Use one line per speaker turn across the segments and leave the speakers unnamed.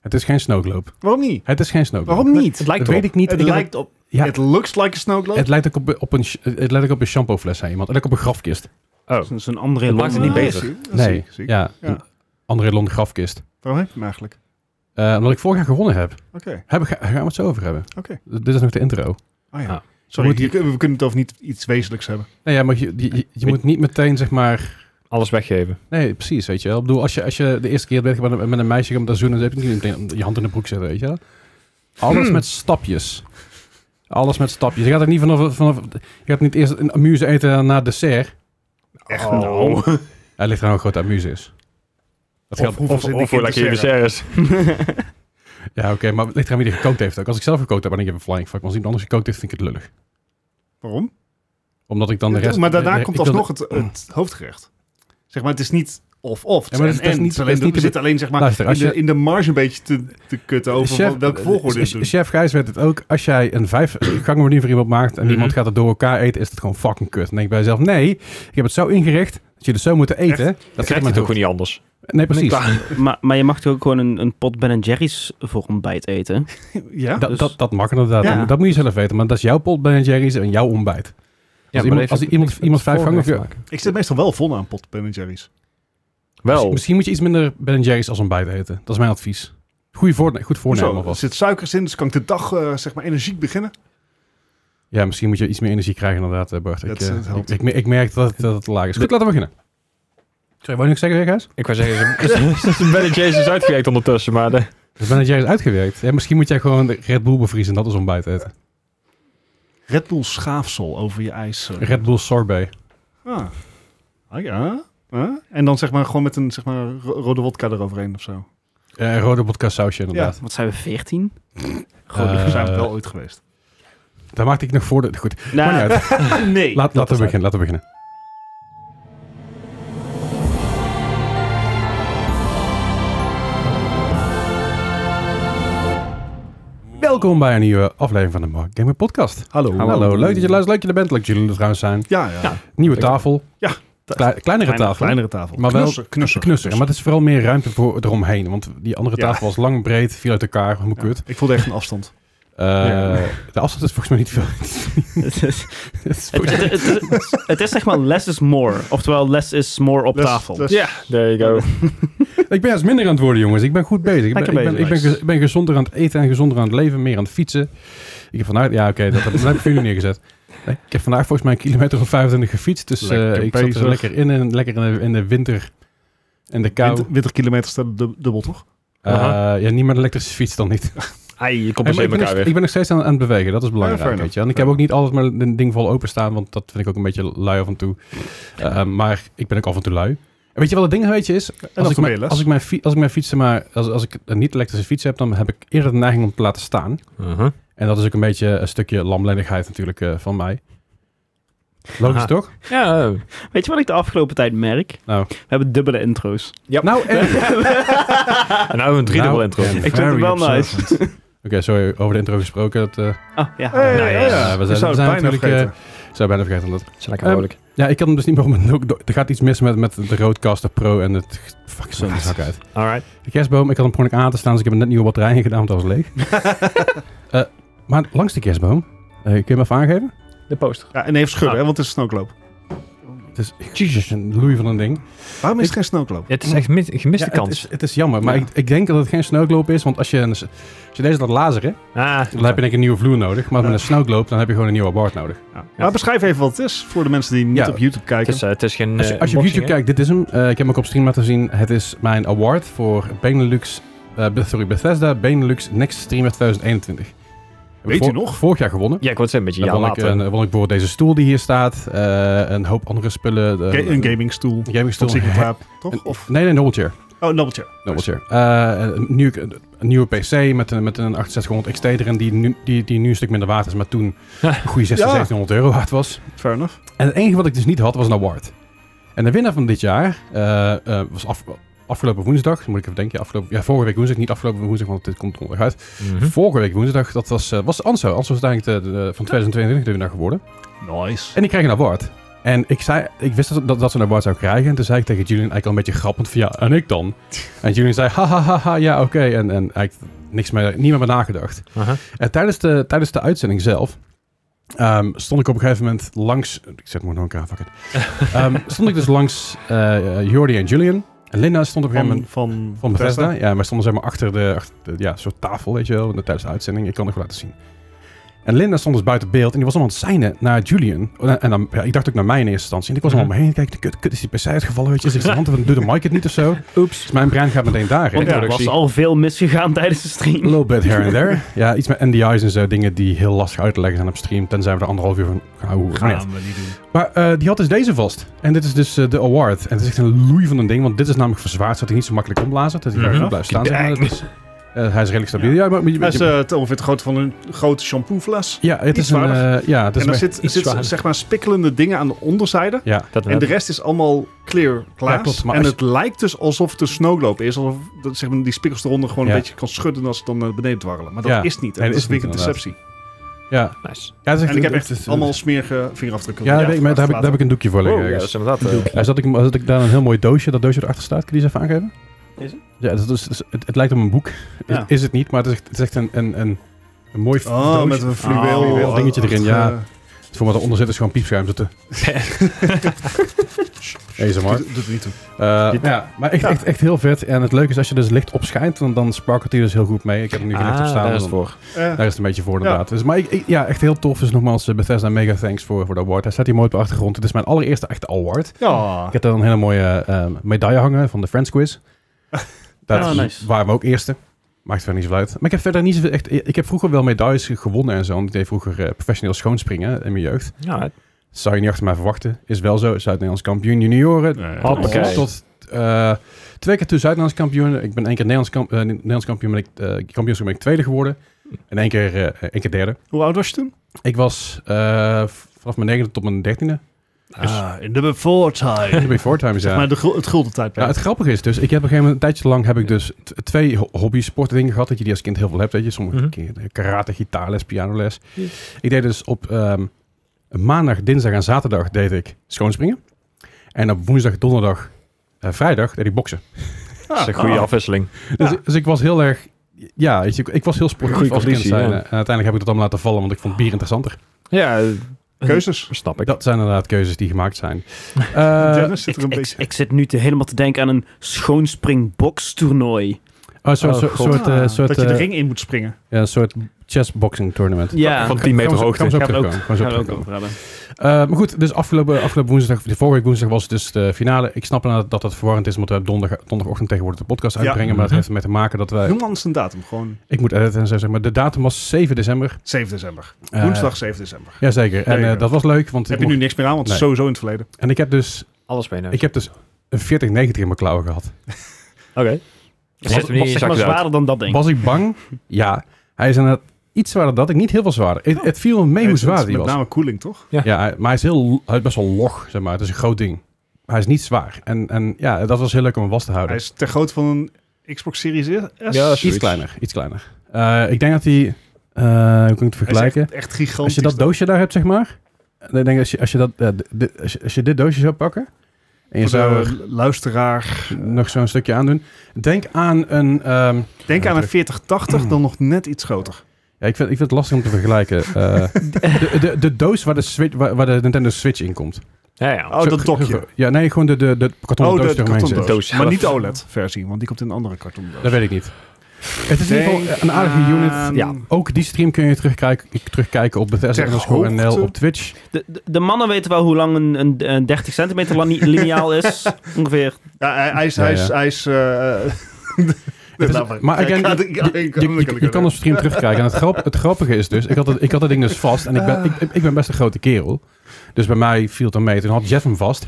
Het is geen snowglobe.
Waarom niet?
Het is geen snowglobe.
Waarom niet?
Het lijkt
dat weet
erop.
ik niet.
Het
Ik heb
lijkt op...
ja.
It looks like a snow
het,
globe.
het lijkt ook op, op een, sh- het lijkt ook op een shampoofles aan iemand. Het lijkt op een grafkist.
Oh,
Dat is een andere
Dat maakt het
Londen.
niet beter.
Ah, dat is ziek, dat is
Nee,
ziek, ziek.
ja.
Ja.
Een André Lon grafkist.
Waarom heb je hem eigenlijk?
Eh, omdat ik vorig jaar gewonnen heb.
Oh, Oké,
heb ik- gaan we het zo over hebben.
Oké.
D- Dit is nog de intro.
oh ja.
Ah.
Sorry,
Moet die-
je- we kunnen het over niet iets wezenlijks hebben.
Nee, ja, maar je, je, je- je moet niet meteen, zeg maar...
alles weggeven.
Nee, precies, weet je wel. Ik bedoel, als je, als je de eerste keer bent met een, met een meisje gaat met zoenen... dan heb je niet meteen je hand in de broek zetten, weet je wel. Alles met stapjes. Alles met stapjes. Je gaat er niet vanaf... vanaf je gaat niet eerst een amuse eten na dessert.
Echt
Oh.
nou.
Hij ligt er nou een grote amuse is. Dat
Of
geldt-
hoeveel zit ik
voor
in te
lekker
zeggen?
desserts.
ja, oké, maar het ligt eraan wie er gekookt heeft ook. Als ik zelf gekookt heb, ben ik even flying fuck. Maar als iemand anders gekookt heeft, vind ik het lullig.
Waarom?
Omdat ik dan de rest...
maar daarna
eh, ik
komt
wil de-
alsnog het, het hoofdgerecht. Zeg maar, het is niet of-of.
Ja, maar het is-
en,
het is niet- het is
alleen,
niet
we
de-
zitten alleen zeg maar,
Luister,
in,
als
de,
je-
in de marge een beetje te, te kutten over
Chef-
van welke volgorde
eh,
het
ch-
doen.
Chef Gijs weet het ook. Als jij een vijf gangmenu voor iemand maakt en
Mhm.
iemand gaat het door elkaar eten, is het gewoon fucking kut. Dan denk ik bij jezelf, nee, ik heb het zo ingericht dat je het zo moet eten.
Dat
Dat zit
krijgt
maar
het ook
toch
gewoon niet anders.
Nee, precies.
Klaar.
Maar, maar je mag toch ook gewoon een, een pot Ben Jerry's voor ontbijt eten?
ja?
Dat,
Dus-
dat, dat mag inderdaad.
Ja.
En Dat moet je zelf weten, maar dat is jouw pot Ben Jerry's en jouw ontbijt.
maar
iemand-
dat heeft
als
ook
iemand-
niks met
iemand vijf
voorrecht
gangen-
te maken.
Ik zit meestal wel vol aan pot Ben Jerry's.
Oh,
Wel,
Misschien- Misschien moet je iets minder Ben Jerry's als ontbijt eten. Dat is mijn advies. Goeie voorne goed voornemen
Zo, er
alvast.
zit suikers in, dus kan ik de dag eh, zeg maar energiek beginnen.
Ja, misschien moet je iets meer energie krijgen inderdaad, eh, Bart. Ik,
Dat,
eh,
dat helpt.
ik, ik, me- ik merk dat, dat het te laag is. Goed, laten we beginnen. Sorry, wou je niks zeggen, Gijs?
ik wou zeggen, ze- ze ze Ben Jason is uitgewerkt ondertussen, maar de-
Dus Ben Jerry's uitgewerkt. Ja, misschien moet jij gewoon de Red Bull bevriezen en dat is ontbijt eten.
Red Bull schaafsel over je ijs. eh.
Red Bull sorbet.
Ah. Ah ja. Huh? En dan zeg maar gewoon met een zeg maar, ro- rode wodka eroverheen of zo.
Eh rode vodka sausje inderdaad.
Wat zijn we, 14?
Gewoon,
Eh,
we zijn het wel ooit geweest.
Daar maakte ik nog voor de... Goed,
Nou,
maakt niet uit.
Ah,
nee.
Laat, laten, we beginnen, laten we beginnen. Welkom bij een nieuwe aflevering van de Mark Gamer Podcast.
Hallo.
Hallo, leuk dat je luistert, leuk dat je er bent, leuk dat jullie er trouwens zijn.
Ja, ja.
Nieuwe tafel.
Ja,
Klei- kleinere tafel.
Kleinere tafel.
Maar wel
knusser, knusser.
Knusser, maar het is vooral meer ruimte voor eromheen. Want die andere
Ja.
tafel was lang breed, viel uit elkaar, helemaal kut.
Ik voelde echt een afstand.
Eh, De afstand is volgens mij niet veel.
het, is,
Oh
het, het- het- het- het is zeg maar less is more. Oftewel, less is more op
Les-
tafel.
les-
Ja, there you go.
ik ben juist minder aan het worden, jongens. Ik ben goed bezig. Ik ben, ik ben,
Lekker bezig.
ik ben, gez- ik ben gezonder aan het eten en gezonder aan het leven. Meer aan het fietsen. Ik heb vandaag... Ja, oké, dat, heb- dat heb ik voor jullie neergezet. Nee, ik heb vandaag volgens mij een kilometer of 25 gefietst. Dus eh,
Lekker
ik zat
bezig.
er lekker in. En lekker in de, in de winter en de kou.
Winter- winterkilometers stellen dub- dubbel, toch?
Eh,
Aha.
ja, niet met een elektrische fiets dan niet.
Ai, je komt
Hey,
eens
maar ik,
in
ben nog,
elkaar
ik
weer.
ben nog steeds aan, aan het bewegen. Dat is belangrijk,
Ja, fair
weet je. En ik heb ook niet altijd maar een ding vol openstaan. Want dat vind ik ook een beetje lui af en toe. Eh, maar ik ben ook af en toe lui. En weet je wat het ding een beetje is?
dan
Als ik,
ben je
mijn,
les.
als, ik mijn fiets, als ik mijn fietsen maar... Als, als ik een niet-elektrische fiets heb, dan heb ik eerder de neiging om te laten staan.
Mhm.
En dat is ook een beetje een stukje lamlendigheid natuurlijk eh, van mij. Logisch,
Aha.
toch?
Ja, eh,
Weet je wat ik de afgelopen tijd merk?
Nou.
We hebben dubbele intro's.
Nou, en...
en nou een driedubbel intro.
en
vind het
very
wel nice.
observant. Oké, sorry, over de intro gesproken. Dat, eh,
Ah, ja.
Hey,
Nou ja, ja,
we zijn- we
zouden
zijn
het
natuurlijk,
vergeten.
zou bijna vergeten dat
Is lekker vrolijk.
Ja, ik kan hem dus niet meer om mijn nook do- Er gaat iets mis met, met de Rodecaster Pro en het... Fuck, zo de zak uit.
Alright.
De kerstboom, ik had hem gewoon aan te staan, dus ik heb er net nieuwe batterij in gedaan, want dat was leeg. Eh, maar langs de kerstboom, eh, kun je hem even aangeven?
De poster.
Ja, en even schudden,
Ah.
hè, want het is een snowglobe.
Het is jezus, een loei van een ding.
Waarom is het geen snowglobe?
het is echt mis, gemiste
Ja, het,
kans.
is, het is jammer, maar
Ja.
ik, ik denk dat het geen snowglobe is, want als je, een, als je deze laat lazeren,
Ah,
dan heb je denk ik een nieuwe vloer nodig. Maar met een snowglobe, dan heb je gewoon een nieuwe award nodig.
Maar beschrijf even wat het is voor de mensen die niet
Ja.
op YouTube
het
kijken.
is, eh, het is geen
Als je,
eh,
als je op YouTube
unboxing, hè?
kijkt, dit is hem. Eh, ik heb hem ook op stream laten zien. Het is mijn award voor Benelux, eh, Be- sorry, Bethesda Benelux Next Streamer 2021. Heb ik
Weet u
vor-
nog?
Vorig jaar gewonnen.
Ja, ik word een beetje
Dan
ja
won ik,
later.
eh, won ik bijvoorbeeld deze stoel die hier staat. eh, een hoop andere spullen. de-
Ga- een gamingstoel.
eh, Een gamingstoel.
Tot ziek
Hè-
klaar, toch?
een-
Of,
Nee, nee, een novelchair.
oh, een dobbeltje.
Novelchair. Eh, een, nieuwe, een nieuwe PC met een, met een 6800 XT erin die nu, die, die nu een stuk minder waard is, maar toen een goede 16,
Ja.
1700 euro waard was.
Fair enough.
En het enige wat ik dus niet had, was een award. En de winnaar van dit jaar eh, eh, was af- afgelopen woensdag, moet ik even denken, afgelopen, ja, vorige week woensdag, niet afgelopen woensdag, want dit komt donderdag uit.
Mhm.
Vorige week woensdag, dat was, eh, was Anso. Anso is uiteindelijk de, de- van 2022 de winnaar geworden.
Nice.
En die kreeg een award. En ik, zei, ik wist dat, dat, dat ze een award zou krijgen. En toen zei ik tegen Julian eigenlijk al een beetje grappend van ja, en ik dan? En Julian zei, ha ha ha, ha ja oké. En, en eigenlijk niks meer, niet meer bij nagedacht.
Aha.
En tijdens de, tijdens de uitzending zelf ehm, stond ik op een gegeven moment langs... Ik zet me nog elkaar, fuck it. Ehm, stond ik dus langs eh, Jordi en Julian. En Linda stond op een gegeven moment...
Van, van,
Van Bethesda? Ja, wij stonden zeg maar achter de, achter de- ja, soort tafel, weet je wel, tijdens de uitzending. Ik kan het wel laten zien. En Linda stond dus buiten beeld en die was allemaal aan het zijnen naar Julian. Oh, En, en dan, ja, ik dacht ook naar mij in eerste instantie. En ik was allemaal om me heen kijken, kut, kut, is die PC uitgevallen, weet je. Is de hand van, doet de mic het niet of zo?
Oeps.
Dus mijn brein gaat meteen daarheen.
Want er was
Introductie.
al veel misgegaan tijdens de
A
stream.
little bit here and there. Ja, iets met NDI's en zo, dingen die heel lastig uit te leggen zijn op stream. Tenzij we er anderhalf uur van gaan houden.
Gaan
Net.
we niet doen.
Maar eh, die had dus deze vast. En dit is dus eh, de award. En het is echt een loei van een ding, want dit is namelijk verzwaard, zodat hij niet zo makkelijk omblazen. Dat hij
Mhm.
gewoon blijft staan. zeg maar. Dat is- eh, hij is redelijk stabiel. Ja, maar, maar je-
Hij is
je-
eh, te- ongeveer de grootte van een grote shampoofles.
ja, het is
iets
een.
zwaarder.
eh, ja, het is
en er
een-
zit,
iets
zit
zwaarder.
zeg maar spikkelende dingen aan de onderzijde.
ja.
Dat
En de rest is allemaal clear glaas.
Ja, klopt, maar
en
als-
het lijkt dus alsof het een snowgloop is. Alsof dat, zeg maar, die spikkels eronder gewoon
Ja.
een beetje kan schudden als ze dan naar beneden dwarrelen. Maar dat
Ja.
is niet. En
Nee,
dat
dat
is
is
weer een
niet, inderdaad.
deceptie.
ja.
Nice.
ja het is
En ik heb
het-
echt
het is-
allemaal smerige vingerafdrukken.
Ja,
op
dat
de
weet ik, maar daar heb, ik, daar heb ik een doekje voor liggen.
Wow, ja, dat
ergens.
is inderdaad... eh,
Daar zat ik, daar zat ik daar een heel mooi doosje. Dat doosje erachter staat. Kun je die eens even aangeven?
Deze?
Ja, dat is, dus- het, het lijkt op een boek. Is-
Ja.
Is, het niet, maar het is echt, het is echt een, een, een, een mooi
Oh,
doosje.
met een fluweel
Oh, dingetje erin,
eh,
ja. Voor wat eronder zit is gewoon piepschuim zitten. Deze maar.
Doet, doet er niet toe.
Eh,
Dit-
ja, maar echt, echt, echt heel vet. En het leuke is als je dus licht opschijnt, dan, dan sparkelt hij dus heel goed mee. Ik heb hem nu gelegd op
ah,
staan.
daar is
dus
het
dan-
voor.
Eh,
Daar is het een beetje voor inderdaad. Dus, maar ik, ik- ja, echt heel tof. Dus nogmaals, eh, Bethesda, mega thanks voor, voor de award. Hij staat hier mooi op de achtergrond. Het is mijn allereerste echte award.
ja.
Ik heb daar een hele mooie eh, medaille hangen van de Friends Quiz. Daar
Oh, nice.
waren we ook eerste. Maakt verder niet zoveel uit. Maar ik heb verder niet zoveel echt... Ik heb vroeger wel medailles gewonnen en zo. Want ik deed vroeger eh, professioneel schoonspringen in mijn jeugd.
Ja, het-
Zou je niet achter mij verwachten. Is wel zo. Zuid-Nederlands kampioen junioren.
Nee,
Hoppakee.
Tot, tot, eh, twee keer toen Zuid-Nederlands kampioen. Ik ben één keer Nederlands, kamp, eh, Nederlands kampioen. Ben ik, eh kampioenschap ben ik tweede geworden. En één keer, eh, één keer derde.
Hoe oud was je toen?
Ik was eh, v- vanaf mijn negende tot mijn dertiende.
Ah, in de before
Dat
time.
ben ik voortime, ja.
Maar de, gul- het gulden
Ja,
tijdperk.
het grappige is dus, ik heb op een gegeven moment, een tijdje lang heb ik dus t- twee ho- hobby sportdingen gehad, dat je die als kind heel veel hebt, weet je, sommige
Mhm.
keer eh, karate, gitaarles, pianoles.
Ja.
Ik deed dus op ehm, maandag, dinsdag en zaterdag deed ik schoonspringen. En op woensdag, donderdag, eh, vrijdag deed ik boksen.
dat
Ah.
is een goede afwisseling.
Dus, dus ik was heel erg, ja, weet je, ik, ik was heel sportief
Goeie
als kind
conditie,
zijn.
ja.
En uiteindelijk heb ik dat allemaal laten vallen, want ik vond bier interessanter.
Ja, eh,
Keuzes.
snap ik.
Dat zijn inderdaad keuzes die gemaakt zijn. Eh,
Dennis zit
Ik,
er een
ik,
beetje...
ik zit nu te helemaal te denken aan een schoonspringbox-toernooi.
oh, zo,
Oh,
zo,
God.
soort, eh,
Ah,
soort,
dat je de
eh,
ring in moet springen.
ja, een soort chessboxing tournament.
Ja,
Van 10 meter
Gaan we zo-
hoogte.
gaan we zo
Gaan we
terugkomen, gaan we zo
gaan we ook
terugkomen.
over hebben.
Eh, maar goed, dus afgelopen, afgelopen woensdag, de vorige week woensdag was het dus de finale. Ik snap inderdaad dat dat verwarrend is, omdat we donderdag, donderdagochtend tegenwoordig de podcast
Ja.
uitbrengen. Maar dat
Mhm.
heeft ermee te maken dat wij...
Noem anders een datum. Gewoon
Ik moet editen en zo zeggen, maar de datum was 7 december.
7 december.
Eh,
Woensdag 7 december.
Jazeker. En
Nee,
eh,
ja.
dat was leuk, want
heb
ik,
je nu
mocht-
niks meer aan, want het is
Nee.
sowieso in het verleden.
en ik heb dus,
Alles mee.
ik heb dus een 4090 in mijn klauwen gehad.
Oké.
Het was, was zeg maar zwaarder dan dat ding.
Was ik bang? ja. Hij is inderdaad iets zwaarder dan ik, niet heel veel zwaarder. Het, het viel me mee hoe
Het is
zwaar die
Met
was.
name koeling, toch?
Ja, hij- maar hij is, heel, hij is best wel log, zeg maar. Het is een groot ding. Hij is niet zwaar. En, en ja, dat was heel leuk om hem vast te houden.
Hij is ter grootte van een Xbox Series S.
Ja,
Iets
zoiets.
kleiner, iets kleiner. Eh, ik denk dat die, eh, hoe kan ik het
Hij is echt,
vergelijken?
echt gigantisch.
Als je dat doosje daar hebt, zeg maar. Dan denk ik, als je, als je, dat, eh, d- dit- als je, als je dit doosje zou pakken. En je
Voor
zou
de luisteraar.
er nog zo'n stukje aan doen. Denk aan een... ehm,
Denk
Ja,
aan een
natuurlijk.
4080, dan nog net iets groter.
ja, ik vind, ik vind het lastig om te vergelijken. Eh, de, de, de doos waar de, Switch, waar, waar de Nintendo Switch in komt.
Ja, ja.
Oh,
Zo-
dat dokje.
Ja, nee, gewoon de, de, de kartonnen
Oh, de,
doos
de
eromheen
kartondoos.
zit.
doos.
Maar niet de OLED-versie, want die komt in een andere kartondoos.
Dat weet ik niet. Het is in ieder
Denk
geval een aardige
aan-
unit. Ja. Ook die stream kun je terugkijken, terugkijken op Bethesda
Ter
underscore NL
hoogte.
op Twitch.
De, de, de mannen weten wel hoe lang een, een, een 30 centimeter lani- lineaal is. Ongeveer.
Ja, hij, hij is...
Ja,
hij
ja.
is, hij is eh,
Het is-
laat maar.
maar
Ja,
again,
ik ga-
je-
ik ga- ik
je-
ga- ik ga-
Je je kan op stream terugkijken. En het, grap, het grappige is dus, ik had, het, ik had dat ding dus vast. En ik ben, ik, ik ben best een grote kerel. Dus bij mij viel het dan mee. Toen had Jeff hem vast.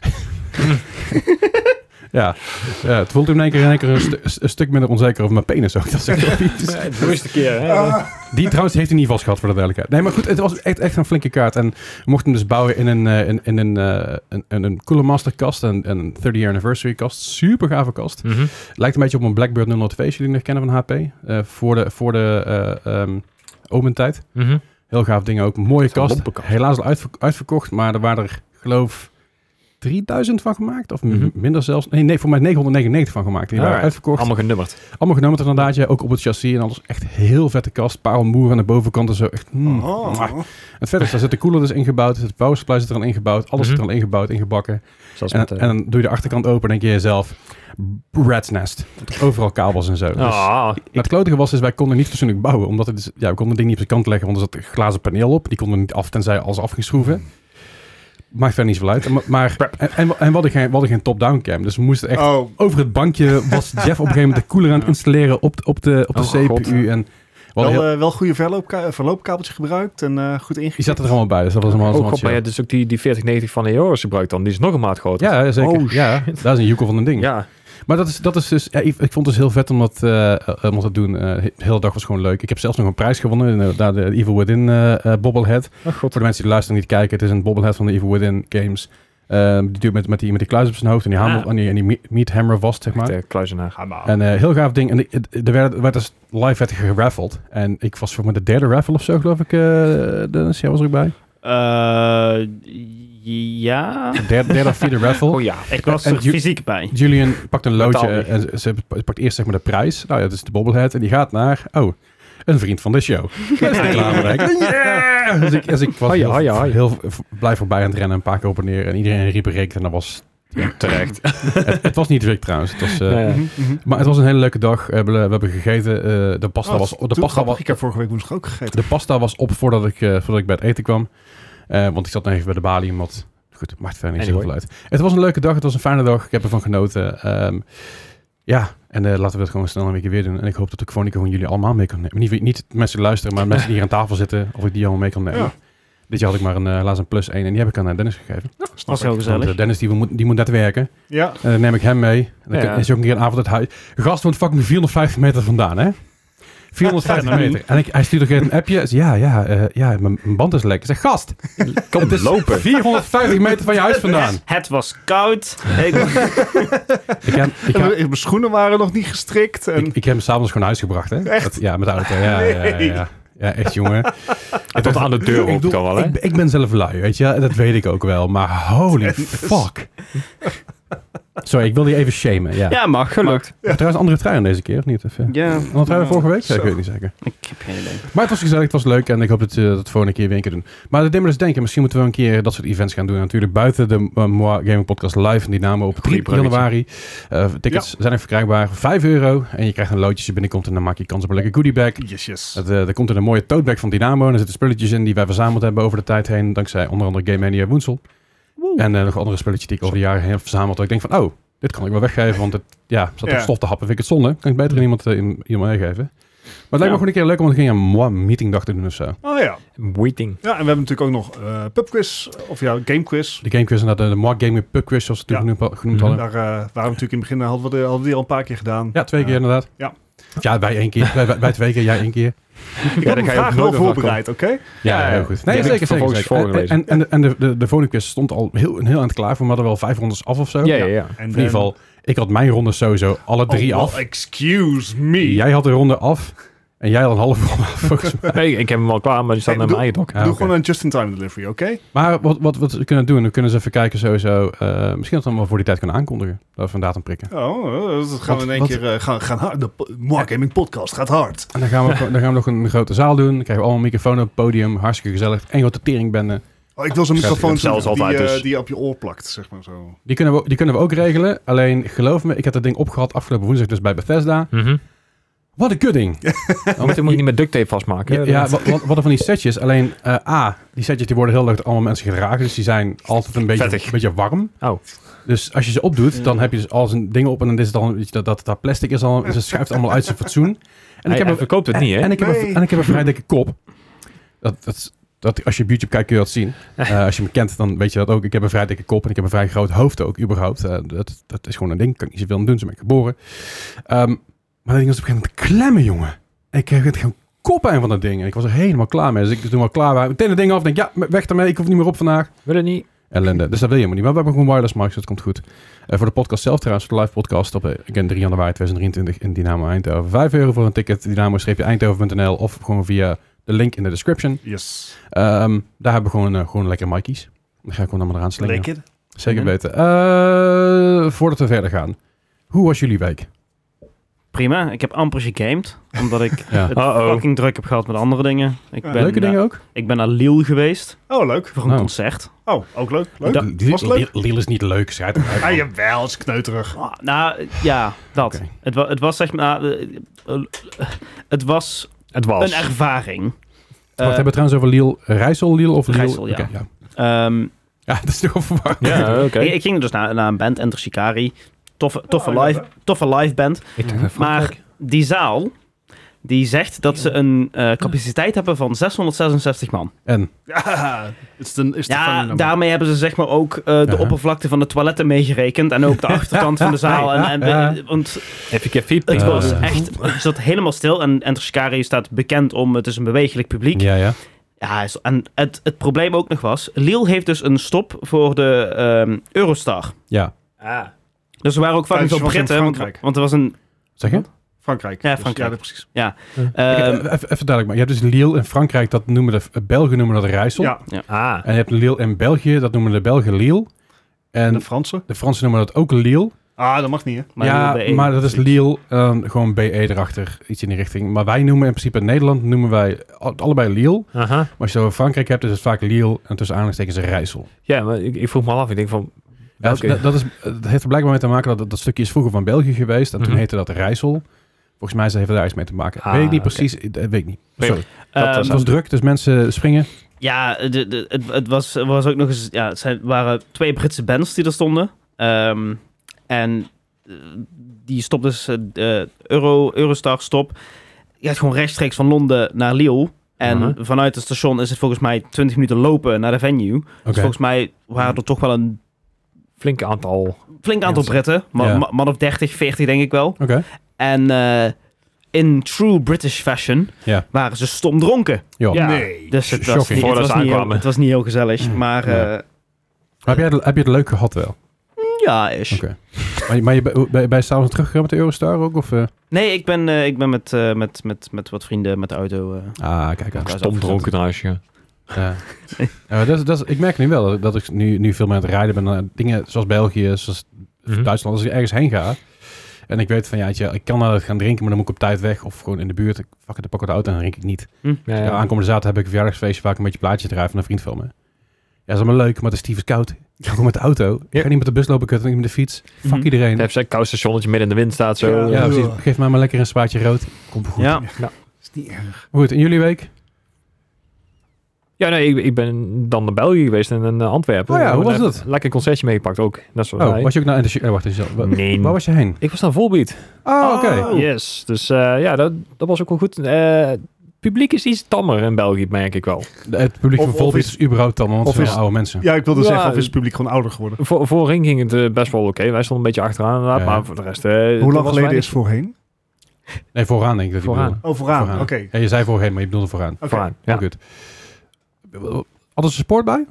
ja. ja, het voelt toen in één keer, in één keer een, stu- een stuk minder onzeker over mijn penis. Ook. Dat is echt wel iets.
De eerste keer, hè.
Die trouwens heeft hij niet vast gehad, voor de duidelijkheid. Nee, maar goed, het was echt, echt een flinke kaart. En we mochten hem dus bouwen in een, eh, in, in een, eh, een, een, een Cooler Master kast. En en een 30-year anniversary kast. Super gave kast.
Mhm.
Lijkt een beetje op een Blackbird 002, als jullie nog kennen van HP. eh, voor de, voor de eh ehm, Omen-tijd.
Mhm.
Heel gaaf dingen ook. Mooie
is een
kast.
lompe kast.
Helaas al uitver- uitverkocht, maar er waren er geloof 3000 van gemaakt. Of m-
Mhm.
minder zelfs. Nee, nee, voor mij 999 van gemaakt. Die waren
Alright.
uitverkocht.
Allemaal genummerd.
Allemaal genomen inderdaad. Ja, ook op het chassis en alles. Echt heel vette kast. Parelmoer aan de bovenkant en zo. Echt, mm. Mwah.
Oh.
Het verder is, daar zit de cooler dus ingebouwd. Het power supply zit er aan ingebouwd. Alles zit er
Mhm.
aan ingebouwd, ingebakken.
Zoals
En,
met, eh,
en dan doe je de achterkant open en denk je jezelf... Rat's nest. Want er overal kabels en zo. Dus-
Ah,
maar het klotige was, is wij konden niet fatsoenlijk bouwen. Omdat het, is- ja, we konden het ding niet op zijn kant leggen, want er zat een glazen paneel op. Die konden we niet af, tenzij alles afgeschroeven. Maakt verder niet zoveel uit. Maar, maar,
Prep.
en, en we en we hadden geen, we hadden geen top-down cam. Dus we moesten echt...
Oh.
Over het bankje was Jeff op een gegeven moment de cooler aan het installeren op, de- op de, op de
Oh,
CPU.
God.
En we hadden
Wel,
heel-
eh, wel goede verloopka verloopkabeltje gebruikt en eh, goed
die
ingezet.
zaten er allemaal bij, dus dat was allemaal
oh
allemaal
god, maar
chill.
je hebt dus ook die, die 4090 van Eoris gebruikt dan. Die is nog een maat groter. eh,
Ja, zeker.
Oh,
ja, daar is een joekel van een ding.
Ja.
Maar dat is, dat is dus... Ja, ik, ik vond het dus heel vet om dat, eh, eh, om dat te doen. Eh, de hele dag was gewoon leuk. Ik heb zelfs nog een prijs gewonnen. eh, daar de Evil Within eh eh, bobblehead.
Oh god.
Voor de mensen die luisteren en niet kijken. Het is een bobblehead van de Evil Within games. Ehm, die duurt met, met, die, met die kluis op zijn hoofd en die, hamel,
Ah.
en die, en die me- meat hammer vast, zeg maar.
De kluizenaar.
En eh, heel gaaf ding. En ik- het- er werd, werd dus live werd geraffeld. En ik was voor me de derde raffle of zo, geloof ik, eh Dennis. Jij was er ook bij.
Eh, ja.
De derde, derde of vierde raffle.
Oh ja.
Ik was
En
er
ju-
fysiek bij.
Julian pakt een loodje
Betaal
en ze, ze pakt eerst zeg maar de prijs. Nou ja, dat is de bobblehead. En die gaat naar, oh, een vriend van de show. Dat is de reclamewerk. Yeah! Dus ik, dus ik was
Hoi,
heel,
hoi, hoi.
heel v- blij voorbij aan het rennen. Een paar keer op en neer. En iedereen riep en reekte. En dat was
Terecht.
het, het was niet druk trouwens. Het was, eh,
Nee.
Mhm, mhm.
Maar het was een hele leuke dag. Eh, We hebben, we hebben gegeten. eh, de pasta
Oh,
was...
dat
De
is
pasta
grappig.
was,
Ik heb vorige week woensdag ook gegeten.
de pasta was op voordat ik, eh, voordat ik bij het eten kwam. Eh, want ik zat nog even bij de balie, want goed, maakt verder niet zoveel
Anyway.
uit. Het was een leuke dag, het was een fijne dag. Ik heb ervan genoten. Ehm, ja, en eh, laten we dat gewoon snel een weekje weer doen. En ik hoop dat ik gewoon gewoon jullie allemaal mee kan nemen. Niet, niet de mensen die luisteren, maar de mensen die hier aan tafel zitten, of ik die allemaal mee kan nemen.
Ja.
Dit jaar had ik maar een, eh, laatst een plus 1 en die heb ik aan eh, Dennis gegeven.
Snap
Was heel
ik.
Want,
gezellig.
eh, Dennis die moet, die moet net werken.
Ja.
En dan neem ik hem mee. En dan
Ja.
kan- is hij ook een keer een avond uit huis. Gast woont fucking 450 meter vandaan, hè? 450 meter. En ik, hij stuurt ook even een appje. Hij zegt, ja, ja, eh, ja, mijn mijn band is lek. Ik zeg, gast,
Kom
het is
lopen.
450 meter van je huis vandaan.
Het was koud. Ik,
Ik heb, ik
En
heb,
Mijn schoenen waren nog niet gestrikt. En...
ik, ik heb hem s'avonds gewoon naar huis gebracht, hè?
ehm, Echt?
Dat- ja, met de auto. Ja, ja, ja, ja. Ja, echt, jongen.
En tot aan de deur
Ik
ook
bedoel,
dan wel, hè?
Ik, ik ben zelf lui, weet je. Dat weet ik ook wel. Maar holy fuck. Sorry, ik wilde je even shamen. Ja.
ja, mag. Gelukt.
Heb je Trouwens, andere trui aan deze keer, of niet? Of, eh,
Ja,
Andere trui van vorige week?
Zo.
ik weet het niet zeker.
ik heb geen idee.
Maar het was gezellig, het was leuk en ik hoop dat we dat volgende keer weer een keer doen. Maar dat deed me dus denken, misschien moeten we een keer dat soort events gaan doen. Natuurlijk buiten de eh, Moi Gaming Podcast live in Dynamo op 3
bruggetje.
januari. Eh, tickets zijn er verkrijgbaar, 5 euro. En je krijgt een loodje als je binnenkomt en dan maak je kans op een lekker goodiebag.
Yes, yes.
Dat, eh, er komt in een mooie tote bag van Dynamo en er zitten spulletjes in die wij verzameld hebben over de tijd heen. Dankzij onder andere Game Mania Woensel. En eh, nog andere spulletjes die ik over de jaren heen heb verzameld. Dat ik denk van, oh, dit kan ik wel weggeven, want het ja, zat
Ja.
op stof te happen. Vind ik het zonde. Kan ik beter aan iemand, eh, in- iemand meegeven. Maar het lijkt
Ja.
me gewoon een keer leuk om een keer een moi meetingdag te doen of zo.
Oh ja.
Waiting.
Ja, en we hebben natuurlijk ook nog eh, pubquiz, of ja, gamequiz.
De gamequiz en dat eh, de, de Mark Gaming Pub Quiz, zoals we het
Ja.
toen genoemd, genoemd
Mhm.
hadden.
Daar eh, waren we natuurlijk in het begin, hadden we, de, hadden we die al een paar keer gedaan.
Ja, twee keer inderdaad.
Ja.
Ja, wij één keer. wij, wij- wij twee keer, jij één keer.
Ik heb
daar
mijn
ga je ook
vraag
nooit
wel
meer van
voorbereid, oké?
Ja,
Ja,
heel
ja.
goed.
Die
Nee,
heb ik
zeker, zeker,
vervolgens
zeker. En,
voorgelezen.
en, en, en de, de, de volgende quiz stond al heel, een heel aan het klaar voor. We hadden wel vijf rondes af of zo.
Ja, ja, ja.
En eh,
In ieder geval, ik had mijn ronde sowieso alle
Oh,
drie af.
excuse me.
Jij had de ronde af. En jij had een halve ronde af, volgens mij.
Nee, ik heb hem al klaar, maar die staat
Hey,
naar mijn eigen dok.
Ja,
Doe
oké.
gewoon een just-in-time delivery, oké?
Maar wat, wat, wat we kunnen doen, we kunnen ze even kijken sowieso. eh, misschien dat we hem wel voor die tijd kunnen aankondigen. Dat we een datum prikken.
Oh, eh, dat gaan we in één
Wat-
keer eh, gaan, gaan hard. De po- Mark Gaming Podcast gaat hard.
En dan gaan, we, dan gaan we nog een grote zaal doen. Dan krijgen we allemaal een microfoon op het podium. Hartstikke gezellig. En grote teringbende.
Oh, ik wil zo'n
Schrijf ik
microfoon
het zelfs
die,
altijd,
eh,
dus.
die je op je oor plakt, zeg maar zo.
Die kunnen, we, die kunnen we ook regelen. Alleen, geloof me, ik heb dat ding opgehad afgelopen woensdag dus bij Bethesda.
Mhm.
Wat een kudding.
Want dan moet je niet met duct tape vastmaken.
Ja,
hè?
ja, wat, wat, wat er van die setjes. Alleen, eh, A, die setjes die worden heel leuk door allemaal mensen gedragen. Dus die zijn altijd een beetje,
Vettig.
een beetje warm.
Oh.
Dus als je ze opdoet, dan heb je dus al zijn dingen op. En dan is het al, weet je, dat, dat, dat plastic is al, ze schuift allemaal uit zijn fatsoen. En
Hij-
ik heb
hij
een,
verkoopt het niet, hè?
en ik heb een,
Nee.
en ik heb een vrij dikke kop. Dat, dat, is- dat, als je op YouTube kijkt kun je dat zien. Eh, als je me kent, dan weet je dat ook. Ik heb een vrij dikke kop en ik heb een vrij groot hoofd ook, überhaupt. Eh, dat, dat is gewoon een ding. Kan ik niet zoveel aan doen, zo ben ik geboren. Ehm, maar dat ding was op een gegeven moment klemmen, jongen. En ik kreeg het gewoon koppijn van dat ding. En ik was er helemaal klaar mee. Dus ik toen we klaar waren, meteen het ding af. denk ik, ja, weg ermee. Ik hoef niet meer op vandaag.
Wil het niet?
Ellende. Dus dat wil je helemaal niet. Maar we hebben gewoon wireless mics, dat komt goed. Eh, voor de podcast zelf trouwens, voor de live podcast op eh, again, 3 januari 2023 in Dynamo Eindhoven. 5 euro voor een ticket, dynamo-eindhoven.nl of gewoon via de link in de description.
Yes.
Ehm, daar hebben we gewoon, eh, gewoon lekker mic's. Dan ga ik gewoon allemaal eraan slingen.
Lekker. Mhm.
Zeker weten. Eh, voordat we verder gaan. Hoe was jullie week?
Prima, ik heb amper gegamed. Omdat ik
Ja.
het
Uh-oh.
fucking druk heb gehad met andere dingen. Ik
Ja.
ben, eh,
Leuke dingen ook?
Ik ben naar Lille geweest
Oh, leuk.
voor een
Oh.
concert.
Oh, ook leuk. Leuk.
Da-
Liel-
was leuk.
Liel is niet leuk, schijt eruit, man.
Ah, jawel, is kneuterig.
Ah, nou, ja, dat.
Oké.
Het, wa- het was zeg maar... eh, eh, eh, het was
Het was.
een ervaring. Eh,
Wacht, hebben we het trouwens over Liel Rijssel, Liel of Liel?
Rijssel, ja.
Oké, ja.
ehm,
Ja, dat is toch wel verwarrend.
Ja, oké.
ik, ik ging dus naar, naar een band, Enter Shikari. Toffe, toffe,
Oh, ja,
live, toffe live band.
Ik dacht even-
Maar die zaal, die zegt dat ze een eh, capaciteit hebben van 666 man.
En?
Ja, is de, is de
Ja,
funny nummer.
daarmee hebben ze zeg maar ook eh, de
Ja.
oppervlakte van de toiletten meegerekend. En ook de achterkant van de zaal. En, en,
Ja.
Want
Even keffiep.
het
Ja.
was echt, het zat helemaal stil. En Enter Shikari staat bekend om, het is een bewegelijk publiek. Ja,
Ja, ja.
is- en het, het probleem ook nog was, Liel heeft dus een stop voor de ehm, Eurostar.
Ja.
Dus er waren ook fucking
Ja, dus
veel
was in
Britten, want,
Frankrijk.
want er was een...
Zeg je?
Frankrijk.
Ja,
Dus
Frankrijk.
dat precies.
Kijk,
ehm,
even, even duidelijk, maar je hebt dus Liel in Frankrijk, dat noemen de eh, Belgen noemen dat Rijssel.
Ja,
Ah.
En je hebt Liel in België, dat noemen de Belgen Liel. En
de Fransen.
de Fransen noemen dat ook Liel.
Ah, dat mag niet, hè?
maar E
ja,
Liel B1.
maar dat is Liel, ehm, gewoon BE erachter, iets in die richting. Maar wij noemen in principe in Nederland noemen wij al- allebei Liel.
Aha.
Maar als je het over Frankrijk hebt, is het vaak Liel en tussen aanhalingstekens Rijssel.
Ja, maar ik, ik vroeg me al af. Ik denk van...
Ja, dat,
Welke?
dat, dat is, dat heeft er blijkbaar mee te maken dat- dat dat stukje is vroeger van België geweest. En toen
Mhm.
heette dat Rijssel. Volgens mij heeft het daar iets mee te maken.
Ah,
weet ik niet
oké.
precies. eh, Weet ik niet. Sorry.
ehm,
het was druk, dus mensen springen.
Ja, de, de, het, het was, er was ook nog eens. Ja, het zijn, waren twee Britse bands die er stonden. Ehm, en eh, die stopt dus eh, de Euro, Eurostar stop. Je gaat gewoon rechtstreeks van Londen naar Lille. En
Uh-huh.
Mhm.
vanuit het station is het volgens mij 20 minuten lopen naar de venue. Dus
Oké.
volgens mij waren er toch wel een
Flink aantal.
flink aantal
Mensen.
Britten. Man,
Ja.
ma- man of 30, 40 denk ik wel.
Oké.
En eh, in true British fashion
Ja.
waren ze stom dronken.
Ja.
Ja.
Nee.
Dus het was,
Shocking.
niet, het,
Voordat
was
ze
niet heel,
aankwamen.
het was niet heel gezellig. Maar
Ja.
eh,
Maar heb, jij, het- heb je het leuk gehad wel?
ja, is.
Oké. maar, je- maar je ben- ben- ben je s'avonds teruggegaan met de Eurostar ook? Of, eh?
Nee, ik ben, eh, ik ben met, eh, met, met, met wat vrienden met de auto. eh.
Ah, kijk aan.
Ja,
Stom
dat-
dronken huisje.
Ja. Ja, dat, is- dat, is- ik merk nu wel dat, dat ik nu, nu veel meer aan het rijden ben. naar dingen zoals België, zoals
Mhm.
Duitsland. Als ik ergens heen ga en ik weet van ja, tja, ik kan wel gaan drinken, maar dan moet ik op tijd weg. Of gewoon in de buurt. Ik fuck het, dan pak ik de auto en dan drink ik niet.
Ja,
Ja,
ja.
aankomende zaterdag heb ik een verjaardagsfeestje waar ik een beetje plaatjes draai van een vriend van me. Ja, dat is allemaal leuk, maar het is tyfus koud. Ik ga gewoon met de auto. Ik ga niet met de bus lopen, ik ga niet met de fiets. Fuck
Mhm.
iedereen.
Dan heb je een koud stationnetje midden in de wind staat
Ja.
zo.
Ja, precies. Geef mij maar lekker een spaatje rood. Komt goed.
Ja.
Is niet erg.
Goed, in jullie week?
Ja, nee, ik, ik ben dan naar België geweest en in eh, Antwerpen.
Oh ja, hoe
Ik heb
was
een-
dat?
Lekker concertje meegepakt ook. Net zoals
Oh,
wij.
was je ook nou in de... sh- eh, wacht eens. wa-
Nee.
Waar was je heen?
Ik was naar Volbeat.
Oh, oké.
Oh.
Yes. Dus eh, ja, dat, dat was ook wel goed. Eh, het publiek is iets tammer in België, merk ik wel.
De- Het publiek
Of-
van
of
Volbeat
is-
is überhaupt dan, want het
of
zijn
is-
allemaal oude mensen.
Ja, eh, ik wilde
Ja,
zeggen, of is
dus-
het publiek gewoon ouder geworden?
Voor, voorheen ging het eh, best wel oké. Wij stonden een beetje achteraan inderdaad,
Ja.
maar voor de rest... eh,
Hoe
er
lang
was
geleden
weinig
is voorheen?
Nee, vooraan denk ik dat die
Vooraan.
bedoelde.
Oh, vooraan. Oké.
Vooraan. Ja, je zei voorheen, maar je bedoelde vooraan.
Oké.
vooraan. Ja,
Goed. Hadden ze sport bij?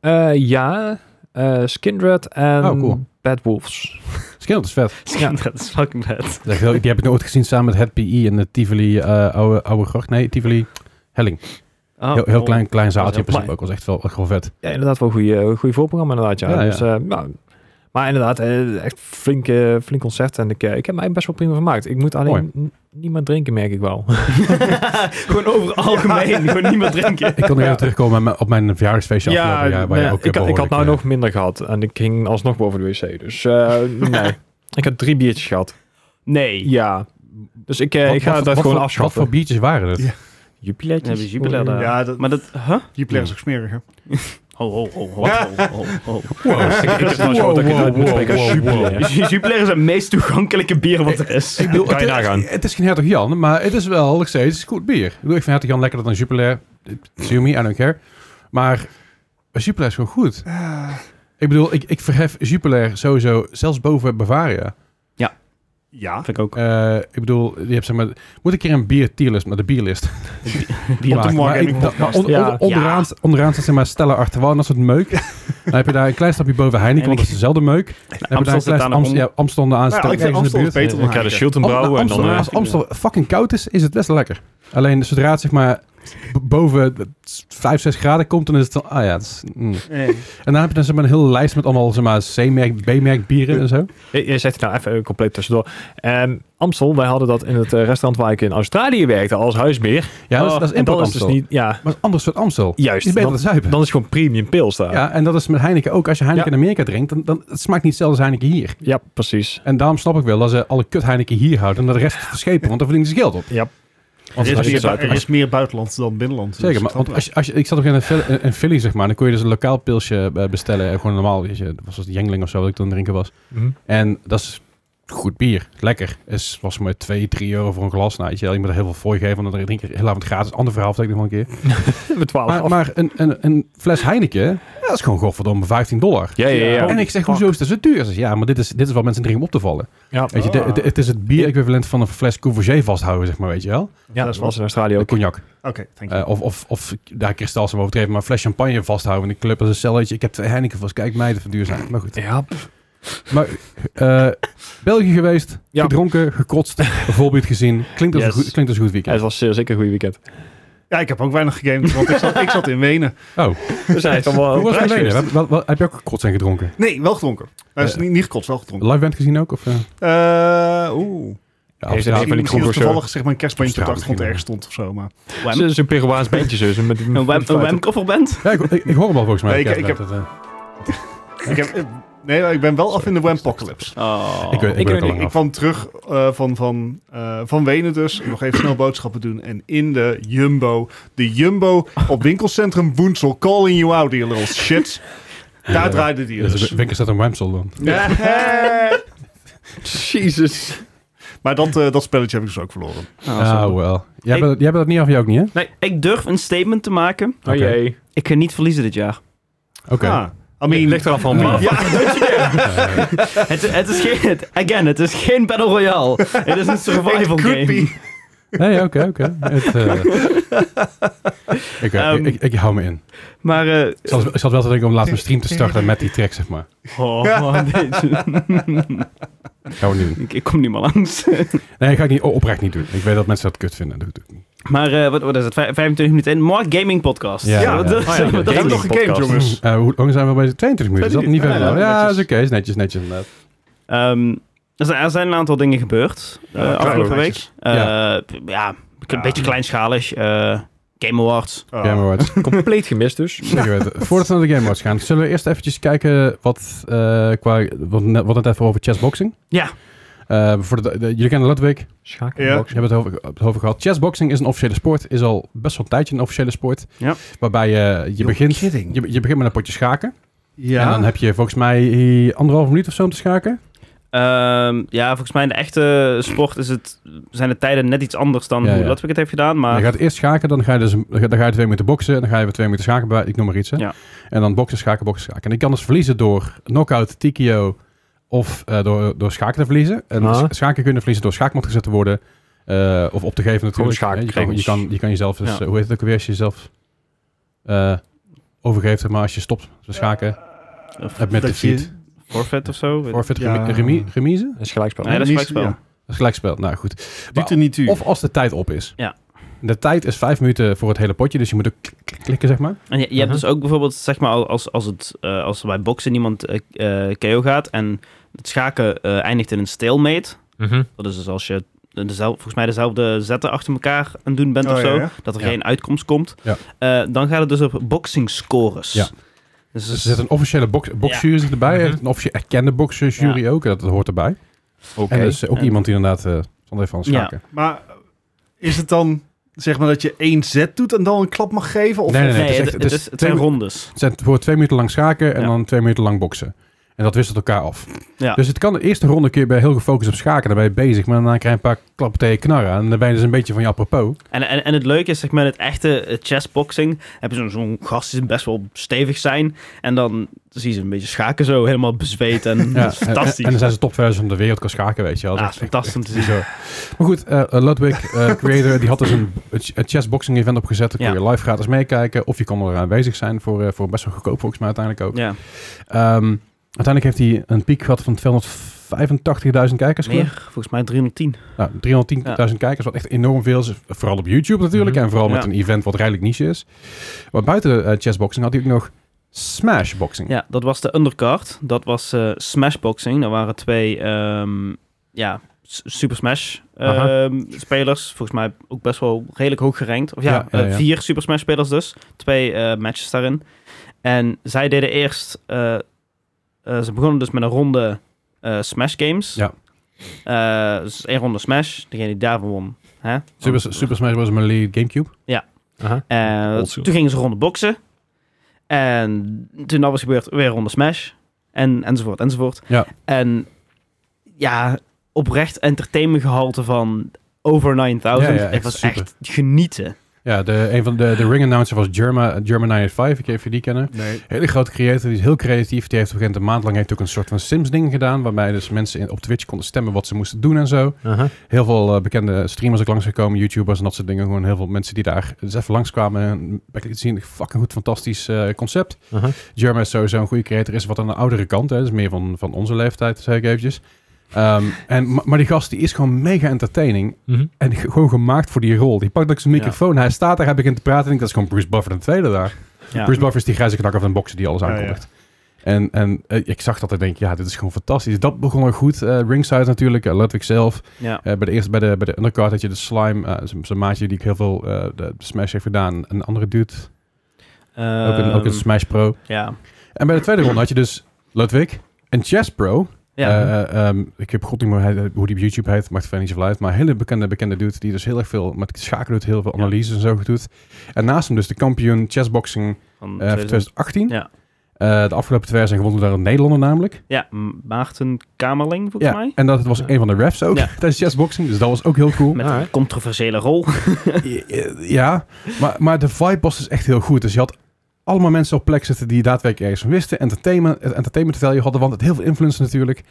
Eh, ja eh, Skindred en
Oh, cool.
Bad Wolves.
Skin, dat is vet.
Ja, dat is fucking bad.
Dat is heel- Die heb ik nooit gezien samen met het PI en de Tivoli eh, oude, oude gracht. Nee, Tivoli Helling.
Oh,
heel, heel klein, klein zaaltje
Ah. Dat is heel
in principe
klein.
ook. was echt wel, echt wel vet.
Ja, inderdaad wel een goede, goede voorprogramma inderdaad, ja.
Ja, ja.
Dus, eh, ja. Maar inderdaad, eh, echt flink, eh, flink concert en ik, eh, ik heb mij best wel prima vermaakt. Ik moet alleen n- niet meer drinken, merk ik wel.
gewoon over algemeen. Gewoon niemand drinken.
Ik kon nog even terugkomen op mijn- op mijn verjaardagsfeestje afgelopen jaar, waar je
nee,
ook
ik, ik had
behoorlijk,
nou
eh,
nog minder gehad en ik ging alsnog boven de wc, dus eh, nee. Ik had drie biertjes gehad.
Nee.
Ja. Dus ik, eh,
wat-
ik ga
wat-
dat
wat
gewoon
voor-
afschaffen.
Wat voor biertjes waren het?
Ja.
Jubileetjes.
Dan hebben ze jubileum daar.
Ja, dat,
Maar dat... Huh? Oh,
Jupiler is ook smerig, hè?
Ho, ho, ho, ho, ho, ho, ho.
eh, ik, ik heb wel gehoord dat ik het nou uit moet spreken als jubileum.
Jupiler is het meest toegankelijke bier wat er is.
Ik bedoel,
Kan je
het,
nagaan.
het is geen Hertog Jan, maar het is wel nog steeds goed bier. Ik bedoel, ik vind Hertog Jan lekkerder dan Jupiler. Sue me, I don't care. Maar eh, Jupiler is gewoon goed. Ik bedoel, ik, ik verhef Jupiler sowieso zelfs boven Bavaria.
Ja.
Vind ik ook.
Eh, ik bedoel, je hebt zeg maar... Moet ik hier een bier tierlist, maar de bierlist
Die
maken.
Morgan
Maar
en
ik-
ik
maar
podcast.
onder-
Ja.
onder- onderaan, onderaan staat zeg maar Stella Artois en dat soort meuk. Dan heb je daar een klein stapje boven Heineken, want dat is dezelfde meuk. Dan heb je daar een
Amstel
klein
staat daar nog
Amst, ja, Amstel onderaan.
Nou,
Stella
ik vind
ergens in de
Amstel
buurt.
beter dan
Ik ga de
Heineken.
Schiltenbrouwen en
Amstel-
dan... eh,
als Amstel fucking koud is, is het best lekker. Alleen zodra het zeg maar b- boven de 5, 6 graden komt, dan is het dan, ah ja, het is, mm.
Eh.
En dan heb je dan zeg maar, een hele lijst met allemaal zeg maar, C-merk, B-merk bieren en zo.
J- Jij zegt het nou even eh, compleet tussendoor. Ehm, Amstel, wij hadden dat in het eh, restaurant waar ik in Australië werkte als huisbeer.
Ja, dat is,
Oh,
dat is
en
import
dan is
Amstel.
dus niet, ja,
Maar het is een ander soort Amstel.
juist.
Die is beter
dan,
te zuipen.
dan is het gewoon premium pils daar. Ja,
ja, en dat is met Heineken ook. Als je Heineken in Amerika drinkt, dan, dan het smaakt niet hetzelfde als Heineken hier.
precies.
En daarom snap ik wel dat ze alle kut Heineken hier houden en dat de rest verschepen, want daar verdienen ze geld op.
Ja.
Want
Er
als
is,
je-
meer,
zou-
bui- er is meer buitenland dan dus binnenland.
Zeker, maar want als je, als je, ik zat ook in een, Phil- in- in Philly, zeg maar. Dan kon je dus een lokaal pilsje eh, bestellen. eh, Gewoon normaal, weet je, dat was het Jengling of zo, dat ik toen aan het drinken was.
Mhm.
En dat is goed bier. Lekker. Is, was maar 2, 3 euro voor een glas. Nou, weet je, wel, je moet er heel veel voor je geven, want dan drink je heel avond gratis. Ander verhaal vertel ik nog wel een keer.
We twaalf
Maar,
af.
maar een, een, een fles Heineken, ja, dat is gewoon godverdomme 15 dollar.
ja, ja, ja.
en ik zeg, hoezo is dat zo duur? Ze zegt, ja, maar dit is, dit is wat mensen drinken om op te vallen.
Ja,
Weet je, de- het, het is het bier-equivalent van een fles Courvoisier vasthouden, zeg maar, weet je wel.
ja, dat was in Australië ook.
Cognac.
Oké, thank you.
Eh, of, of, of, daar kristal ze maar overdreven, maar een fles champagne vasthouden in de club als een celletje. Ik heb twee Heineken vast. Kijk, meiden van duurzaam. Maar goed.
Ja,
Maar eh, België geweest,
Ja.
gedronken, gekotst, voorbeeld gezien. Klinkt als,
Yes.
een, goed, klinkt als een goed
Ja, het
weekend.
was zeer zeker een goed weekend.
Ja, ik heb ook weinig gegamed, want ik zat, ik zat in Wenen.
Oh,
We zijn het allemaal
hoe was het
prijs
geleden?
geweest.
Heb, wel- wel- heb je ook gekotst en gedronken?
Nee, wel gedronken. Hij is
Eh.
niet, niet gekotst, wel gedronken.
Live band gezien ook? Of, eh,
Eh Oeh.
ja,
Heeft
Amsterdam?
een van
Misschien,
die
misschien dat
kroegers,
toevallig zeg maar een kerstbandje op de
Straat
achtergrond ergens
misschien
stond of zo. Maar.
Wham.
Ze is een Peruaans bandje zo. ze Met, met,
Een web-
met-
een webcoverband?
ja, ik, ik, ik hoor hem al volgens mij.
Nee, ik- ik
Ja,
heb-
dat, eh,
Ik heb, eh, nee, maar ik ben wel af in de Wampocalypse.
Oh.
ik weet- ik
Ik
ben
weet
ook al
niet,
lang
Ik
af.
kwam terug eh, van, van, eh, van Wenen dus. Nog even snel boodschappen doen. En in de Jumbo. De Jumbo op winkelcentrum Woensel. Calling you out, you little shit. Daar
Ja.
draaide die
Ja, dus
dus.
Winkers staat een Wemsel dan.
Ja.
Jezus.
Maar dat, eh, dat spelletje heb ik dus ook verloren.
Ah, well. Jij hebt
Ik-
jij hebt dat niet af, jij ook niet, hè?
Oh, Nee, ik durf een statement te maken.
Oh jee.
Ik ga niet verliezen dit jaar.
Oké.
Ah, I
Het
mean,
ligt eraf van
Ja.
wie.
ja,
Het, het is geen... het- again, het is geen Battle Royale. Het is een
it
survival
could
game.
be.
Nee, oké, oké. Het, eh, ik, eh,
Ehm,
ik, ik, ik hou me in.
Maar... eh,
Ik zat, ik zat wel te denken om laatst mijn stream te starten met die track, zeg maar.
oh, man, deze-
Gaan we niet doen.
ik, ik kom niet meer langs.
Nee, ga ik niet, oprecht niet doen. Ik weet dat mensen dat kut vinden. Dat doe ik niet.
Maar eh, wat, wat is het? Vij- 25 minuten in. Mark Gaming Podcast.
Ja, ja.
dat- dat-
Oh ja,
dat-
Ik heb nog
Gaming
gegamed,
podcast.
jongens.
Eh, hoe lang zijn we bezig? 22 minuten. Is dat niet
22,
verder?
Dus- ja,
Ja,
netjes.
is oké. Is netjes, netjes inderdaad.
Ehm, er, zijn, er zijn een aantal dingen gebeurd eh,
Ja,
afgelopen
kleine
week. Eh, ja, een
Ja.
beetje kleinschalig. eh, Game Awards.
Ah.
Game Awards.
Compleet gemist dus.
Zeker weten. Voordat we naar de Game Awards gaan, zullen we eerst eventjes kijken wat, eh qua, wat, net- wat het even over chessboxing.
Ja.
Eh, voor de, de- jullie kennen Ludwig.
Schakelbox.
We hebben het over, het over gehad. Chessboxing is een officiële sport. Is al best wel een tijdje een officiële sport.
Ja.
Waarbij je, je,
You're
begint, je,
kidding.
je begint met een potje schaken.
Ja.
En dan heb je volgens mij anderhalve minuut of zo om te schaken.
Ehm, ja, volgens mij in de echte sport is het, zijn de tijden net iets anders dan
Ja,
hoe
ja.
Ludwig het heeft gedaan.
Je
Maar
gaat eerst schaken, dan ga je, dus, dan ga je twee minuten boksen. Dan ga je weer twee minuten schaken, bij- ik noem maar iets. Hè?
Ja.
En dan boksen, schaken, boksen, schaken. En ik kan dus verliezen door knockout, tikio of eh, door, door schaken te verliezen. En
Ah.
sch- schaken kunnen verliezen door schaakmat gezet te worden. eh, of op te geven natuurlijk.
schaak-
hè. je, kan, je,
regels.
kan, je kan jezelf, dus,
Ja.
eh, hoe heet het ook weer, als je jezelf eh, overgeeft. zeg Maar als je stopt met schaken,
Of
eh, met
dat
defeat.
je-
forfait of zo. weet-
Forfeit,
Ja.
remi- remi- remise?
Dat is gelijkspel.
Nee, dat is gelijkspel.
Ja.
Dat is gelijkspel. Nou goed.
Duurt er niet u.
Of als de tijd op is.
Ja.
De tijd is vijf minuten voor het hele potje, dus je moet ook klik- klik- klikken, zeg maar.
En je, je hebt
Uh-huh.
dus ook bijvoorbeeld, zeg maar, als, als, het, eh, als er bij boksen niemand eh eh, KO gaat en het schaken eh, eindigt in een stalemate.
Mhm.
Dat is dus als je dezelfde, volgens mij dezelfde zetten achter elkaar aan het doen bent
Oh,
of
ja,
zo.
ja.
Dat er
Ja.
geen uitkomst komt.
Ja.
Eh, dan gaat het dus op boxing scores.
Ja.
Dus,
Dus er zit een officiële box, boxjury zit erbij,
Mhm.
een officiële erkende boxjury ook, dat, dat hoort erbij.
Oké.
En dus ook
En-
iemand die inderdaad eh van even aan het
Ja.
schaken.
Maar is het dan zeg maar dat je één zet doet en dan een klap mag geven? Of
Nee, nee,
nee,
nee, het is
het,
echt-
het
het
is-
is
het zijn
twee-
rondes.
Het zijn voor twee minuten lang schaken en
Ja.
dan twee minuten lang boksen. En dat wisselt elkaar af.
Ja.
Dus het kan de eerste ronde kun je bij heel gefocust op schaken, dan ben je bezig. Maar daarna krijg je een paar klappen tegen je knarren en dan ben je dus een beetje van je apropos.
En, en, en het leuke is, zeg maar, in het echte eh, chessboxing heb je zo'n zo'n gast die best wel stevig zijn. En dan zie je ze een beetje schaken zo, helemaal bezweet. En
Ja,
dat is fantastisch.
En, en dan zijn ze topvers van de wereld qua schaken, weet je wel.
Ja,
Dat
is
echt-
fantastisch om te zien.
Bizar. Maar goed, eh, eh, Ludwig, eh, creator, die had dus een, een chessboxing event opgezet. Daar kon
Ja.
je live gratis meekijken. Of je kon er aanwezig zijn voor, eh, voor best wel goedkoop volgens mij uiteindelijk ook.
Ja.
Ehm, uiteindelijk heeft hij een piek gehad van 250 385.000 kijkers. geloof ik.
Meer, volgens mij 310.
Nou, 310.000 kijkers, wat echt enorm veel is. Vooral op YouTube natuurlijk.
Mhm.
En vooral met
Ja.
een event wat redelijk niche is. Maar buiten eh, chessboxing had hij ook nog smashboxing.
Ja, dat was de undercard. Dat was eh, smashboxing. Dat waren twee ehm, ja, s- Super Smash ehm,
Aha.
spelers. Volgens mij ook best wel redelijk hoog gerankt. Of ja,
Ja, ja,
eh,
ja.
vier Super Smash spelers dus. Twee eh, matches daarin. En zij deden eerst... eh, eh, ze begonnen dus met een ronde eh, Smash games.
Ja.
Eh, dus één ronde Smash. Degene die daarvan won. Hè?
Super, Super Smash Bros. Melee Gamecube.
Aha.
En
Oldschool.
Eh, toen gingen ze ronde boksen. En toen dat was gebeurd, weer ronde smash. En, enzovoort, enzovoort.
Ja.
En ja, oprecht entertainment gehalte van over 9000.
Ja, ja,
het
echt
was
super.
echt genieten.
Ja, de, een van de, de ring announcer was Germa, Germa 95. Ik weet niet of je die kennen.
Nee.
Hele grote creator, die is heel creatief. Die heeft op een gegeven moment een maand lang heeft ook een soort van Sims-ding gedaan. Waarbij dus mensen in, op Twitch konden stemmen wat ze moesten doen en zo.
Aha.
Heel veel eh, bekende streamers ook langsgekomen, YouTubers en dat soort dingen. Gewoon heel veel mensen die daar eens even langskwamen. En ben ik liet zien, fucking goed, fantastisch eh, concept.
Aha.
Jerma is sowieso een goede creator, is wat aan de oudere kant. Hè. Dus meer van, van onze leeftijd, zeg ik eventjes. Ehm, en, ma- maar die gast die is gewoon mega entertaining.
Mhm.
En ge- gewoon gemaakt voor die rol. Die pakt ook zijn
Ja.
microfoon. Hij staat daar, hij begint te praten. En ik denk, dat is gewoon Bruce Buffer de tweede daar.
Ja.
Bruce Buffer is die grijze knakker van een boxer die alles
Ja,
aankondigt. En, en eh, ik zag dat en denk, ja, dit is gewoon fantastisch. Dat begon ook goed. Eh, Ringside natuurlijk, eh, Ludwig zelf.
Ja.
Eh, bij, de eerste, bij, de, bij de undercard had je de slime, eh, z- zijn maatje die ik heel veel eh, de, de Smash heeft gedaan. Een andere dude, ook, een, ook een
Ehm,
Smash Pro.
ja.
En bij de tweede ronde had je dus Ludwig, een Chess Pro.
Ja.
Eh, eh, ehm, ik heb god niet meer hoe hij- hoe die op YouTube heet, maakt verder niet zoveel uit. Maar een hele bekende, bekende dude die dus heel erg veel met schaken doet, heel veel
Ja.
analyses en zo doet. En naast hem dus de kampioen chessboxing
van
eh van
2000.
2018.
Ja.
Eh, de afgelopen twee jaar zijn gewonnen door een Nederlander namelijk.
ja, M- Maarten Kamerling volgens mij.
en dat was
Ja.
een van de refs ook
Ja.
tijdens chessboxing. Dus dat was ook heel cool.
Met
Alright.
een controversiële rol.
Ja, maar, maar de vibe was dus echt heel goed. Dus je had allemaal mensen op plek zitten die daadwerkelijk ergens van wisten. Entertainment, het entertainment value hadden, want het heel veel influencers natuurlijk.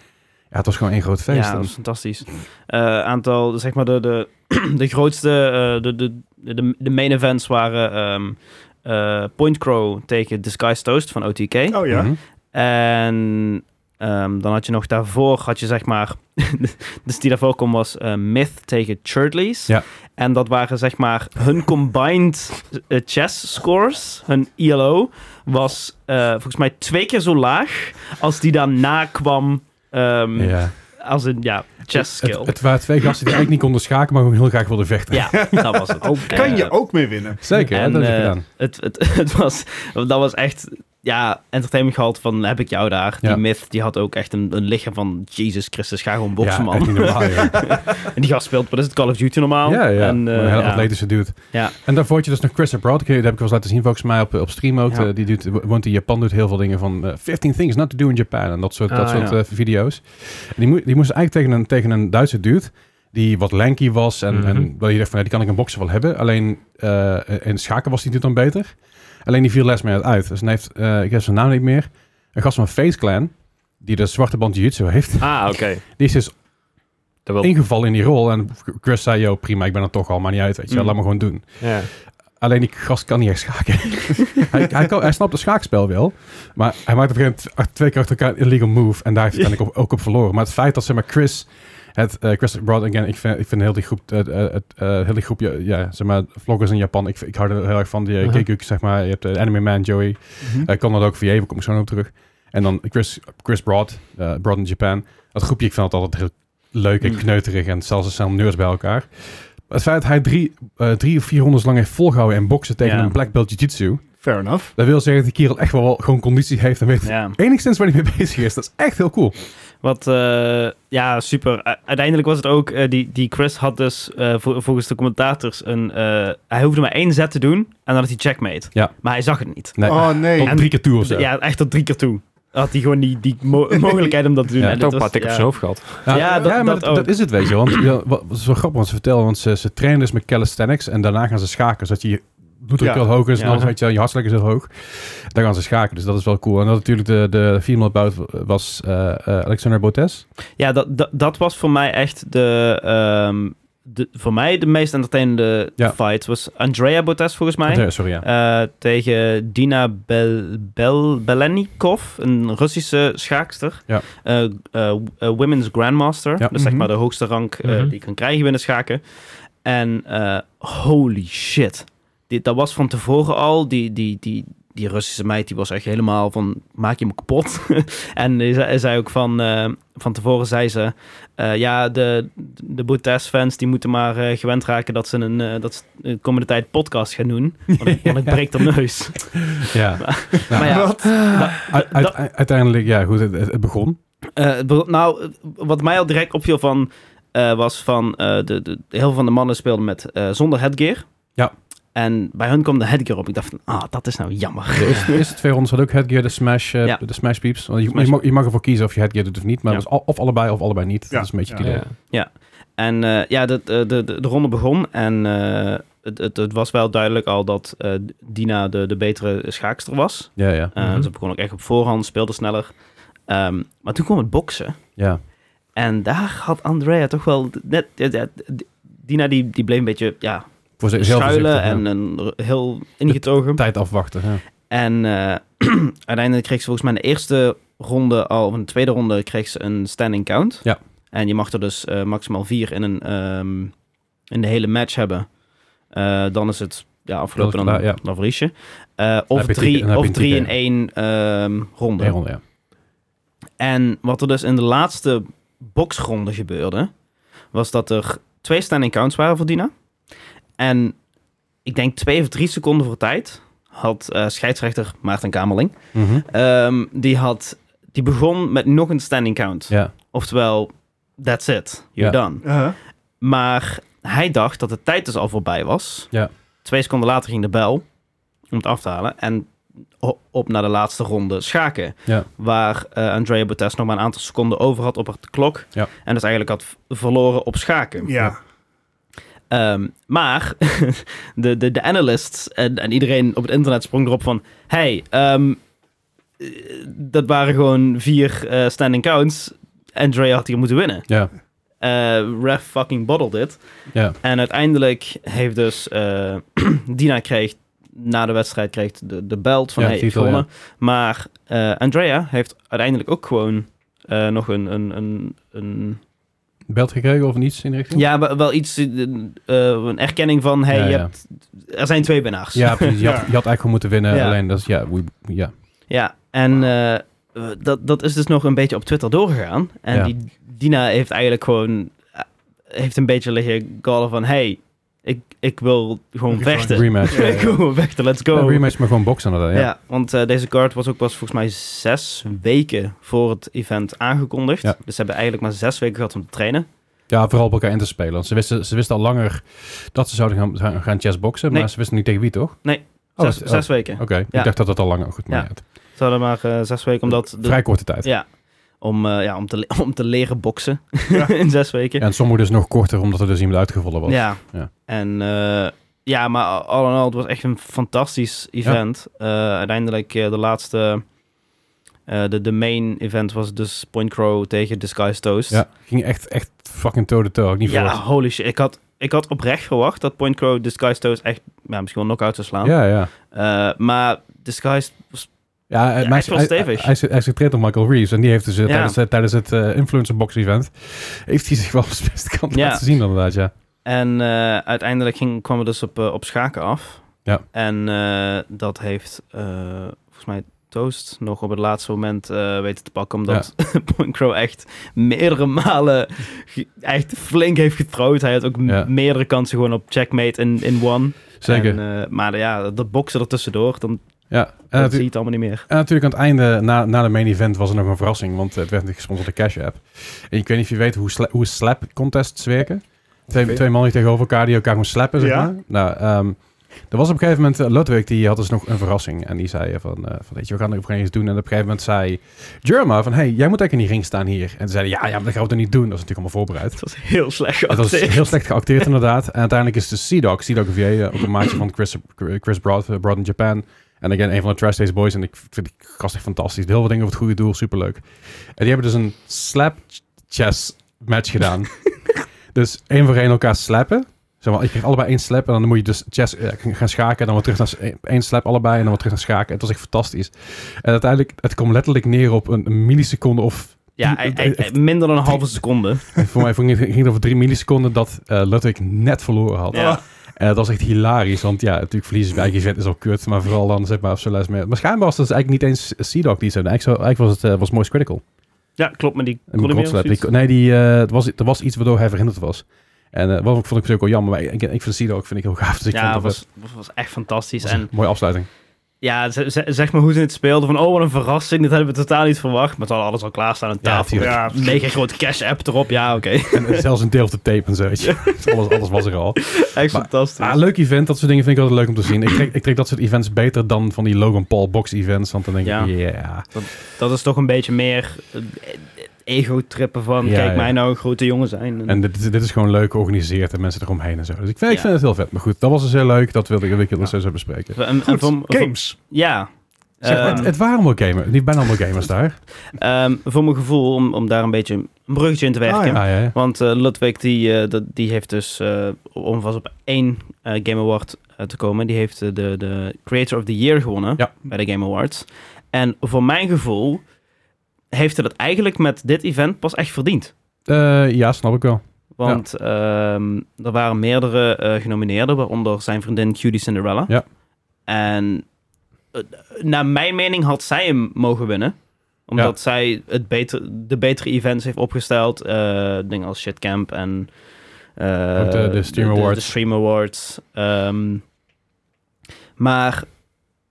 Ja, het was gewoon één groot feest.
Ja, dat
En-
is fantastisch. Eh, aantal, zeg maar, de, de, de grootste, eh, de, de, de, de main events waren ehm, eh, Point Crow tegen Disguised Toast van OTK.
Oh ja.
Mhm.
En ehm, dan had je nog daarvoor, had je zeg maar, dus die daarvoor kwam was eh, Myth tegen Churdleys.
Ja.
En dat waren zeg maar hun combined eh, chess scores, hun ILO, was eh, volgens mij twee keer zo laag als die daarna kwam. ehm,
Ja.
als een ja, chess
Het,
skill.
het waren twee gasten die eigenlijk niet konden schaken, maar gewoon heel graag wilden vechten.
ja, dat was het.
Kan je
Eh,
ook mee winnen?
Zeker, hè,
En,
dat heb ik
eh,
gedaan.
Het, het, het was, dat was echt, ja, entertainment gehaald van heb ik jou daar.
Ja.
Die myth, die had ook echt een, een lichaam van Jesus Christus, ga gewoon
ja,
boksen, man.
echt niet normaal, joh.
En die gast speelt, wat is het, Call of Duty normaal?
ja, ja.
En, eh,
een hele
ja.
atletische dude.
Ja.
En daarvoor had je dus nog Chris Abroad. Ik- Die heb ik wel eens laten zien volgens mij op, op stream ook.
Ja.
Eh, die dude wo- woont in Japan, doet heel veel dingen van eh, 15 things not to do in Japan. En dat soort, dat
Ah,
soort
ja.
eh, video's. En die, moe- die moest eigenlijk tegen een, tegen een Duitse dude. Die wat lanky was. En,
Mhm.
en waar je dacht van, nou, die kan ik een boksen wel hebben. Alleen eh, in schaken was die dude dan beter. Alleen die viel les meer uit. Dus dan heeft, eh, ik heb zijn naam niet meer. Een gast van Face Clan. Die de zwarte band jiu-jitsu heeft.
Ah, oké.
Die is dus
Dat wil...
ingevallen in die rol. En Chris zei, yo, prima, ik ben er toch al, maar niet uit, weet je wel.
Mm.
Laat me gewoon doen.
Ja.
Alleen die gast kan niet echt schaken. hij, hij, kan, hij snapt het schaakspel wel, maar hij maakt op een gegeven moment twee keer achter elkaar een illegal move. En daar heeft hij uiteindelijk ook, ook op verloren. Maar het feit dat, zeg maar, Chris... Het, eh, Chris Broad, again, ik vind, ik vind heel die groep, eh, eh, het eh, hele groepje, ja, zeg maar, vloggers in Japan, ik, ik hou er heel erg van, die uh
Mhm.
zeg maar, je hebt eh, Anime Man, Joey, hij kan dat ook via even, kom Eh, ik zo nog op terug. En dan Chris, Chris Broad, eh, Broad in Japan. Dat groepje, ik vind dat altijd heel leuk en
Mm.
kneuterig. En zelfs er zijn nerds bij elkaar. Maar het feit dat hij drie, eh, drie of vier rondes lang heeft volgehouden en boksen tegen
Ja.
een black belt jiu-jitsu.
Fair enough.
Dat wil zeggen dat die kerel echt wel, wel gewoon conditie heeft en weet
Ja,
enigszins waar hij mee bezig is. Dat is echt heel cool.
wat, eh, ja, super. U- uiteindelijk was het ook, eh, die, die Chris had dus eh, vo- volgens de commentators een, eh, hij hoefde maar één zet te doen en dan had hij checkmate.
Ja.
Maar hij zag het niet.
Nee,
Oh nee.
tot
En-
drie keer toe of zo.
Ja, echt tot drie keer toe. Had hij gewoon die, die mo- mogelijkheid om dat te doen.
Ja.
En
Hij heeft
dit
ook een paar
was-
tikken op
ja.
zijn hoofd gehad.
Nou,
Ja, dat-
maar
dat
dat,
ook.
is het, weet je. Want ja, wat wat zo grappig wat ze vertellen, want ze, ze trainen dus met calisthenics en daarna gaan ze schaken, zodat je bloeddruk
Ja.
heel hoog is en
Ja.
alles, weet je, wel, je hartslag is heel hoog. Dan gaan ze schaken, dus dat is wel cool. En dat natuurlijk de, de female bout was eh eh Alexander Botes.
Ja, dat, dat, dat was voor mij echt de, ehm, de, voor mij de meest entertainende
Ja.
fight was Andrea Botes volgens mij.
Nee, sorry, ja.
Eh, tegen Dina Bel Bel Belenikov, een Russische schaakster.
Ja. Mhm.
Eh, eh, eh, women's Grandmaster. Dat is zeg maar de hoogste rank eh,
Mhm.
die je kan krijgen binnen schaken. En eh, holy shit. Dit, dat was van tevoren al. Die, die, die, die Russische meid die was echt helemaal van... Maak je me kapot. en die zei, zei ook van... eh, van tevoren zei ze... eh, ja, de, de Boutes-fans die moeten maar eh, gewend raken... dat ze een eh, dat ze de komende tijd podcast gaan doen. Want, ik- want ik breek de neus.
ja.
maar ja,
Uit- uit- uiteindelijk, ja, goed, het, het begon.
Eh, het begon- nou, eh, wat mij al direct opviel van, eh, was van eh, de, de, heel veel van de mannen speelden met eh, zonder headgear.
Ja.
En bij hun kwam de headgear op. Ik dacht van, ah, dat is nou jammer.
De eerste, de eerste twee rondes had ook headgear, de smash, eh,
Ja.
de smash peeps. Want je,
Smash.
je, mag, je mag ervoor kiezen of je headgear doet of niet, maar
Ja.
het was al- of allebei of allebei niet.
Ja.
Dat is een beetje het
Ja.
idee.
Ja.
En eh, ja, de, de, de, de ronde begon en eh, het, het, het was wel duidelijk al dat eh, Dina de, de betere schaakster was.
Ja, ja.
Eh,
Mhm.
Ze begon ook echt op voorhand, speelde sneller. Ehm, maar toen kwam het boksen.
ja.
En daar had Andrea toch wel net... eh, eh, Dina die, die bleef een beetje ja,
Voor ze- zelf
schuilen
voorzichtig,
en
ja.
een, heel ingetogen.
tijd afwachten. Ja.
En eh, uiteindelijk kreeg ze volgens mij in de eerste ronde al, of in de tweede ronde kreeg ze een standing count.
Ja.
En je mag er dus eh, maximaal vier in, een, ehm, in de hele match hebben. Eh, dan is het ja, afgelopen,
Dat
dan,
is klaar, ja.
dan verlies je. Eh, of
heb je drie-
drie,
dan heb je
of
een
drie in
ticket.
één ehm, ronde.
Nee, ronde, ja.
En wat er dus in de laatste boksronde gebeurde, was dat er twee standing counts waren voor Dina. En ik denk twee of drie seconden voor tijd had eh, scheidsrechter Maarten Kamerling,
Mhm.
ehm, die, had, die begon met nog een standing count.
ja.
Oftewel, that's it, you're
Ja.
done. Maar hij dacht dat de tijd dus al voorbij was.
Ja.
Twee seconden later ging de bel om het af te halen. En o- op naar de laatste ronde schaken.
Ja.
Waar eh, Andrea Botes nog maar een aantal seconden over had op haar klok.
Ja.
En dus eigenlijk had v- verloren op schaken.
Ja.
Ehm, maar de, de, de analysts en, en iedereen op het internet sprong erop van... Hey, ehm, eh, dat waren gewoon vier eh, standing counts. Andrea had hier moeten winnen.
Ja.
Eh, ref fucking bottled it.
Ja.
En uiteindelijk heeft dus eh, Dina kreeg na de wedstrijd kreeg de, de belt van
Ja,
hey, ik heb
titel, ja.
gewonnen. Maar eh, Andrea heeft uiteindelijk ook gewoon eh, nog een, een, een, een
Belt gekregen of niets in de richting?
ja, wel wel iets eh, eh, een erkenning van hey,
Ja,
je
ja.
hebt, er zijn twee winnaars.
Ja, precies. Je had, je had eigenlijk gewoon moeten winnen.
Ja.
Alleen dat is, ja, we, ja.
Ja, en eh, eh, dat, dat is dus nog een beetje op Twitter doorgegaan. En
Ja.
die Dina heeft eigenlijk gewoon... eh, heeft een beetje liggen gallen van... Hey, ik, ik wil gewoon
Revanche.
vechten.
rematch.
Ja, ja.
Ik wil vechten, let's go.
Ja, rematch, maar gewoon boksen inderdaad.
ja.
Ja.
want eh, deze card was ook pas volgens mij zes weken voor het event aangekondigd.
Ja.
Dus ze hebben eigenlijk maar zes weken gehad om te trainen.
ja, vooral op elkaar in te spelen. Want ze wisten, ze wisten al langer dat ze zouden gaan, gaan- gaan chessboksen. Maar
Nee.
ze wisten niet tegen wie, toch?
Nee.
Oh,
zes,
dat- oh,
zes weken.
Oké,
Ja.
ik dacht dat dat al langer oh, goed maar
Ja.
ja, het-
Ze hadden maar eh, zes weken omdat... de-
Vrij korte tijd.
ja, om, eh, ja om, te, le- om te leren boksen
Ja.
in zes weken.
Ja, en sommige dus nog korter, omdat er dus iemand uitgevallen was.
Ja.
Ja.
En eh, ja, maar al in al, het was echt een fantastisch event. Eh, uiteindelijk eh, de laatste, eh, de, de main event was dus Point Crow tegen Disguised Toast.
Ja, ging echt, echt fucking toe-to-toe. Had ik niet
Ja,
verwacht.
holy shit. Ik had, ik had oprecht verwacht dat Point Crow Disguised Toast echt ja, misschien wel knock-out zou slaan.
Ja, ja.
Eh, maar Disguised was
Ja, hij-
echt
hij,
wel
hij-
stevig.
hij- hij is- hij is getraind door Michael Reeves. En die heeft dus eh,
Ja.
tijdens, het- tijdens het eh, influencerbox event... heeft hij zich wel als beste kant
Ja.
laten zien inderdaad, ja.
En eh, uiteindelijk ging, kwamen we dus op, eh, op schaken af.
Ja.
En eh, dat heeft eh, volgens mij Toast nog op het laatste moment eh, weten te pakken. Omdat Point Crow echt meerdere malen ge- echt flink heeft getrouwd. Hij had ook m-
Ja.
meerdere kansen gewoon op checkmate in, in one.
Zeker.
En, eh, maar ja, dat boksen ertussendoor, dan
ja. En,
dan
natu-
zie je het allemaal niet meer.
en natuurlijk aan het einde, na, na de main event, was er nog een verrassing. Want het werd gesponsord door Cash App. En ik weet niet of je weet hoe, sla- hoe slap contests werken. Twee,
Oké.
twee mannen die tegenover elkaar, die elkaar gewoon slappen, zeg
Ja.
maar. Nou, ehm, er was op een gegeven moment... eh, Ludwig, die had dus nog een verrassing. En die zei eh, van, eh, van weet je, we gaan er op een gegeven moment iets doen. En op een gegeven moment zei Jerma van... hey, jij moet eigenlijk in die ring staan hier. En ze zeiden, ja, ja, maar dat gaan we toch niet doen? Dat is natuurlijk allemaal voorbereid.
Het was heel slecht
Het was
geacteerd.
heel slecht geacteerd, inderdaad. En uiteindelijk is de C-Dog, C-Dog Vier, eh, ook een maatje van Chris, Chris Broad, eh, Broad in Japan. En again, een van de Trash Days Boys. En ik vind die gast echt fantastisch. Heel veel dingen voor het goede doel, superleuk. En die hebben dus een slap chess match gedaan. Dus één voor één elkaar slappen. Zeg maar, je krijgt allebei één slap en dan moet je dus chess eh, gaan schaken. En dan weer terug naar s- één- één slap allebei en dan weer terug naar schaken. Het was echt fantastisch. En uiteindelijk, het kwam letterlijk neer op een, een milliseconde of...
Ja,
die-
eh, eh, eh, minder dan een halve seconde.
voor mij ging het ging het over drie milliseconden dat eh Ludwig net verloren had.
Ja.
En Eh, dat was echt hilarisch, want ja, natuurlijk verliezen bij eigen event is al kut. Maar vooral dan, zeg maar, op zo'n lijst. mee- Maar schijnbaar was dat dus eigenlijk niet eens Seedog die zo. Eigenlijk, zo- eigenlijk was het eh, was Moist Critical.
ja, klopt, maar die
En
kon niet meer
Godslap,
of zoiets.
die- nee, die, eh, het was, er was iets waardoor hij verhinderd was. En eh wat ik vond ik dus ook wel jammer. Maar ik, ik vind Seedog vind ik heel gaaf. Dus ik
Ja,
vond dat
was, was echt fantastisch.
was een
En
mooie afsluiting.
ja, ze- ze- zeg maar hoe ze het speelden. Van, oh, wat een verrassing. Dit hebben we totaal niet verwacht. Maar ze hadden alles al klaarstaan aan
Ja,
tafel.
tuurlijk.
Ja,
Mega groot cash-app erop. Ja, oké.
en, en zelfs een deel of de tape en zo. weet je. alles, alles was er al.
Echt
Maar-
fantastisch.
Ah, leuk event, dat soort dingen vind ik altijd leuk om te zien. Ik trek, ik trek dat soort events beter dan van die Logan Paul box events. Want dan denk
Ja.
ik, ja.
Dat is toch een beetje meer eh, ego-trippen van...
Ja,
kijk
ja.
mij nou een grote jongen zijn. En,
En dit, dit is gewoon leuk georganiseerd en mensen eromheen en zo. Dus ik vind, ik
Ja.
vind het heel vet. Maar goed, dat was dus heel leuk. Dat wilde ik, wilde ik het nog steeds even bespreken.
en- en
Goed,
van- van-
games.
Ja.
Zeg, maar, het,
Ehm,
het waren allemaal gamers. Niet bijna allemaal gamers daar.
ehm, voor mijn gevoel, om, om daar een beetje een bruggetje in te werken.
Ah, ja.
Ah, ja, ja.
Want eh, Ludwig, die, eh, dat- die heeft dus, eh, om vast op één eh, Game Award eh, te komen, die heeft eh, de, de Creator of the Year gewonnen
Ja.
bij de Game Awards. En voor mijn gevoel heeft hij dat eigenlijk met dit event pas echt verdiend.
Eh, ja, snap ik wel.
Want ehm, er waren meerdere eh, genomineerden, waaronder zijn vriendin Cutie Cinderella.
Ja.
En eh, naar mijn mening had zij hem mogen winnen. Omdat zij het beter, de betere events heeft opgesteld. eh dingen als Shitcamp en... eh,
Ook de- de Stream
de- De,
Awards.
Stream Awards. Ehm, maar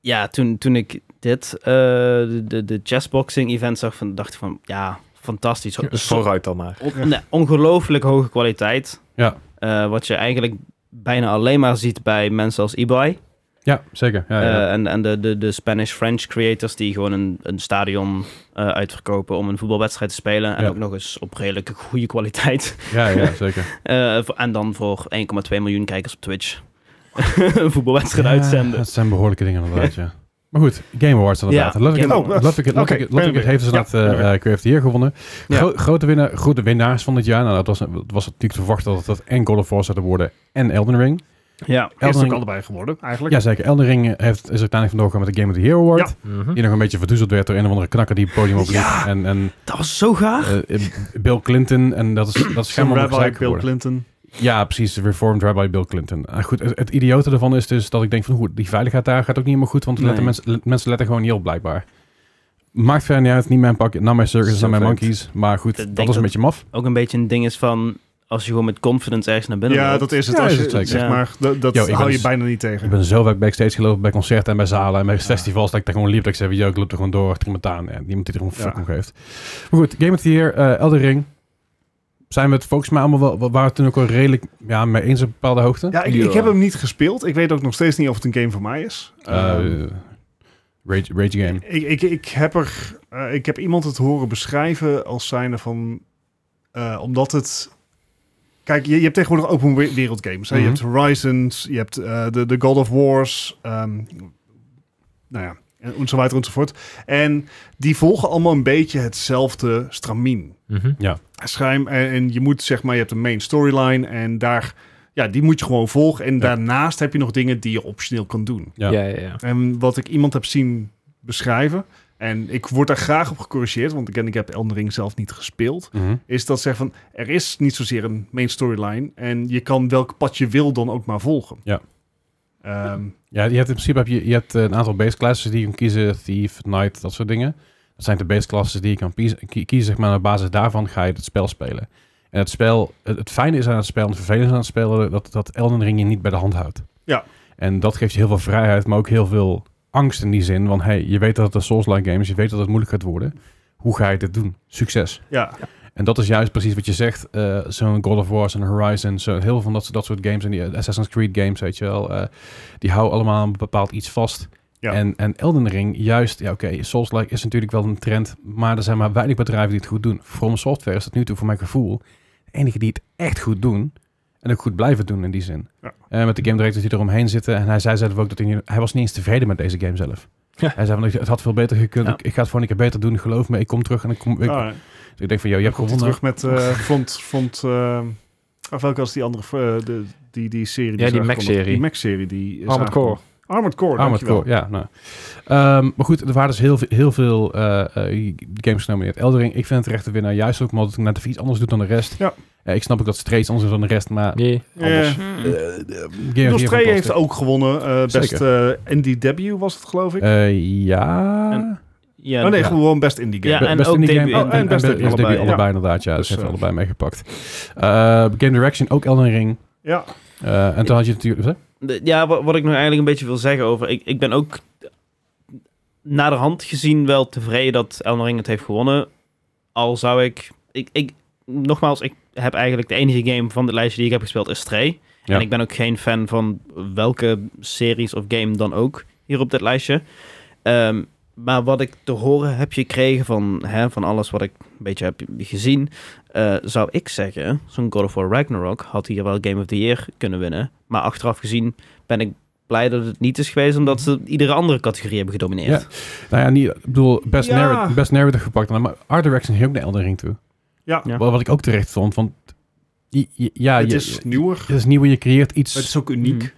ja, toen, toen ik dit, eh, de, de, de chessboxing event zag, van, dacht ik van... Ja, fantastisch. Zo-
Dus
zo-
vooruit dan maar.
on- nee, ongelooflijk hoge kwaliteit.
Ja.
Eh, wat je eigenlijk bijna alleen maar ziet bij mensen als Ibai.
Ja, zeker. Ja, ja.
Eh, en en de, de, de Spanish-French creators die gewoon een, een stadion eh, uitverkopen om een voetbalwedstrijd te spelen. En
Ja.
ook nog eens op redelijke goede kwaliteit.
ja, ja, zeker.
Eh, voor- en dan voor 1,2 miljoen kijkers op Twitch. een voetbalwedstrijd uitzenden.
Dat zijn behoorlijke dingen inderdaad, ja. Maar goed, Game Awards inderdaad.
Ja,
Laat ik
Game
het-
Awards.
laat ik het- laat
Oké,
ik het- laat ik het
ben
heeft dus
weer.
dat eh
Ja, ben weer.
eh, Creative Year gewonnen.
Ja.
Gro- grote, winnaar, grote winnaars van dit jaar. Nou, dat was, dat was natuurlijk te verwachten dat dat en God of War zouden worden en Elden Ring.
Ja.
Is
Elden
ook
Ring-
allebei geworden, eigenlijk.
Ja, zeker. Elden Ring heeft, is uiteindelijk vandoor gegaan met de Game of the Year Award.
Ja.
Hm? Mhm.
Die nog een beetje verdoezeld werd door een of andere knakker die het podium opliep. En, en
Dat was zo gaaf.
eh, Bill Clinton. En dat is, dat is
Zo'n
schijnbaar nog
Rabbi
gezeik
Bill
geworden.
Clinton.
Ja, precies. de Reformed Rabbi Bill Clinton. Ah, goed, het, het idiote ervan is dus dat ik denk van... Goed, die veiligheid daar gaat ook niet helemaal goed. Want er
Nee.
letten mensen, le- mensen letten gewoon niet op, blijkbaar. Maakt verder niet uit. Niet mijn pak. Naar mijn circus,
Zo
naar mijn
vet.
monkeys. Maar goed,
Ik
dat
denk
was een
dat-
beetje maf.
Ook een beetje een ding is van als je gewoon met confidence ergens naar binnen
Ja,
loopt.
dat is het.
Ja,
Als
is
je,
het zeker.
zeg
Ja.
maar, dat dat
Yo, ik
hou
ben
je
s-
bijna niet
Ik
tegen.
ben zo vaak backstage gelopen bij concerten en bij zalen en bij festivals dat ik daar gewoon liep. Dat ik zei, yo, ik loop er gewoon door achter iemand aan. En niemand die er gewoon
Ja.
fuck om geeft. Maar goed, Game of the Year, eh Elden Ring. Zijn we het volgens mij allemaal wel, wa- waren we het toen ook wel redelijk ja, mee eens op een bepaalde hoogte?
Ja, ik, ik heb hem niet gespeeld. Ik weet ook nog steeds niet of het een game voor mij is.
Eh,
Ehm,
rage, rage Game.
Ik, ik, ik, heb er, eh, ik heb iemand het horen beschrijven als zijnde van... eh, omdat het... Kijk, je, je hebt tegenwoordig open we- wereld games. Hè?
Mhm.
Je hebt Horizons, je hebt eh, de, de God of Wars. ehm, nou ja, en enzovoort, enzovoort. En die volgen allemaal een beetje hetzelfde stramien.
Mhm.
Schijm, en, eh, en je moet zeg maar, je hebt een main storyline en daar... Ja, die moet je gewoon volgen. En daarnaast heb je nog dingen die je optioneel kan doen.
Ja.
Ja, ja, ja.
En wat ik iemand heb zien beschrijven, en ik word daar graag op gecorrigeerd, want ik, en ik heb Elden Ring zelf niet gespeeld,
Mhm.
is dat zeg van, er is niet zozeer een main storyline en je kan welk pad je wil dan ook maar volgen.
Ja.
Ehm,
Ja, je hebt in principe heb je, je hebt eh, een aantal base classes die je kan kiezen. Thief, Knight, dat soort dingen. Dat zijn de base classes die je kan pies- kie- kiezen. Zeg maar, en op basis daarvan ga je het spel spelen. En het spel, het, het fijne is aan het spel en het vervelende is aan het spelen dat, dat Elden Ring je niet bij de hand houdt.
Ja.
En dat geeft je heel veel vrijheid, maar ook heel veel angst in die zin. Want hey, je weet dat het een Souls-like game is, je weet dat het moeilijk gaat worden. Hoe ga je dit doen? Succes.
ja.
En dat is juist precies wat je zegt. eh, zo'n God of War, zo'n Horizon, zo, heel veel van dat, soort- dat soort games. En die eh, Assassin's Creed games, weet je wel. eh, die houden allemaal een bepaald iets vast.
Ja.
En, en Elden Ring, juist, ja oké, Souls-like is natuurlijk wel een trend. Maar er zijn maar weinig bedrijven die het goed doen. From Software is tot nu toe, voor mijn gevoel, de enige die het echt goed doen. En ook goed blijven doen in die zin.
Ja.
Eh, met de game directors die eromheen zitten. En hij zei zelf ook dat hij, niet- hij was niet eens tevreden met deze game zelf.
Ja.
Hij zei van, het had veel beter gekund.
Ja.
Ik, ik ga het voor een keer beter doen, geloof me. Ik kom terug en ik kom... Ik,
Ah,
eh,
Dus ik denk van, joh, je hebt
komt hij
gewonnen.
terug met eh front, front eh, Of welke was die andere, eh, de, die, die serie?
Ja,
is
die
aangekondigd?
Mac-serie.
Die Mac-serie. Die is
Armored Core.
aangekondigd. Armored Core,
Armored
dankjewel.
Core, ja. Nou. Ehm, maar goed, er waren dus heel, veel- heel veel eh, eh, games genomineerd. Eldering, ik vind het terecht de winnaar. Juist ook omdat het net even iets anders doet dan de rest.
Ja.
Eh, ik snap ook dat Strays anders is dan de rest, maar...
Nee.
Anders.
Ja.
eh,
Mm.
eh, Game of the
Bedoel,
Year
Stray
van
heeft
Poster.
ook gewonnen. eh, best eh NDW was het, geloof ik.
Eh, ja...
En- Ja,
oh nee,
ja.
gewoon best indie game.
Ja,
Be-
en
best
ook
indie
debut-
game
Oh, en best
be-
indie
is debut
allebei, ja.
allebei inderdaad, ja. Dus,
Dus,
ze hebben
eh,
allebei meegepakt. Eh, game Direction, ook Elden Ring.
Ja.
Eh, en toen had je natuurlijk... hè?
De- Ja, wa- wat ik nog eigenlijk een beetje wil zeggen over... Ik, ik ben ook naderhand gezien wel tevreden dat Elden Ring het heeft gewonnen. Al zou ik... ik, ik nogmaals, ik heb eigenlijk de enige game van dit lijstje die ik heb gespeeld is Stray.
Ja.
En ik ben ook geen fan van welke series of game dan ook hier op dit lijstje. Ehm, maar wat ik te horen heb gekregen van, hè, van alles wat ik een beetje heb gezien... eh, zou ik zeggen, zo'n God of War Ragnarok had hier wel Game of the Year kunnen winnen. Maar achteraf gezien ben ik blij dat het niet is geweest... omdat ze iedere andere categorie hebben gedomineerd.
Nou ja, niet, ik bedoel, best,
Ja.
narrative, best narrative gepakt. Maar Art Direction ging ook naar Elden Ring toe.
Ja.
Ja.
Wat, wat ik ook terecht vond, want... i- i- Ja,
het
je-
is nieuwer.
Het is nieuw en je creëert iets.
Het is ook uniek.
Mm.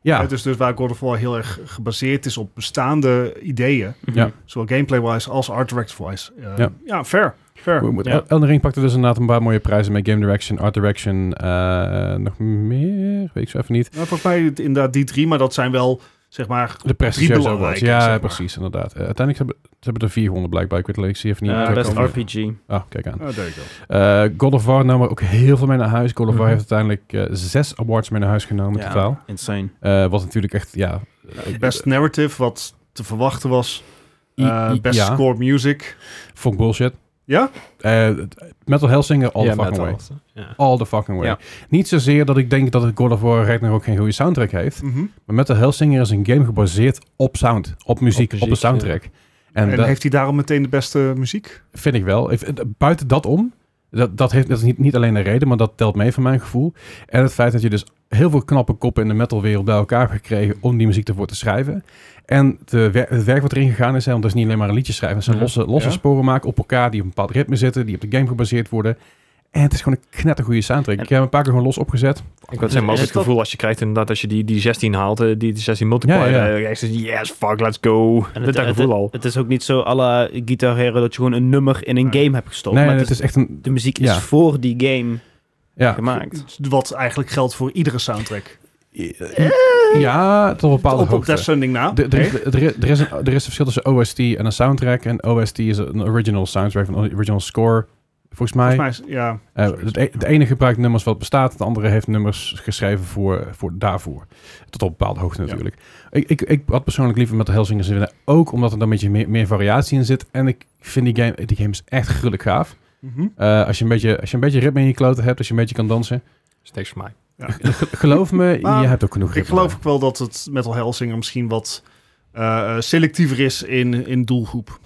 ja,
Het is dus waar God of War heel erg gebaseerd is op bestaande ideeën.
Ja.
Zowel gameplay-wise als art direct-wise. Eh,
Ja.
ja. fair. fair.
We- we-
Ja.
Elden Ring pakte dus inderdaad een paar mooie prijzen met Game Direction, Art Direction, eh, nog meer, weet ik zo even niet.
Nou, volgens mij het- inderdaad die drie, maar dat zijn wel, zeg maar...
De prestigieuze awards.
belangrijke,
Ja,
zeg maar.
precies, inderdaad. Eh, uiteindelijk hebben ze hebben er vier gewonnen blijkbaar. Ik weet het alleen, ik zie even niet.
Ja,
terugkomen.
Eh, best RPG.
Ah, kijk aan.
Ah, there you go.
Eh, God of War nam er ook heel veel mee naar huis. God of War
Mhm.
heeft uiteindelijk eh, zes awards mee naar huis genomen
Ja.
totaal.
Insane.
Eh, wat natuurlijk echt, ja... eh,
Best narrative, wat te verwachten was.
i-
Eh,
i-
best
ja,
score music.
vond ik bullshit.
Ja?
Eh, Metal Hellsinger, all
Ja,
the fucking
met
way.
alles, hè. Ja.
All the fucking way.
Ja.
Niet zozeer dat ik denk dat het God of War Ragnarok geen goede soundtrack heeft.
Mhm.
Maar Metal Hellsinger is een game gebaseerd op sound, op muziek, op,
Op muziek,
de soundtrack. En,
En,
dat
heeft hij daarom meteen de beste muziek?
vind ik wel. Ik vind- Buiten dat om, dat, dat, heeft, dat is niet, niet alleen een reden, maar dat telt mee van mijn gevoel. En het feit dat je dus heel veel knappe koppen in de metalwereld bij elkaar hebt gekregen om die muziek ervoor te schrijven. En de wer- het werk wat erin gegaan is, hè, want dat is niet alleen maar een liedje schrijven. Het zijn
Mhm.
losse, losse
Ja.
sporen maken op elkaar die op een bepaald ritme zitten, die op de game gebaseerd worden. En het is gewoon een knettergoede soundtrack.
En-
Ik heb hem een paar keer gewoon los opgezet.
Ik had zeg maar ook
Is
het
dat-
gevoel als je krijgt inderdaad als je die, die 16 haalt, eh, die, die 16 multiplier,
Ja, ja.
eh, krijg je zoiets, yes, fuck, let's go.
En
dat dat
het,
gevoel al.
het is ook niet zo à la Guitar Hero dat je gewoon een nummer in een
Nee.
game hebt gestopt.
nee,
maar
nee,
het
het is echt een...
is- de muziek
ja.
is voor die game
Ja,
gemaakt.
Wat eigenlijk geldt voor iedere soundtrack.
ja tot een bepaalde
Op, op
hoogte.
Death Stranding na.
Er- Er
Oh, Oké.
is- er is- er is een- er is een verschil tussen OST en een soundtrack. En OST is een original soundtrack, een original score. Volgens mij.
Volgens mij is- ja.
Eh, het e- de ene gebruikt nummers wat bestaat. De andere heeft nummers geschreven voor, voor daarvoor. Tot op een bepaalde hoogte
Ja.
natuurlijk. Ik, ik, ik had persoonlijk liever met de Helsingers winnen. Ook omdat er dan een beetje meer, meer variatie in zit. En ik vind die game, die game is echt gruwelijk gaaf.
Mhm.
Eh, als, je een beetje, als je een beetje ritme in je kloten hebt. Als je een beetje kan dansen.
Is niks voor mij.
Geloof me,
Maar
je hebt ook genoeg
Ik
ritme.
geloof ook wel dat het Metal Hellsinger misschien wat eh, selectiever is in, in doelgroep.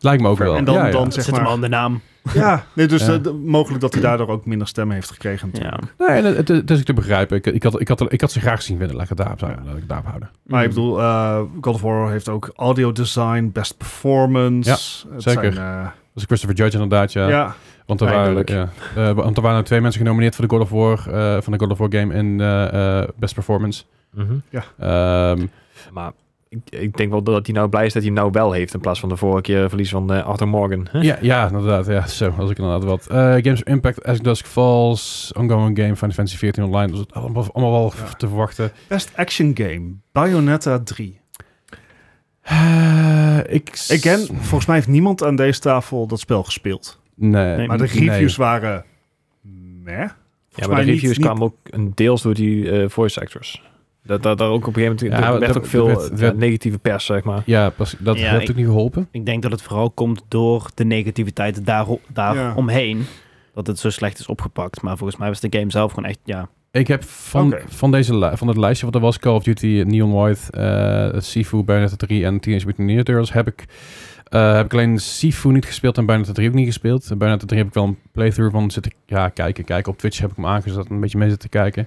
Lijkt me ook wel.
En dan,
Ja, ja.
dan
Het
zeg
zit hem
maar...
aan de naam.
Ja, nee, dus
Ja.
eh, d- mogelijk dat hij daardoor ook minder stemmen heeft gekregen.
Ja.
Nee, en het, het is ook te begrijpen. Ik, ik, had, ik, had, ik had ze graag zien winnen. Laat ik het daarop,
Ja.
laat ik het daarop houden.
Maar ik bedoel, eh, God of War heeft ook audio design, best performance. Het
zeker.
Zijn, eh,
Dat is Christopher Judge inderdaad, ja.
ja.
Want, er waren,
Eindelijk.
ja. Eh, want er waren twee mensen genomineerd voor de God of War, eh, van de God of War game in eh, eh, Best Performance. Ehm,
Mhm. Maar ik, ik denk wel dat hij nou blij is dat hij hem nou wel heeft in plaats van de vorige keer verlies van eh, Arthur Morgan. hè?
ja, ja, inderdaad. Ja, zo, als ik inderdaad wat. Eh, Games of Impact, As Dusk Falls, Ongoing Game, Final Fantasy 14 Online. Dat is allemaal, allemaal wel
Ja.
te verwachten.
Best action game, Bayonetta 3.
Eh, ik... s-
Again, volgens mij heeft niemand aan deze tafel dat spel gespeeld.
Nee.
Nee,
Maar de
nee.
reviews waren... Meh.
Ja,
mij
maar de
niet-
reviews
niet-
kwamen ook een deels door die eh, voice actors. Dat, dat er ook op een gegeven moment
Ja,
er werd
dat-
ook veel
dat werd-
eh,
werd-
negatieve pers, zeg maar.
Ja, pas, dat
Ja,
heeft
ik-
ook niet geholpen.
Ik denk dat het vooral komt door de negativiteit daar, daar
Ja.
omheen. Dat het zo slecht is opgepakt. Maar volgens mij was de game zelf gewoon echt, ja.
Ik heb van,
Oké.
van, deze li- van het lijstje wat er was, Call of Duty, Neon White, eh Sifu, Bayonetta 3 en Teenage Mutant Ninja Turtles, heb ik, eh, heb ik alleen Sifu niet gespeeld en Bayonetta 3 ook niet gespeeld. En Bayonetta 3 heb ik wel een playthrough van zitten ja, kijken, kijken. Op Twitch heb ik hem aangezet en een beetje mee zitten kijken.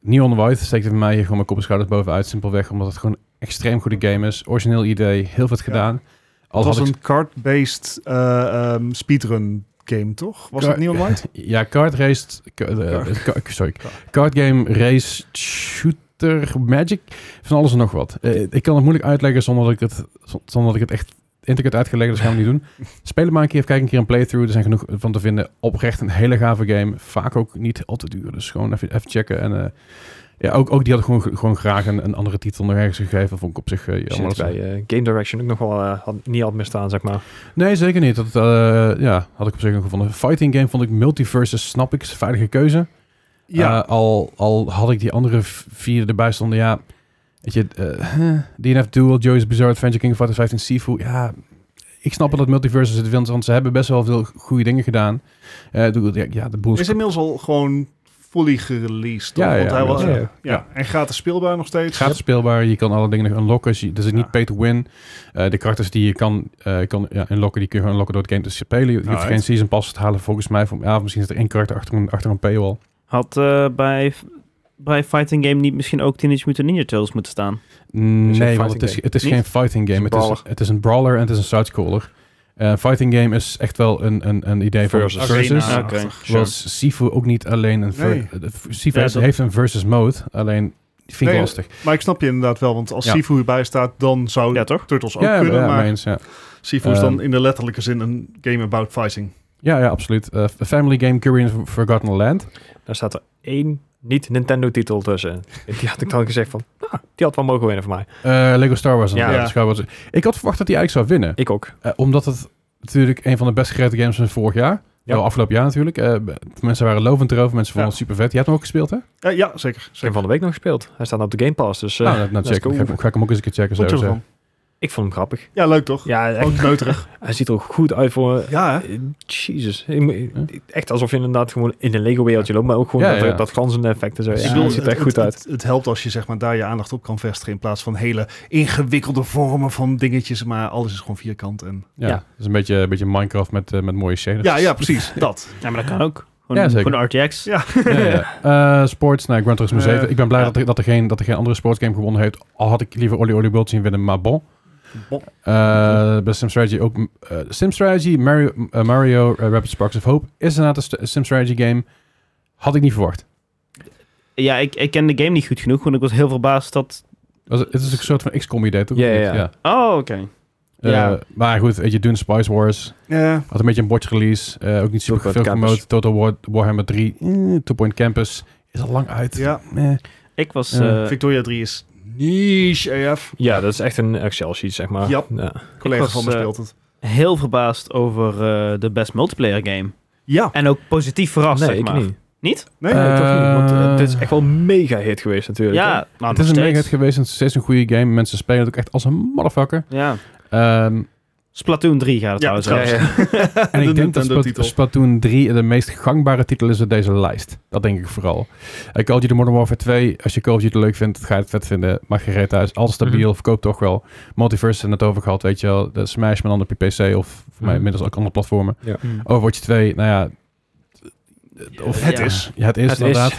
Neon White steekt er voor mij hier gewoon mijn kop en schouders bovenuit, simpelweg omdat het gewoon een extreem goede game is. Origineel idee, heel vet
Ja.
gedaan. Al
Het was
had ik-
een card-based eh, ehm, speedrun game, toch? Was
Car-
dat Neon White?
Ja, Card Race... k- eh, eh, ka- sorry. Card Game Race Shooter Magic. Van alles en nog wat. Eh, ik kan het moeilijk uitleggen zonder dat ik het, zonder dat ik het echt intricate uitgelegd dus gaan we niet doen. Speel hem maar een keer of kijk een keer een playthrough. Er zijn genoeg van te vinden. Oprecht een hele gave game. Vaak ook niet al te duur. Dus gewoon even, even checken. En eh, ja, ook, ook die had ik gewoon, gewoon graag een, een andere titel nog ergens gegeven. Dat vond ik op zich eh,
Zit
jammer. dat
bij
ze-
eh, Game Direction ook nog wel eh, had, niet had misstaan, zeg maar.
Nee, zeker niet. Dat eh, ja, had ik op zich nog gevonden. Fighting game vond ik multiverses, snap ik, is een veilige keuze.
Ja.
Eh, al, al had ik die andere v- vier erbij stonden, ja. Weet je, eh, DNF Duel, Joey's Bizarre Adventure, King of Fighters 15, Sifu. Ja, ik snap wel dat multiverses het wil, want ze hebben best wel veel goede dingen gedaan. Eh, ik bedoel, ja, ja, de boel
is inmiddels al gewoon fully gereleased. toch?
Ja, ja,
Want hij
ja,
was,
ja,
ja,
ja.
Ja.
En gratis speelbaar nog steeds.
Gaat speelbaar, je kan alle dingen nog unlocken. Dus je- dus het is niet pay
Ja.
to win. Eh, de karakters die je kan, eh, kan ja, unlocken, die kun je gewoon unlocken door het game te spelen. Je, je hoeft
Alright.
geen season pass te halen volgens mij. Van, ja, of misschien zit er één karakter achter een, achter een paywall.
Had eh, bij, bij Fighting Game niet misschien ook Teenage Mutant Ninja Turtles moeten staan?
Nee, want het
fighting
is, het is
Niet?
geen fighting game.
Het
Het
is een
is, het is, een brawler en het is een sidescroller. Eh fighting game is echt wel een, een, een idee voor
Versus.
versus.
Arena.
Oké.
Was Sifu ook niet alleen een... ver-
Nee.
eh, Sifu
Ja,
heeft-
dat-
heeft een versus mode, alleen die vind ik
Nee,
lastig.
Maar ik snap je inderdaad wel, want als
Ja.
Sifu erbij staat, dan zou
Ja, toch?
Turtles ook
Ja, ja,
kunnen.
ja,
maar
mee eens, ja.
Sifu is
Ehm,
dan in de letterlijke zin een game about fighting.
Ja, ja, absoluut. Eh, family game Korean Forgotten Land.
Daar staat er één niet-Nintendo-titel tussen. Die had ik dan gezegd van, nou, die had wel mogen winnen voor mij.
Eh, Lego Star Wars.
Ja.
inderdaad. Dus gewoon wat- Ik had verwacht dat hij eigenlijk zou winnen.
Ik ook.
Eh, omdat het natuurlijk een van de best gereden games van vorig jaar.
Ja.
Nou, afgelopen jaar natuurlijk. Eh, mensen waren lovend erover. Mensen vonden
Ja.
het super vet. Je hebt hem ook gespeeld, hè?
Eh, ja, zeker.
Ik heb hem
zeker.
van de week nog gespeeld. Hij staat op de Game Pass, dus eh,
Nou, nou, nou,
let's
check.
go.
Ga, ik- ga ik hem ook eens een keer checken.
Vond je
zo, zo.
ervan?
ik vond hem grappig.
Ja, leuk toch?
Ja, echt,
Oh.
Ook kneuterig.
hij ziet er ook goed uit voor...
ja, hè?
eh, Jezus. Ik moet- Echt alsof je inderdaad gewoon in een Lego-wereldje loopt, maar ook gewoon
Ja,
dat,
ja.
dat glanzende effect en zo.
Ik
Ja,
bedoel,
hij ziet er echt goed uit.
Het, het helpt als je zeg maar, daar je aandacht op kan vestigen. In plaats van hele ingewikkelde vormen van dingetjes. Maar alles is gewoon vierkant. En...
Ja,
Ja.
dat is een beetje, een beetje Minecraft met, eh, met mooie scènes.
Ja, ja, precies. Dat.
Ja, maar dat kan ook. Gewoon,
Ja, zeker.
gewoon RTX.
Ja.
Ja, ja. Eh, sports, nou, Gran Turismo
Eh,
7. Ik ben blij
ja.
dat, er, dat, er geen, dat er geen andere sportsgame gewonnen heeft. Al had ik liever Oli Oli World zien winnen, maar bon.
Bon.
Eh, bij Sim Strategy ook... eh Sim Strategy, Mario, eh, Mario eh, Rapid Sparks of Hope is inderdaad een st- Sim Strategy game. Had ik niet verwacht.
Ja, ik, ik ken de game niet goed genoeg, want ik was heel verbaasd dat...
Was- Het is een soort van XCOM idee, toch?
Ja,
Of
ja,
niet?
ja.
Oh, oké.
Eh,
Ja.
Maar goed, weet je, doen Spice Wars.
Eh,
Had een beetje een botch release. eh, ook niet super
Total
veel
Campus.
gemoot. Total War, Warhammer 3. eh, Two Point Campus. Is al lang uit.
ja,
Eh.
Ik was...
Ja.
eh,
Victoria 3 is niche AF.
Ja, dat is echt een Excel-sheet, zeg maar.
Ja.
Ja.
Collega
was,
van me
eh,
speelt het.
heel verbaasd over eh, de best multiplayer game.
Ja,
En ook positief verrast,
nee,
zeg
ik
maar.
niet.
Niet?
nee.
Eh,
Nee, toch niet. Want eh,
Eh,
dit is echt wel een mega hit geweest natuurlijk. hè?
Ja, nou,
het is een mega
nog
hit
steeds.
geweest en het is steeds een goede game. Mensen spelen het ook echt als een motherfucker.
Ja.
Ehm,
Splatoon 3 gaat het
Ja,
trouwens
Ja,
over.
ja.
en ik denk dat Splat-
titel.
Splatoon 3 de meest gangbare titel is uit deze lijst. Dat denk ik vooral. Eh, Call of Duty Modern Warfare 2. Als je Call of Duty leuk vindt, ga je het vet vinden. Mag je reet thuis. Alles stabiel.
Mhm.
Verkoopt toch wel. Multiverse hebben we het over gehad. Weet je wel. De Smash maar dan op je PC of voor
Mhm.
mij inmiddels ook andere platformen.
Hm.
Overwatch 2. Nou ja. eh, Of,
Het is.
Ja, het is
Het
inderdaad.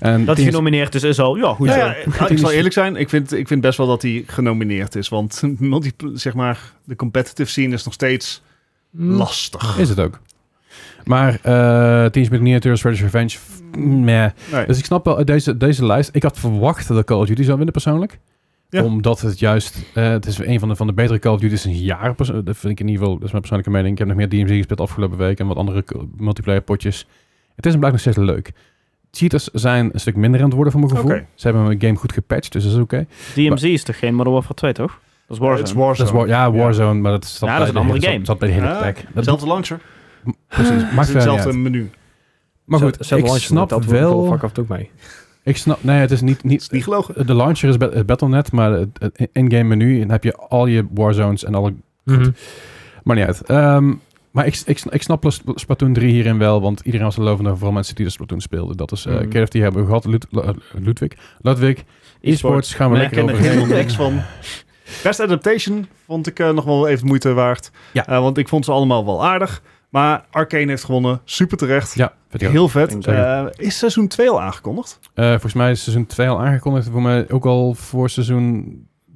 En
Dat
Team-
genomineerd dus is al, ja, goed
Ja,
zo.
ja, eh, ik zal eerlijk zijn, ik vind, ik vind best wel dat hij genomineerd is. Want multi, zeg maar, de competitive scene is nog steeds lastig.
Is het ook. Maar eh Teams met Miniatures, Freddy's Revenge, f- meh.
Nee.
Dus ik snap wel eh, deze, deze lijst. Ik had verwacht dat Call of Duty zou winnen persoonlijk.
Ja.
Omdat het juist, eh, het is een van de, van de betere Call of Duty's in jaren. perso- eh, Dat vind ik in ieder geval, dat is mijn persoonlijke mening. Ik heb nog meer DMZ gespeeld afgelopen week en wat andere co- multiplayer potjes. Het is hem blijkbaar nog steeds leuk. Cheaters zijn een stuk minder aan het worden voor mijn gevoel.
Oké.
Ze hebben hun game goed gepatcht, dus dat is oké.
DMZ is toch geen Modern Warfare 2, toch? Dat is Warzone.
Het is Warzone.
Dat is War- ja, Warzone, maar dat, zat
Ja, dat
bij
is een
de
andere
hele-
game.
Zat, zat bij de hele
Ja,
pack. Dat
Zelfde launcher.
precies. Maakt verder niet
Hetzelfde
uit.
menu.
Maar goed,
Zelf- zelf
ik
launchen,
snap
dat
wel...
Fuck af ook mee.
Ik snap, nee, het is niet,
Het
niet
is niet gelogen.
de launcher is bet- het Battle.net, maar het het in-game menu, en dan heb je al je warzones en alle,
Mhm.
maar niet uit. Ehm, maar ik, ik, ik snap Sp- Splatoon 3 hierin wel, want iedereen was er lovend over, vooral mensen die de Splatoon speelden. Dat is, eh
Mhm.
KFT hebben we gehad, Lud- Lu- Ludwig, Ludwig, e-sports gaan we
Nee,
Ik ken
lekker
er helemaal
overheen.
niks van. Best Adaptation vond ik eh, nog wel even de moeite waard.
Ja.
Eh, want ik vond ze allemaal wel aardig. Maar Arcane heeft gewonnen. Super terecht.
Ja, vind ik ook.
Heel vet.
Zeker.
Eh, is seizoen 2 al aangekondigd?
Eh, volgens mij is seizoen 2 al aangekondigd, voor mij ook al voor seizoen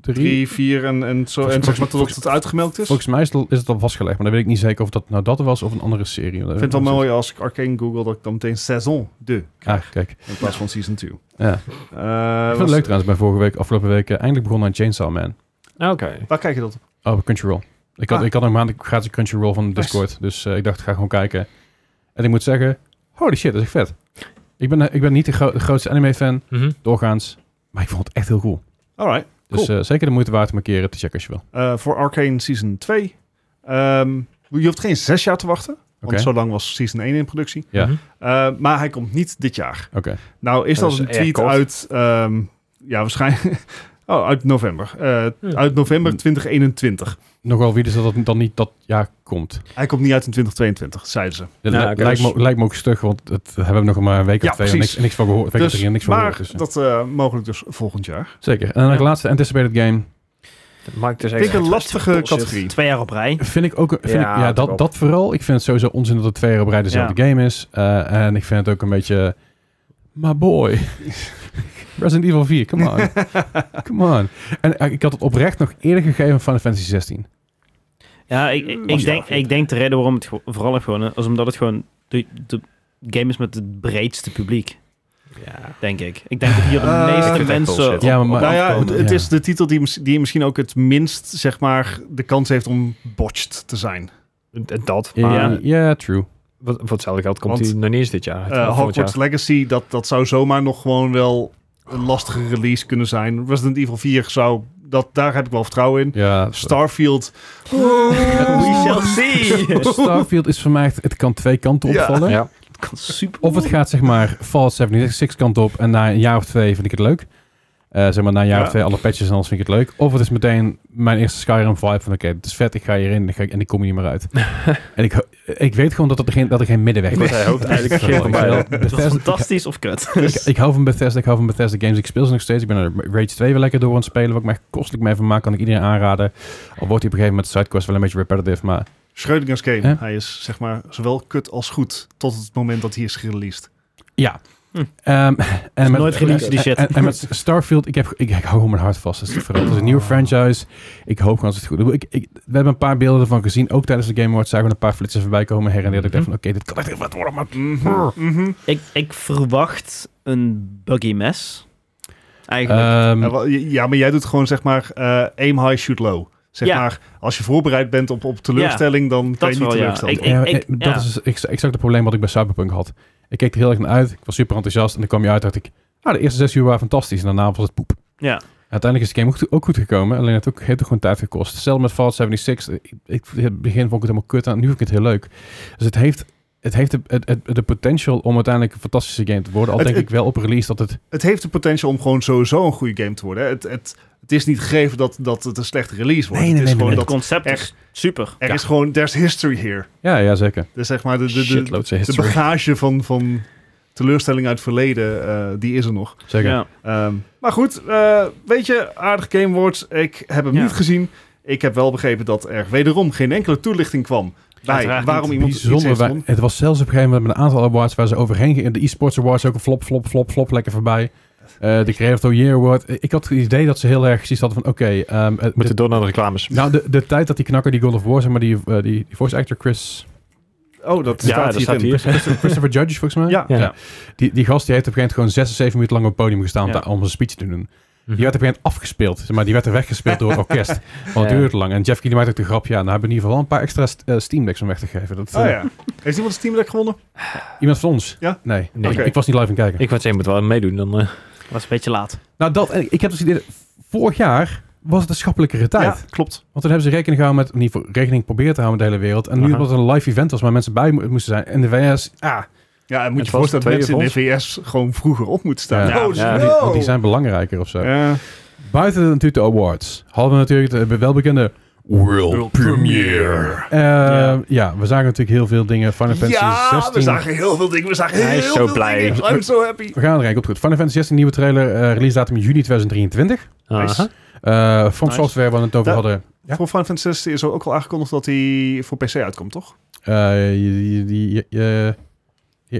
drie.
Drie, vier en, en zo.
Volgens-
en zeg maar totdat
volgens-
het uitgemeld is. Ik
Volgens mij is het, al, is het al vastgelegd, maar dan weet ik niet zeker of dat nou dat was of een andere serie. Ik
vind het wel mooi als ik Arcane google dat ik dan meteen Saison 2
Ah, kijk.
in plaats van Season Eh, 2.
Ja. ik vind het leuk trouwens, bij vorige week, afgelopen week, eh, eindelijk begonnen aan Chainsaw Man.
Oké.
Waar kijk je dat op?
Oh, Crunchyroll. Ik had,
Ah.
ik had een maand gratis Crunchyroll van Discord. Dus eh, ik dacht, ik ga gewoon kijken. En ik moet zeggen, holy shit, dat is echt vet. Ik ben, eh, ik ben niet de, gro- de grootste anime-fan,
Mhm.
doorgaans. Maar ik vond het echt heel cool.
Alright.
Dus eh, zeker de moeite waard om een keer eh, te checken als je wil.
Eh, voor Arcane Season 2. Ehm, je hoeft geen zes jaar te wachten. Want
Oké.
zo lang was Season 1 in productie.
Ja.
Mhm.
Eh, maar hij komt niet dit jaar.
Oké.
Nou, is
Dat
dus
dat,
is
een
erg
tweet
kort.
uit... ehm, ja, waarschijnlijk... Oh, uit november. Eh,
Ja.
Uit november 2021.
Nogal wie dus dat het dan niet dat jaar komt.
Hij komt niet uit in 2022, zeiden ze.
Dat
Ja,
li-
oké,
lijkt,
dus-
me, lijkt me ook stug, want het hebben we nog maar een week of
Ja,
twee en
precies.
niks, niks van gehoord. Week of
Dus,
drie en niks van
maar
gehoord. dus, eh.
dat eh, mogelijk dus volgend jaar.
Zeker. En dan het
Ja.
laatste anticipated game.
Mark is
Ik vind
dus echt
ik een lastige
bullshit.
categorie.
Twee jaar op rij.
Vind ik ook. Vind ja,
Ja,
ik, ja
dat
dat,
klopt.
dat vooral. Ik vind het sowieso onzin dat het twee jaar op rij dezelfde game is. Eh, en ik vind het ook een beetje. Maar boy. Resident Evil 4, come on. come on. En eh, ik had het oprecht nog eerder gegeven aan Final Fantasy 16.
Ja, ik, ik,
Was
ik denk,
ja.
ik denk de reden waarom het gewo- vooral heeft gewonnen, is omdat het gewoon de, de game is met het breedste publiek,
Ja.
denk ik. Ik denk dat hier de
Eh, ik
meeste
vind
Ah, het echt
mensen...
bullshit.
op-
Ja, maar-
op
maar-
Nou ja, het,
afkomen.
het
Ja.
is de titel die, mis- die misschien ook het minst, zeg maar, de kans heeft om botched te zijn.
En Dat,
Ja,
maar
ja, true.
wat, voor hetzelfde geld komt
Want,
hij nog niet eens dit jaar.
Eh,
Of volgend
Hogwarts Legacy, dat, dat zou zomaar nog gewoon wel een lastige release kunnen zijn. Resident Evil 4 zou, dat, daar heb ik wel vertrouwen in.
Ja,
Starfield.
We shall see!
Starfield is voor mij echt, het kan twee kanten
Ja.
opvallen.
jaar. Ja.
Het kan super
Of het gaat zeg maar Fallout 76 kant op en na een jaar of twee vind ik het leuk. Eh, zeg maar na een jaar
Ja.
of twee alle patches en alles vind ik het leuk. Of het is meteen mijn eerste Skyrim vibe van oké, dit is vet, ik ga hierin en ik, ga, en ik kom hier niet meer uit. en ik, ho- ik weet gewoon dat er geen, dat er geen middenweg is.
Want hij hoopt eigenlijk geen van
Ik wil-
beide.
Het was
Bethesda-
fantastisch of kut.
ik, ik hou van Bethesda, ik hou van Bethesda games. Ik speel ze nog steeds. Ik ben er Rage 2 weer lekker door aan het spelen. Wat ik me echt kostelijk mee van maak, kan ik iedereen aanraden. Al wordt hij op een gegeven moment sidequest wel een beetje repetitive, maar
Schrödinger's game.
Ja.
Hij is zeg maar zowel kut als goed tot het moment dat hij is gereleased.
Ja.
Hm.
Ehm, en
nooit released, die shit.
En, en met Starfield, ik, heb, ik, ik hou gewoon mijn hart vast. Het is, verrot. Het is een
Ah.
nieuwe franchise. Ik hoop gewoon dat het goed is. Ik, ik, we hebben een paar beelden ervan gezien. Ook tijdens de Game Awards zagen we een paar flitsen voorbij komen. Her en der. Ik
Mhm.
dacht van, oké, dit kan echt heel vet worden. Maar...
Mhm.
Ik, ik verwacht een buggy mess. Eigenlijk.
Ehm,
Eh, wel, ja, maar jij doet gewoon zeg maar eh, aim high, shoot low. Zeg
Ja.
maar, als je voorbereid bent op, op teleurstelling, dan kan je niet
wel, ja.
teleurstellen.
Ik-
ja, eh,
ik-
dat
ja.
is ex- exact het probleem wat ik bij Cyberpunk had. Ik keek er heel erg naar uit. Ik was super enthousiast. En dan kwam je uit dacht ik, nou, de eerste zes uur waren fantastisch. En daarna was het poep.
ja.
Uiteindelijk is de game ook, ook goed gekomen. Alleen het ook, heeft ook gewoon tijd gekost. Hetzelfde met Fallout 76. Ik, ik, in het begin vond ik het helemaal kut. En nu vind ik het heel leuk. Dus het heeft, het heeft de, het, het- de potential om uiteindelijk een fantastische game te worden. Al
Het-
denk
het-
ik wel op release dat het...
het heeft de potential om gewoon sowieso een goede game te worden. hè. Het, het, het is niet gegeven dat, dat het een slechte release wordt.
Nee, nee,
het is
nee,
gewoon
nee,
Het
dat
concept
echt-
is super.
er is gewoon, there's history here.
Ja, ja zeker.
Dus zeg maar, de, de, de,
Shitloads
de
history.
bagage van, van teleurstelling uit het verleden, eh, die is er nog.
Zeker.
Ja.
Ehm, maar goed, eh, weet je, aardig Game Awards. Ik heb hem
Ja.
niet gezien. Ik heb wel begrepen dat er wederom geen enkele toelichting kwam bij
Uiteraard
waarom
niet.
iemand iets heeft
Bijzonder. wa-
gewonnen.
het was zelfs op een gegeven moment met een aantal awards waar ze overheen gingen. De esports awards ook een flop, flop, flop, flop lekker voorbij. Eh, de Creative of the Year Award. Ik had het idee dat ze heel erg precies hadden van... Oké, ehm, het-
Moeten door naar de reclames.
nou, de, de tijd dat die knakker, die God of War, zeg maar, die, eh, die, die voice actor Chris...
Oh, dat
Ja,
staat
dat
hier
staat
in.
hier.
Christopher Judge, volgens mij.
Ja.
Ja.
Ja. Die, die gast die heeft op een gegeven moment gewoon 76 minuten lang op het podium gestaan om
Ja.
daar- om een speech te doen.
Mhm.
Die werd op een gegeven moment afgespeeld, zeg maar die werd er weggespeeld door het orkest. Want het
Ja.
duurde te lang. En Jeff Keighley maakt ook de grap, ja, nou hebben we in ieder geval wel een paar extra st- eh, Steam Decks om weg te geven. Dat,
Oh
eh,
ja. Heeft iemand een Steam Deck gewonnen?
Iemand van ons?
Ja?
Nee,
Nee.
Ik,
Oké.
ik was niet live aan het kijken.
Ik wou zeggen, je moet wel meedoen. Dan, eh,
was een beetje laat.
nou, dat, en ik heb dus het idee, vorig jaar was het een schappelijkere tijd.
Ja, klopt.
Want toen hebben ze rekening gehouden met, in ieder geval rekening proberen te houden met de hele wereld. En nu
Aha.
omdat het een live event was waar mensen bij mo- moesten zijn. En de VS, ah,
Ja, en moet
Het
je
was
voorstellen dat mensen in
twee
de VS gewoon vroeger op moeten staan.
Ja.
Oh,
Ja,
want die, want die zijn belangrijker of zo.
Ja.
Buiten natuurlijk de awards hadden we natuurlijk de welbekende World, Premiere. Eh, ja. we zagen natuurlijk heel veel dingen. Final Fantasy
Ja,
16.
we zagen heel veel dingen. We zagen heel
Hij is zo
veel
blij.
dingen. I'm so happy.
We gaan er eigenlijk op goed. Final Fantasy 16 nieuwe trailer, eh, release datum juni 2023.
Nice.
aha.
Eh From
Nice.
Software, waar we het over
Da-
hadden. Ja.
Voor Final Fantasy 16 is er ook al aangekondigd dat hij voor PC uitkomt, toch?
Eh, die, die, die- eh,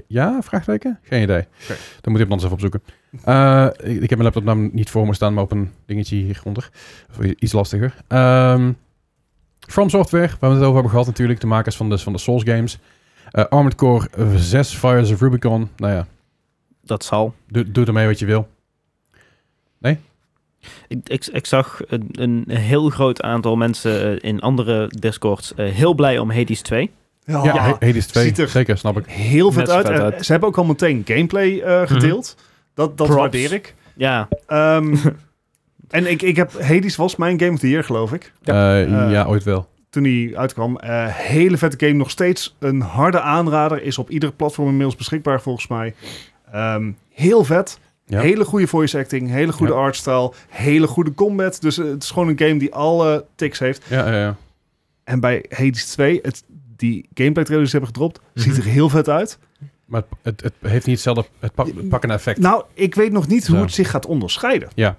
ja, vraagteken? Geen idee.
Oké.
Dan moet je het anders even opzoeken. Eh, ik, ik heb mijn laptop namelijk niet voor me staan, maar op een dingetje hieronder. Of i- iets lastiger. Ehm, From Software, waar we het over hebben gehad natuurlijk. De makers van de, van de Souls games. Eh, Armored Core eh, 6, Fires of Rubicon. Nou ja,
Dat zal.
doe, doe ermee wat je wil.
Ik, ik, ik zag een, een heel groot aantal mensen eh, in andere Discords eh, heel blij om Hades 2.
Ja,
Oh, ja, He- Hades 2.
ziet er-
Zeker, snap ik.
heel vet
Net
uit.
vet
En
uit. Mhm.
Ze hebben ook al meteen gameplay eh, gedeeld. Dat, dat
Props.
waardeer ik.
Ja,
Ehm, en ik, ik heb... Hades was mijn Game of the Year, geloof ik.
Ja,
Eh,
ja ooit wel.
Toen die uitkwam. Eh, hele vette game. Nog steeds een harde aanrader. Is op ieder platform inmiddels beschikbaar, volgens mij. Ehm, heel vet.
Ja.
Hele goede voice acting. Hele goede
Ja.
artstyle. Hele goede combat. Dus eh, het is gewoon een game die alle tics heeft.
Ja, ja, ja.
En bij Hades 2, het, die gameplay trailers die ze hebben gedropt,
Mhm.
ziet er heel vet uit.
Maar het, het, het heeft niet hetzelfde het pak- het pakkende effect.
Nou, ik weet nog niet hoe
Zo.
het zich gaat onderscheiden.
Ja.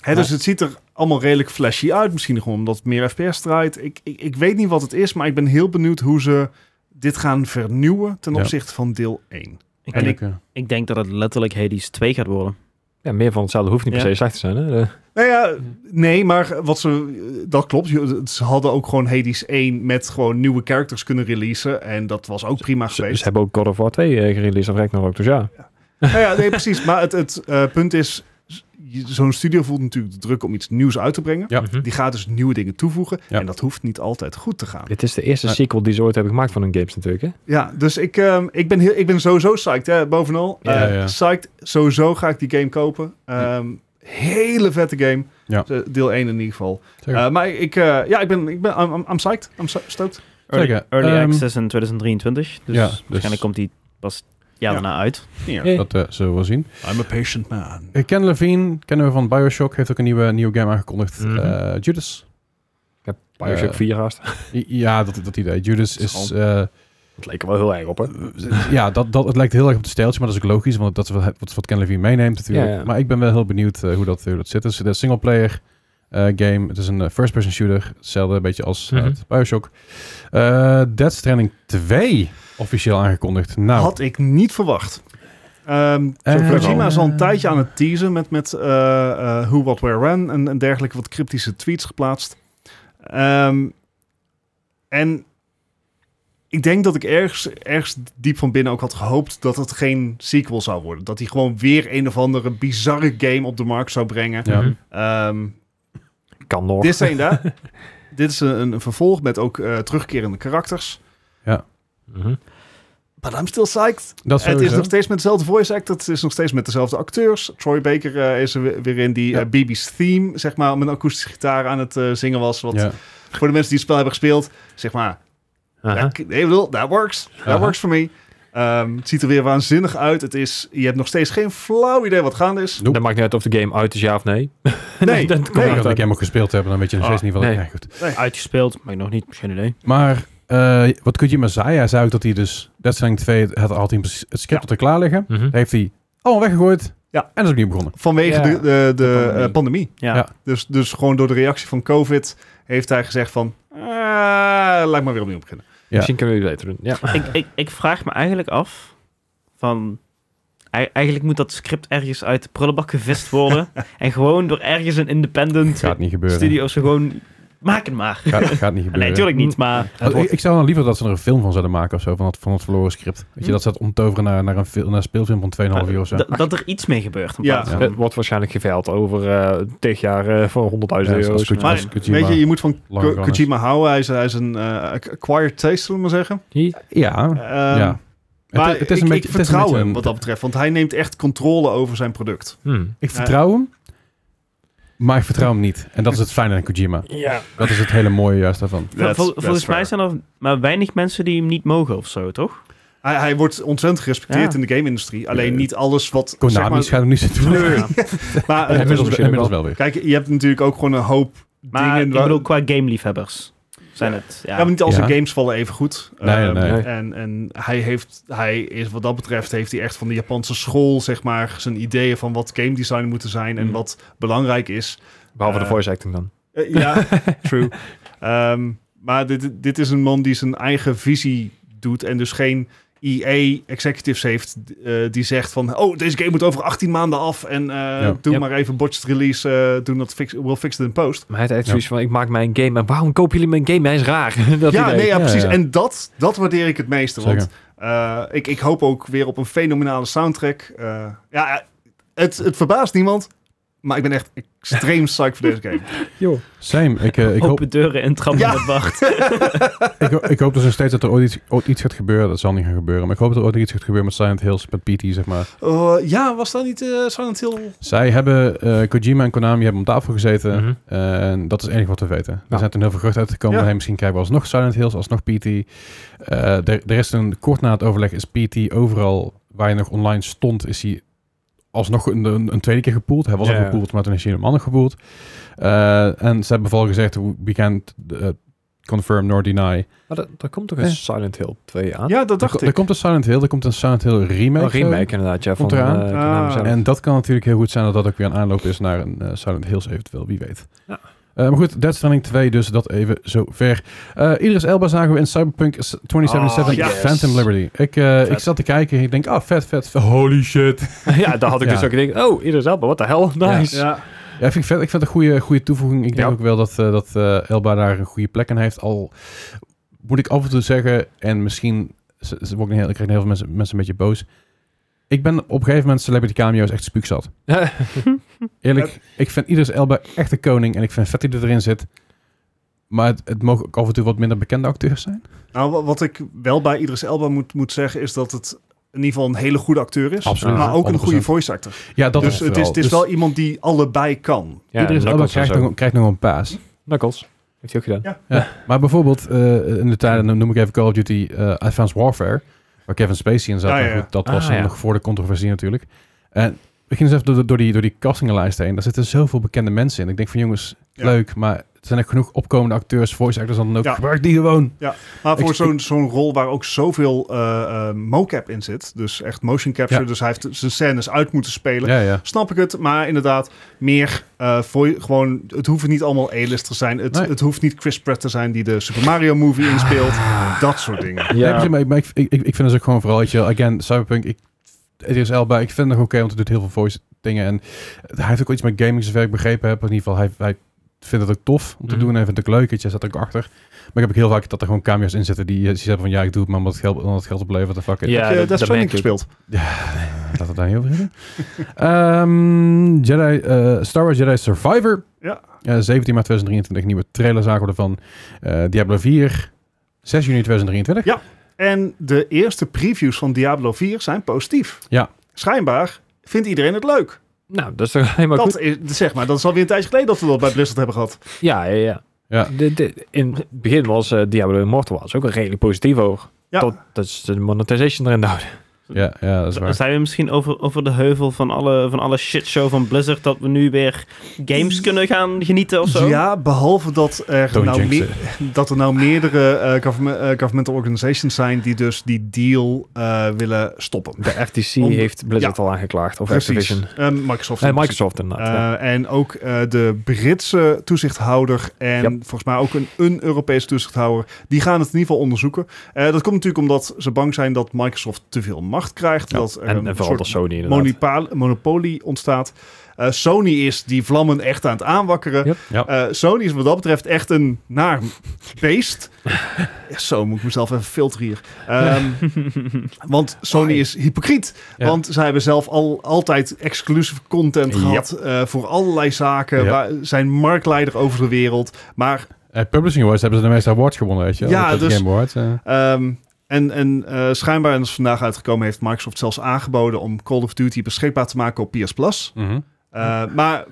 Hè, dus het ziet er allemaal redelijk flashy uit. Misschien gewoon omdat het meer FPS draait. Ik, ik, ik weet niet wat het is, maar ik ben heel benieuwd hoe ze dit gaan vernieuwen ten
Ja.
opzichte van deel 1.
ik,
En
denk,
ik, eh,
ik denk dat het letterlijk Hades 2 gaat worden.
Ja, meer van hetzelfde hoeft niet
Ja.
per se slecht te zijn. Hè? Eh,
Nou ja, nee, maar wat ze, eh, dat klopt. Je- Ze hadden ook gewoon Hades 1 met gewoon nieuwe characters kunnen releasen. En dat was ook prima
ze,
geweest.
ze hebben ook God of War 2 eh, gereleased of Ragnarok, dus ja.
Nou ja, nee, precies. Maar het, het eh, punt is, z- je- zo'n studio voelt natuurlijk de druk om iets nieuws uit te brengen.
Ja.
Mhm.
Die gaat dus nieuwe dingen toevoegen.
Ja.
En dat hoeft niet altijd goed te gaan.
Dit is de eerste
Nee.
sequel die ze ooit hebben gemaakt van hun games natuurlijk. Hè?
Ja, dus ik, ehm, ik, ben, heel, ik ben sowieso psyched, hè, bovenal.
Ja,
Eh,
ja.
Psyched, sowieso ga ik die game kopen. Ehm, Hele vette game.
Ja.
Eh, Deel 1 in ieder geval.
zeker.
Eh, maar ik, eh, ja, ik ben, ik ben I'm, I'm- I'm psyched. I'm so- stoked.
Early,
Zeker.
early
Ehm,
Access in 2023. Dus
ja, dus-
waarschijnlijk komt die pas het jaar
Ja.
daarna uit.
Eh,
dat eh, zullen we wel zien.
I'm a patient man.
Eh, Ken Levine, kennen we van Bioshock, heeft ook een nieuwe, nieuwe game aangekondigd.
Mhm.
Eh, Judas.
Ja, Bioshock
Eh,
4 haast.
I- Ja, dat, dat idee. Judas is... eh,
Dat leek er wel heel erg op, hè?
ja, dat, dat, het lijkt heel erg op de stijltje, maar dat is ook logisch, want dat is wat, wat, wat Ken Levine meeneemt natuurlijk.
Ja, ja.
Maar ik ben wel heel benieuwd eh, hoe dat, hoe dat zit. Het is een singleplayer eh game. Het is een eh, first-person shooter. Hetzelfde een beetje als eh,
Mhm.
het Bioshock. Eh Dead Stranding 2 officieel aangekondigd. Nou,
Had ik niet verwacht. Ehm
Eh,
Kojima is al een
eh.
tijdje aan het teasen met, met eh, eh, Who, What, Where, When en, en dergelijke wat cryptische tweets geplaatst. Ehm, en ik denk dat ik ergens, ergens diep van binnen ook had gehoopt dat het geen sequel zou worden. Dat hij gewoon weer een of andere bizarre game op de markt zou brengen.
Ja.
Mhm.
Ehm,
Kan nog.
dit zijn daar. Dit is een, een vervolg met ook eh, terugkerende karakters.
Mhm.
But I'm still psyched.
dat
Het is
sowieso.
nog steeds met dezelfde voice actor. Het is nog steeds met dezelfde acteurs. Troy Baker eh, is er we- weer in die
Ja.
eh, BB's theme, zeg maar, met een akoestische gitaar aan het eh, zingen was. Wat
Ja.
voor de mensen die het spel hebben gespeeld, zeg maar,
Aha.
dat- nee, ik bedoel, that works. That
Aha.
works for me. Ehm, het ziet er weer waanzinnig uit. Het is, je hebt nog steeds geen flauw idee wat gaande is.
Nope.
Dat maakt niet uit of de game uit is, ja of nee.
Nee, nee.
dat komt
Ik
uit.
kan de game ook gespeeld hebben, dan weet je nog
Ah,
steeds niet wat...
nee.
Ja, goed.
Uitgespeeld, maar ik nog niet. Geen idee.
Maar eh wat Kojima zei, hij zei ook dat hij dus Dead Stranding 2 had, had hij een- het script er klaar liggen.
Mhm.
Daar heeft hij allemaal weggegooid
Ja.
en is opnieuw begonnen.
Vanwege
Ja,
de, de, de, eh, pandemie.
pandemie. Ja.
Ja.
Dus, dus gewoon door de reactie van COVID heeft hij gezegd van, eh, laat maar weer opnieuw beginnen.
Ja.
Misschien kunnen we die beter doen. Ja.
ik, ik, ik vraag me eigenlijk af van... ei- Eigenlijk moet dat script ergens uit de prullenbak gevist worden. en gewoon door ergens een independent
Gaat niet gebeuren.
studio zo gewoon... Maak het maar.
Gaat, gaat niet gebeuren.
Nee, natuurlijk niet, maar...
Als- Oh, ik, ik zou dan liever dat ze er een film van zouden maken of zo, van dat, van dat verloren script. Weet je,
Hm.
dat ze dat omtoveren naar, naar, een, fil- naar een speelfilm van 2,5 uur of zo.
dat- dat er iets mee gebeurt. in
Ja.
plaats van-
Het wordt waarschijnlijk geveild over eh 10 jaar eh, voor 100.000
Ja,
euro.
als Kojima-
Maar,
als Kojima-
Weet je, je moet van
Lang
Ko-
gone is.
Kojima houden. Hij is, hij is een eh, acquired taste, zullen we maar zeggen.
Ja,
Ehm,
ja.
Maar
Het- het is
ik,
een
ik
beetje- het is een
vertrouw
beetje
hem
een-
wat dat betreft. Want hij neemt echt controle over zijn product.
Hmm.
Ik vertrouw hem, maar ik vertrouw hem niet. En dat is het fijne aan Kojima.
Ja.
Dat is het hele mooie juist daarvan.
Vol- vol- volgens mij zijn er maar weinig mensen die hem niet mogen of zo, toch?
Hij, hij wordt ontzettend gerespecteerd
Ja.
in de game-industrie. Alleen
Ja.
niet alles wat...
Konami
zeg maar,
gaat hem nou, nu zitten doen.
Nee. maar, eh,
Inmiddels,
misschien
inmiddels wel weer.
Kijk, je hebt natuurlijk ook gewoon een hoop
Maar
dingen...
ik
waar-
bedoel, qua gameliefhebbers zijn het...
ja,
Ja,
maar niet al zijn
Ja.
games vallen even goed.
Nee,
Ehm,
nee.
Nee.
En, en hij, heeft, hij is wat dat betreft... heeft hij echt van de Japanse school, zeg maar... zijn ideeën van wat game design moeten zijn... en
Mm.
wat belangrijk is.
Behalve de
Eh,
voice acting dan.
Eh, ja, true. Ehm, maar dit, dit is een man die zijn eigen visie doet en dus geen EA executives heeft eh, die zegt van... Oh, deze game moet over 18 maanden af en eh, doe
Ja.
maar even botched release. eh doen dat fix, we'll fix it in post.
Maar hij heeft echt zoiets van, ik maak mijn game. En waarom kopen jullie mijn game? Hij is raar. dat
ja,
idee.
nee, ja,
Ja,
precies.
ja.
En dat, dat waardeer ik het meeste.
Zeker.
Want eh, ik, ik hoop ook weer op een fenomenale soundtrack. Eh, ja, het, het verbaast niemand. Maar ik ben echt extreem psyched voor deze game.
Joh.
Same. Ik, eh, ik,
Open
hoop,
deuren en trappen
Ja.
met wacht.
ik, ho- ik hoop dus nog steeds dat er ooit iets, ooit iets gaat gebeuren. Dat zal niet gaan gebeuren. Maar ik hoop dat er ooit nog iets gaat gebeuren met Silent Hills, met PT, zeg maar.
Eh, ja, was dat niet eh Silent Hill?
Zij hebben, eh, Kojima en Konami hebben om tafel gezeten.
Mhm. Nou.
En dat is het enige wat we weten. Er
Ja.
zijn toen heel veel geruchten uitgekomen.
Ja.
Hey, misschien krijgen we alsnog Silent Hills, alsnog PT. Eh er, er is een kort na het overleg is PT overal waar hij nog online stond, is hij alsnog een, een, een tweede keer gepoeld. Hij was
Ja,
al
ja.
gepoeld, maar toen is hij helemaal nog gepoeld. Eh, en ze hebben vooral gezegd, we can't eh, confirm nor deny.
Maar dat- daar komt toch een
Eh.
Silent Hill 2 aan?
Ja, dat
Er,
dacht
ko- er
ik.
komt een Silent Hill, er komt een Silent Hill remake.
Een Oh, remake inderdaad, ja.
eh, Komt
van,
eraan. Ah.
eh, Konami zelf.
Ja.
En dat kan natuurlijk heel goed zijn dat dat ook weer een aanloop is naar een eh, Silent Hills eventueel, wie weet.
Ja.
Eh, maar goed, Dead Stranding 2, dus dat even zover. Eh Idris Elba zagen we in Cyberpunk s- 2077
Ah, yes.
Phantom Liberty. Ik, eh, ik
Vet.
zat te kijken en ik denk, ah, vet, vet, vet. Holy shit.
ja, daar had ik
Ja.
dus ook gedacht, oh, Idris Elba, what the hell, nice.
Ja.
Ja, vind ik, vet. ik vind het een goede, goede toevoeging. Ik denk
Ja.
ook wel dat, eh, dat eh, Elba daar een goede plek in heeft. Al moet ik af en toe zeggen, en misschien ze, ze word ik, niet heel, ik krijg heel veel mensen, mensen een beetje boos. Ik ben op een gegeven moment celebrity cameo's echt spuugzat. Eerlijk, ik vind Idris Elba echt een koning en ik vind vet dat hij erin zit. Maar het, het mogen ook af en toe wat minder bekende acteurs zijn.
Nou, wa- wat ik wel bij Idris Elba moet, moet zeggen is dat het in ieder geval een hele goede acteur is.
Absoluut,
Maar ook een
100%.
goede voice actor.
eh, Ja, dat
dus
is
het is, het is wel iemand die allebei kan.
Ja,
Idris Elba
Knuckles en
krijgt
zo.
nog, krijgt nog een paas.
Knuckles. Heeft hij ook gedaan.
Ja.
Maar bijvoorbeeld, eh, in de tijden dan noem ik even Call of Duty eh, Advanced Warfare, waar Kevin Spacey in zat.
Ja,
Maar
ja, ja.
goed, dat
Ah,
was dan
ja.
nog voor de controversie natuurlijk. En we gingen eens even door, door die, door die castinglijst heen. Daar zitten zoveel bekende mensen in. Ik denk van jongens,
Ja.
leuk, maar het zijn echt genoeg opkomende acteurs, voice actors dan ook.
Ja.
Gebruik die gewoon.
Maar voor
Ik-
zo'n zo'n rol waar ook zoveel eh, eh, mocap in zit, dus echt motion capture,
Ja.
dus hij heeft zijn scènes uit moeten spelen.
Ja, ja.
Snap ik het, maar inderdaad, meer eh, voor je- gewoon, het hoeft niet allemaal A-list te zijn. Het,
Nee. Ah.
het hoeft niet Chris Pratt te zijn die de Super Mario movie inspeelt. Dat soort dingen.
Ja, precies, maar ik, maar ik, ik, ik vind dus ook gewoon vooral, weet je, wel, again, Cyberpunk, ik, het is Elba, ik vind het nog oké, want hij doet heel veel voice dingen. En hij heeft ook wel iets met gaming, zover ik begrepen heb. In ieder geval, hij, hij vindt het ook tof om te
Mhm.
doen. Hij vindt het ook leuk, weet je, hij zat ook achter. Maar ik heb ook heel vaak dat er gewoon cameo's in zitten die, eh, die zeggen van, ja, ik doe het maar omdat het geld, omdat het geld oplevert, de fuck it.
Ja,
Heb je Death
dat- dat
Stranding
merk ik.
gespeeld?
Laten we het daar niet over hebben. Ehm, Jedi, eh, Star Wars Jedi Survivor.
Ja.
Eh, 17 maart 2023, nieuwe trailer zagen we ervan. Eh, Diablo 4, 6 juni 2023.
En de eerste previews van Diablo 4 zijn positief.
Ja.
Schijnbaar vindt iedereen het leuk.
Nou, dat is toch helemaal goed.
dat is, zeg maar, dat is alweer een tijdje geleden dat we dat bij Blizzard hebben gehad.
Ja, ja, ja.
Ja.
De, de- in het begin was eh, Diablo Immortal was ook een redelijk positief over.
Ja.
Tot, dat is de monetization erin houden.
Ja, ja, dat is
Eh,
waar.
Zijn we misschien over, over de heuvel van alle, van alle shitshow van Blizzard dat we nu weer games kunnen gaan genieten of zo?
Ja, behalve dat er,
Don't
nou,
jinx
meer- dat er nou meerdere eh, government- eh, governmental organizations zijn die dus die deal eh, willen stoppen.
De FTC
Om-
heeft Blizzard al aangeklaagd. Of Activision.
Eh, Microsoft.
Nee, Microsoft inderdaad. ja.
Eh, en ook eh, de Britse toezichthouder en
Yep.
volgens mij ook een, een Europese toezichthouder, die gaan het in ieder geval onderzoeken. Eh, dat komt natuurlijk omdat ze bang zijn dat Microsoft te veel macht krijgt. dat er
en,
een
en vooral
soort
door Sony inderdaad.
monopaal- monopolie ontstaat. Eh, Sony is die vlammen echt aan het aanwakkeren.
Yep.
Ja.
Eh, Sony is wat dat betreft echt een naar beest. Ja, Zo moet ik mezelf even filteren hier. Ehm, want Sony is hypocriet.
Ja.
Want zij hebben zelf al, altijd exclusive content
Yep.
gehad eh, voor allerlei zaken.
Yep.
Waar, zijn marktleider over de wereld. Maar
Eh, Publishing Awards hebben ze de meeste awards gewonnen, weet je? wel.
Ja,
Dat is
dus-
Game Awards. eh.
Ehm, en en eh, schijnbaar, en dat is vandaag uitgekomen, heeft Microsoft zelfs aangeboden om Call of Duty beschikbaar te maken op PS Plus.
Mhm.
Eh, Maar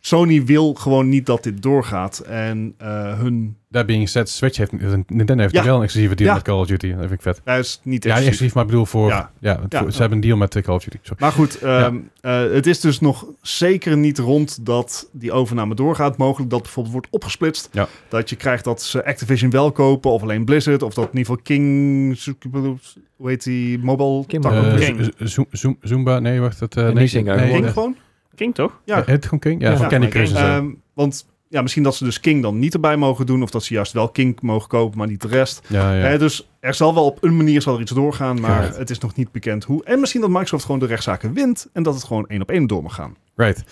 Sony wil gewoon niet dat dit doorgaat. En eh, hun.
That being said, Switch heeft, Nintendo heeft
Ja.
wel een exclusieve deal
Ja.
met Call of Duty. Dat vind ik vet.
Hij is
Ja,
niet
niet
exclusief.
exclusief, maar ik bedoel voor... Ja,
Ja.
want
Ja.
voor- ze hebben een deal met eh, Call of Duty. Sorry.
Maar goed, ehm, eh, het is dus nog zeker niet rond dat die overname doorgaat. Mogelijk dat bijvoorbeeld wordt opgesplitst.
Ja.
Dat je krijgt dat ze Activision wel kopen, of alleen Blizzard, of dat in ieder geval King. Hoe heet die? Mobile.
King
Tak-
Mobile.
Eh,
King.
Z- Z- Zoom- Zoom- Zumba, nee, wacht. Dat, eh,
En
nee,
Nisinger
nee,
King
geworden.
dat-
gewoon?
King toch?
Ja.
Heet het gewoon King? Ja,
Ja,
van Candy
maar King.
Crush en zo.
Ehm, want ja, misschien dat ze dus King dan niet erbij mogen doen. Of dat ze juist wel King mogen kopen, maar niet de rest.
Ja, ja.
Hè, dus er zal wel op een manier zal er iets doorgaan, maar
Correct.
het is nog niet bekend hoe. En misschien dat Microsoft gewoon de rechtszaken wint en dat het gewoon één op één door mag gaan.
Right.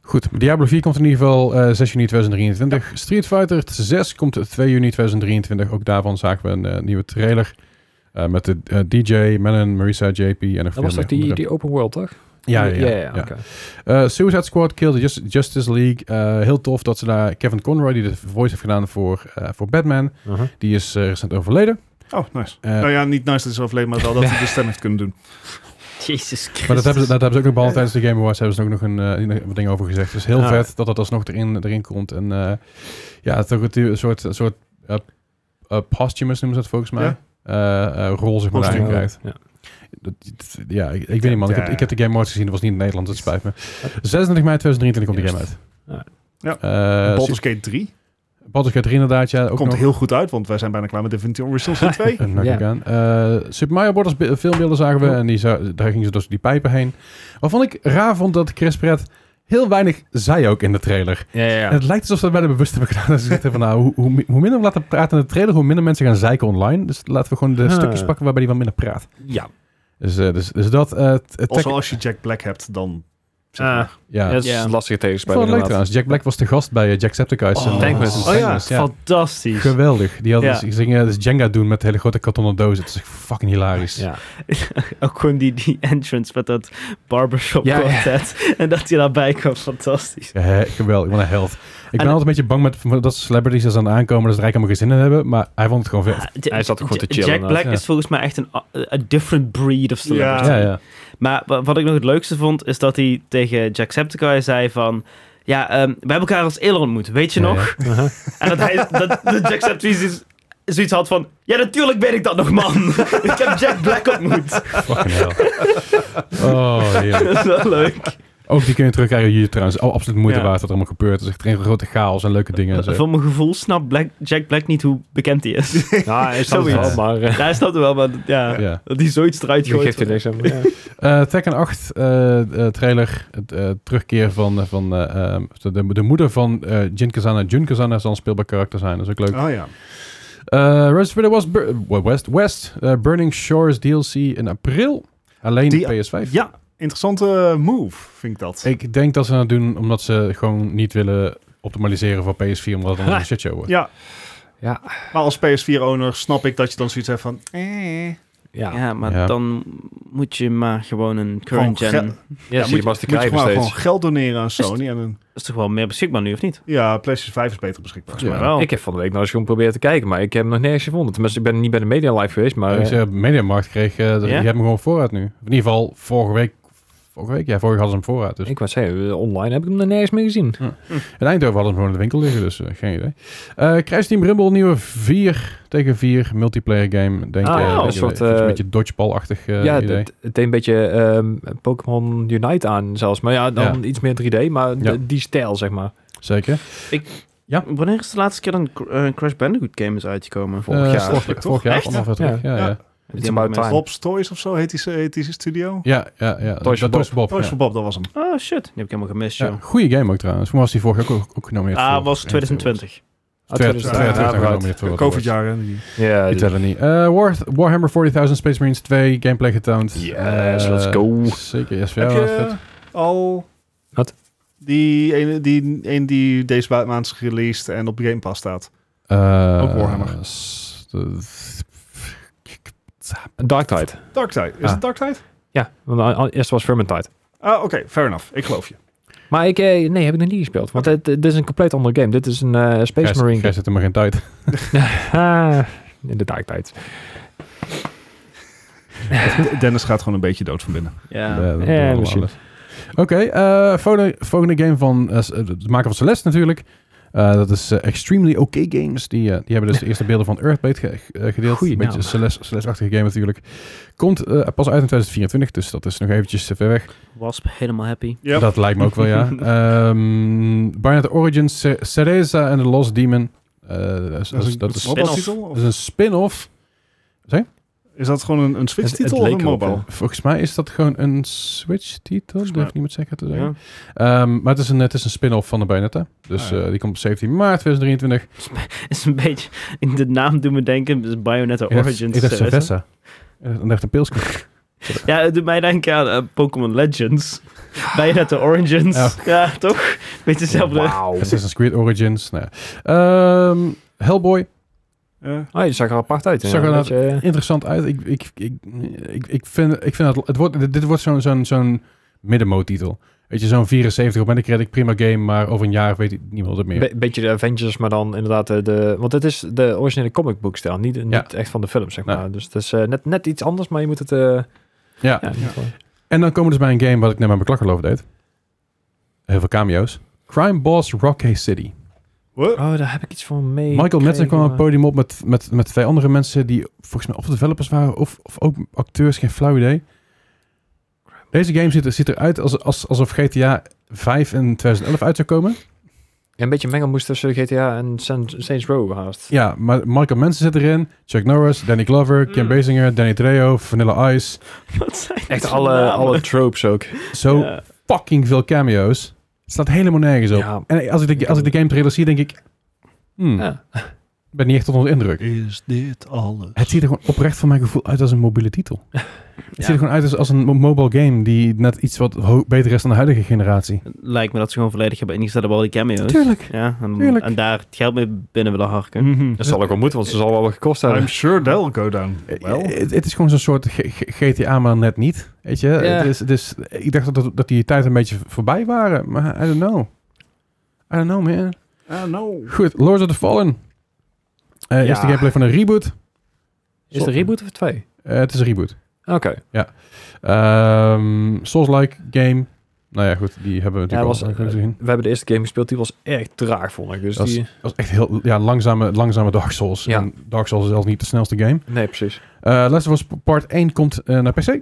Goed, Diablo 4 komt in ieder geval eh 6 juni 2023. Street Fighter 6 komt 2 juni 2023. Ook daarvan zagen we een eh, nieuwe trailer. eh, met de eh, DJ, Menon, Marisa, JP en nog
Dat was
meer
toch die,
andere-
die open world, toch?
Ja, ja, ja. ja.
oké.
Eh, Suicide Squad, Kill the Jus- Justice League. Eh, heel tof dat ze daar Kevin Conroy, die de voice heeft gedaan voor, eh, voor Batman,
Mhm.
die is eh, recent overleden.
Oh, nice.
Eh,
nou ja, niet nice dat hij is overleden, maar wel dat hij de stem heeft kunnen doen.
Jezus Christus.
Maar dat hebben, ze, dat hebben ze ook nog behandeld tijdens de Game Awards. Hebben ze ook nog een, eh, wat dingen over gezegd. Dus heel
Ah.
vet dat dat alsnog erin, erin komt. En eh, ja, het is ook een soort, een soort eh, eh, posthumous noemen ze dat volgens mij.
Ja.
Eh, eh, rol zeg maar daarin krijgt.
Posthumous.
Ja.
Dat- dat- Ja, ik, ik weet niet man. Ik heb, ik heb de Game Awards gezien. Dat was niet in Nederland. Dat spijt me. 26 mei 2023 komt de game uit.
Ja.
Eh,
Baldur's Gate 3
Su- Baldur's Gate 3 inderdaad. Ja, ook
komt
nog.
heel goed uit, want wij zijn bijna klaar met Divinity Original Sin 2.
Eh, nou,
Ja.
kijk aan. Eh, Super Mario Bros. be- filmbeelden zagen we.
Ja.
En die zou- daar gingen ze dus die pijpen heen. Waarvan ik raar vond dat Chris Pratt heel weinig zei ook in de trailer.
Ja, ja,
En het lijkt alsof ze dat bij de bewust hebben gedaan. Dat ze zeggen van nou, hoe, hoe, mi- hoe minder we laten praten in de trailer, hoe minder mensen gaan zeiken online. Dus laten we gewoon de
Ah.
stukjes pakken waarbij hij wat minder praat.
ja.
Dus, eh, dus, dus dat... eh, t- eh,
Also,
tech-
als je Jack Black hebt, dan... zeg
Ah,
maar.
ja.
Dat is
Ja.
een lastige
Ik vond
tegenspeler.
het leuk
inderdaad.
trouwens. Jack Black was te gast bij eh, Jacksepticeye.
Oh.
en, eh,
Tankmas.
Tankmas,
Oh ja,
ja.
fantastisch.
Geweldig. Die hadden,
Ja.
ze gingen dus Jenga doen met hele grote kartonnen dozen. Het is echt fucking hilarisch.
Ja.
Ook gewoon die, die entrance met dat barbershop
Ja, ja.
quartet. En dat hij daarbij kwam, fantastisch.
Ja, hè, geweldig, wat een held. Ik ben
En-
altijd een beetje bang met met dat celebrities er aan aankomen, dat ze er eigenlijk helemaal geen zin in hebben, maar hij vond het gewoon vet.
Ja,
Hij zat ook gewoon te chillen,
Jack Black
ja.
is volgens mij echt een a- a different breed of celebrity.
Ja.
Ja, ja.
Maar wa- wat ik nog het leukste vond, is dat hij tegen Jacksepticeye zei van... Ja, ehm, we hebben elkaar als eerder ontmoet, weet je
Ja,
nog? En dat, hij, dat, dat Jacksepticeye zoiets- zoiets had van... Ja, natuurlijk weet ik dat nog, man. ik heb Jack Black ontmoet.
Fucking hell. Oh, heerlijk.
dat is wel leuk.
Ook die kun je terugkijken op YouTube trouwens. Oh, absoluut moeite
Ja.
waard wat er allemaal gebeurt. Het is echt een grote chaos en leuke dingen en zo.
Voor mijn gevoel snapt Black, Jack Black niet hoe bekend hij is.
Ja, Nou, hij snapt het wel,
Zoiets.
maar eh,
Hij snapt het wel, maar ja,
Ja.
dat hij zoiets eruit
je geeft
gooit.
er niks aan. Ja.
Eh, Tekken 8 eh, eh, trailer. Het eh, terugkeer van, eh, van eh, ehm, de, de moeder van eh, Jin Kazana. Jun Kazana zal een speelbaar karakter zijn. Dat is ook leuk.
Oh ja.
Eh Resident Evil was Bur- West, West eh, Burning Shores DLC in april. Alleen
Die-
PS5.
Ja, interessante move, vind ik dat.
Ik denk dat ze dat doen omdat ze gewoon niet willen optimaliseren voor PS4, omdat het anders een shitshow wordt.
Ja,
Ja.
maar als PS4-owner snap ik dat je dan zoiets hebt van... Eh.
Ja.
Ja, maar
Ja.
dan moet je maar gewoon een current
Gewoon
gen...
ge-
Ja, zie je pas
Moet
te
je
krijgen
gewoon, gewoon
steeds.
geld doneren aan Sony. En een,
is toch wel meer beschikbaar nu, of niet?
ja, PlayStation 5 is beter beschikbaar.
Ja.
wel.
Ik heb van de week nog eens geprobeerd te kijken, maar ik heb hem nog nergens gevonden. Tenminste, ik ben niet bij de media live geweest, maar...
Maar ik
eh,
zeg, Mediamarkt kreeg, eh die
Ja?
hebben hem gewoon vooruit nu. In ieder geval vorige week, vorige week? Ja, vorige hadden ze hem vooruit. Dus.
Ik was zeggen, eh, online heb ik hem nog nergens meer gezien.
In Eindhoven hadden ze hem gewoon in de winkel liggen, dus eh, geen idee. Eh Crash Team Rumble, nieuwe 4 tegen 4 multiplayer game. Denk,
Ah,
eh,
ja,
denk
een
je,
soort,
eh, iets
eh,
een beetje dodgeball-achtig eh,
ja,
idee.
het, het deed een beetje ehm, Pokémon Unite aan zelfs. Maar ja, dan iets meer 3D, maar de-
Ja.
die stijl, zeg maar.
Zeker.
Wanneer is de laatste keer een Cr- eh, Crash Bandicoot game is uitgekomen?
Vorig
Eh,
jaar.
Vorig,
Toch?
vorig jaar,
Echt?
anderhalf jaar terug. Ja, ja.
Ja.
ja.
It's about time.
Bob's Toys of zo heet die, heet die studio.
ja, ja, ja.
Toys for
Dat- Toys for Bob,
Toys
ja.
for Bob, dat was hem.
Oh shit, die heb ik helemaal gemist,
Ja,
joh.
goede game ook trouwens. Toen was die vorig jaar ook, ook, ook genomineerd.
Ah,
voor-
was 2020.
Ah,
Twee- twee jaar terug
Ja,
ja,
nog
vooruit.
genomineerd voor wat awards.
Covid-jaar. hè, die-
Ja,
Die
dus-
tellen niet. Eh, War, Warhammer 40.000 Space Marines 2 gameplay getoond.
Yes,
Eh,
let's go.
Zeker, yes, voor
Heb
jou was
je
het.
al...
Wat?
Die ene die, een die deze maand is released en op Game Pass staat.
Eh,
ook Warhammer.
s- de-
Dark Tide.
Darktide. Is
Ah.
het Darktide?
Ja, want eh, al- al- eerst was Vermintide.
Ah, oké. fair enough. Ik geloof je.
Maar ik, eh, nee, heb ik nog niet gespeeld. Want het- dit is een compleet andere game. Dit is een eh, Space
Gijs-
Marine
Gijs zit er maar geen tijd.
Ah, in de Dark Tide.
Dennis gaat gewoon een beetje dood van binnen.
Ja.
Eh, dat doen we
Eh,
allemaal
misschien.
alles. Oké, eh, volgende, volgende game van eh, s- eh, de maker van Celeste natuurlijk. Eh, dat is eh, Extremely OK Games. Die, eh, die hebben dus de eerste beelden van Earthbait ge- eh, gedeeld.
Goeie
een beetje
naam.
Celeste- Celeste-achtige game natuurlijk. Komt eh, pas uit in 2024, dus dat is nog eventjes te ver weg.
Wasp, helemaal happy.
Ja.
Dat lijkt me ook wel, ja. Ehm Bayonetta Origins, Ce- Cereza en The Lost Demon. Eh, dus dat is- dat is- dat is
Wat was de titel?
dat is een spin-off.
Is dat gewoon een, een
Het- het
Switch-titel of
leek
een
erop,
mobile?
Volgens mij is dat gewoon een Switch-titel.
Volgens
Durf
mij.
ik niet meer zeker te zeggen.
Ja.
Ehm, maar het is een, het is een spin-off van de Bayonetta. Dus
Ah, ja.
eh, die komt op 17 maart 2023.
is een beetje... In de naam doet me denken, dus Bayonetta
Ik dacht-
Origins.
Ik dacht
eh, is het?
Cerveza. Ik dacht- ik dacht een pilsje.
Ja, het doet mij denken aan eh, Pokémon Legends. Bayonetta Origins.
Ja.
Ja, toch? Beetje hetzelfde.
Wauw.
Assassin's Creed Origins. Nou, ja. Ehm, Hellboy.
Ja.
Oh, je zag er apart uit.
Zag er
ja.
nou-
Beetje, eh,
Interessant uit. Ik, ik, ik, ik, ik vind, ik vind dat het wordt, dit- dit wordt zo'n zo'n zo'n middenmoot-titel. Weet je, zo'n 74 op Metacritic, prima game, maar over een jaar weet niemand het meer.
eh, Be- beetje de Avengers, maar dan inderdaad de... de want het is de originele comic book stijl, niet, niet echt van de film, zeg
Nee.
maar. Dus het is eh, net, net iets anders, maar je moet het... eh
ja.
ja, in ieder geval-
En dan komen we dus bij een game wat ik net met mijn klakkerloof deed. Heel veel cameo's. Crime Boss Rocky City.
What?
Oh, daar heb ik iets van mee.
Michael Madsen
gekregen,
kwam op het
maar-
podium op met, met, met twee andere mensen die volgens mij of developers waren of, of ook acteurs, geen flauw idee. Deze game ziet, er- ziet eruit als, als, alsof GTA 5 in 2011 uit zou komen.
Een beetje eh, mengelmoes tussen GTA en San- Saints Row haast.
Ja, maar Michael Madsen zit erin. Chuck Norris, Danny Glover, Kim
Mm.
Basinger, Danny Trejo, Vanilla Ice.
Wat zijn dit
Echt
voor
alle,
namen?
alle tropes ook.
Zo
Ja.
fucking veel cameo's. Het staat helemaal nergens op.
Ja.
En als ik, de, als ik de game trailer zie, denk ik... hmm,
Ja.
ben niet echt onder de indruk.
Is dit alles?
Het ziet er gewoon oprecht van mijn gevoel uit als een mobiele titel. Het ziet er
Ja.
gewoon uit als, als een mo- mobile game die net iets wat ho- beter is dan de huidige generatie.
Lijkt me dat ze gewoon volledig hebben ingezet op al die cameo's.
Tuurlijk.
Ja, en,
Tuurlijk.
en daar het geld mee binnen willen harken.
Dat zal ook wel moeten, want ze zal wel wat gekost hebben.
I'm sure that'll go down.
Eh,
Wel.
Het het is gewoon zo'n soort G- G- GTA, maar net niet. Weet je? Het is, het is, ik dacht dat, dat die tijd een beetje voorbij waren, maar I don't know. I don't know, man.
Ah, no.
Goed, Lords of the Fallen. Eh
Ja.
Eerste gameplay van een reboot.
Is het een reboot of twee?
Eh, het is een reboot.
Oké.
Ehm, Souls-like game. Nou ja, goed, die hebben we
Ja,
natuurlijk
was, eh,
al gezien.
we hebben de eerste game gespeeld, die was echt traag, vond ik. Dus
Dat is-
die...
Dat was echt heel ja, langzame, langzame Dark Souls.
Ja.
En Dark Souls is zelfs niet de snelste game.
Nee, precies.
Eh Last of Us Part 1 komt eh, naar PC.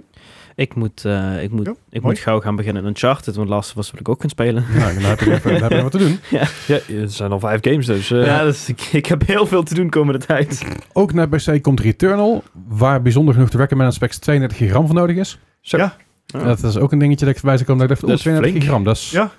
Ik, moet, eh, ik, moet,
Ja,
ik
mooi.
moet gauw gaan beginnen aan Uncharted, want Last of Us wil ik ook kunnen spelen.
Nou, dan heb je even, dan heb je wat te doen.
Ja, er zijn al vijf games dus. eh,
ja, dus ik, ik heb heel veel te doen komende tijd.
Ook naar PC komt Returnal, waar bijzonder genoeg de recommended specs 32 gram voor nodig is.
Zo.
Ja.
Ja.
Dat is ook een dingetje dat ik voorbij zou komen. Dat ik dacht,
Dat
oeh,
is
32
flink.
gram, dat is,
Ja.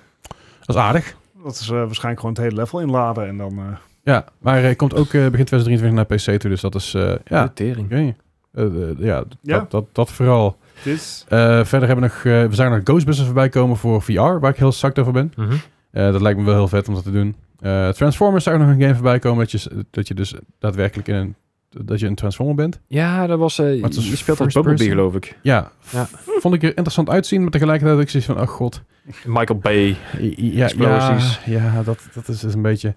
dat is aardig.
Dat is eh, waarschijnlijk gewoon het hele level inladen en dan... eh,
Ja, maar hij komt ook eh, begin 2023 naar PC toe, dus dat is, eh, ja,
de tering.
oké. Eh, eh, ja,
Ja.
Dat, dat, dat vooral.
dit is...
Eh, verder hebben we nog, eh, we zagen nog Ghostbusters voorbij komen voor VR, waar ik heel zakt over ben.
Mhm.
Eh, dat lijkt me wel heel vet om dat te doen. Eh, Transformers zou ook nog een game voorbij komen, dat je, dat je dus daadwerkelijk in een, dat je een Transformer bent.
Ja, dat was... eh,
het is
je speelt
first
als Bumblebee,
person.
geloof ik.
Ja, v-
Ja.
vond ik er interessant uitzien, maar tegelijkertijd ook zoiets van, oh god.
Michael Bay.
I- i- Ja, ja,
Explosies.
ja dat, dat is dus een beetje...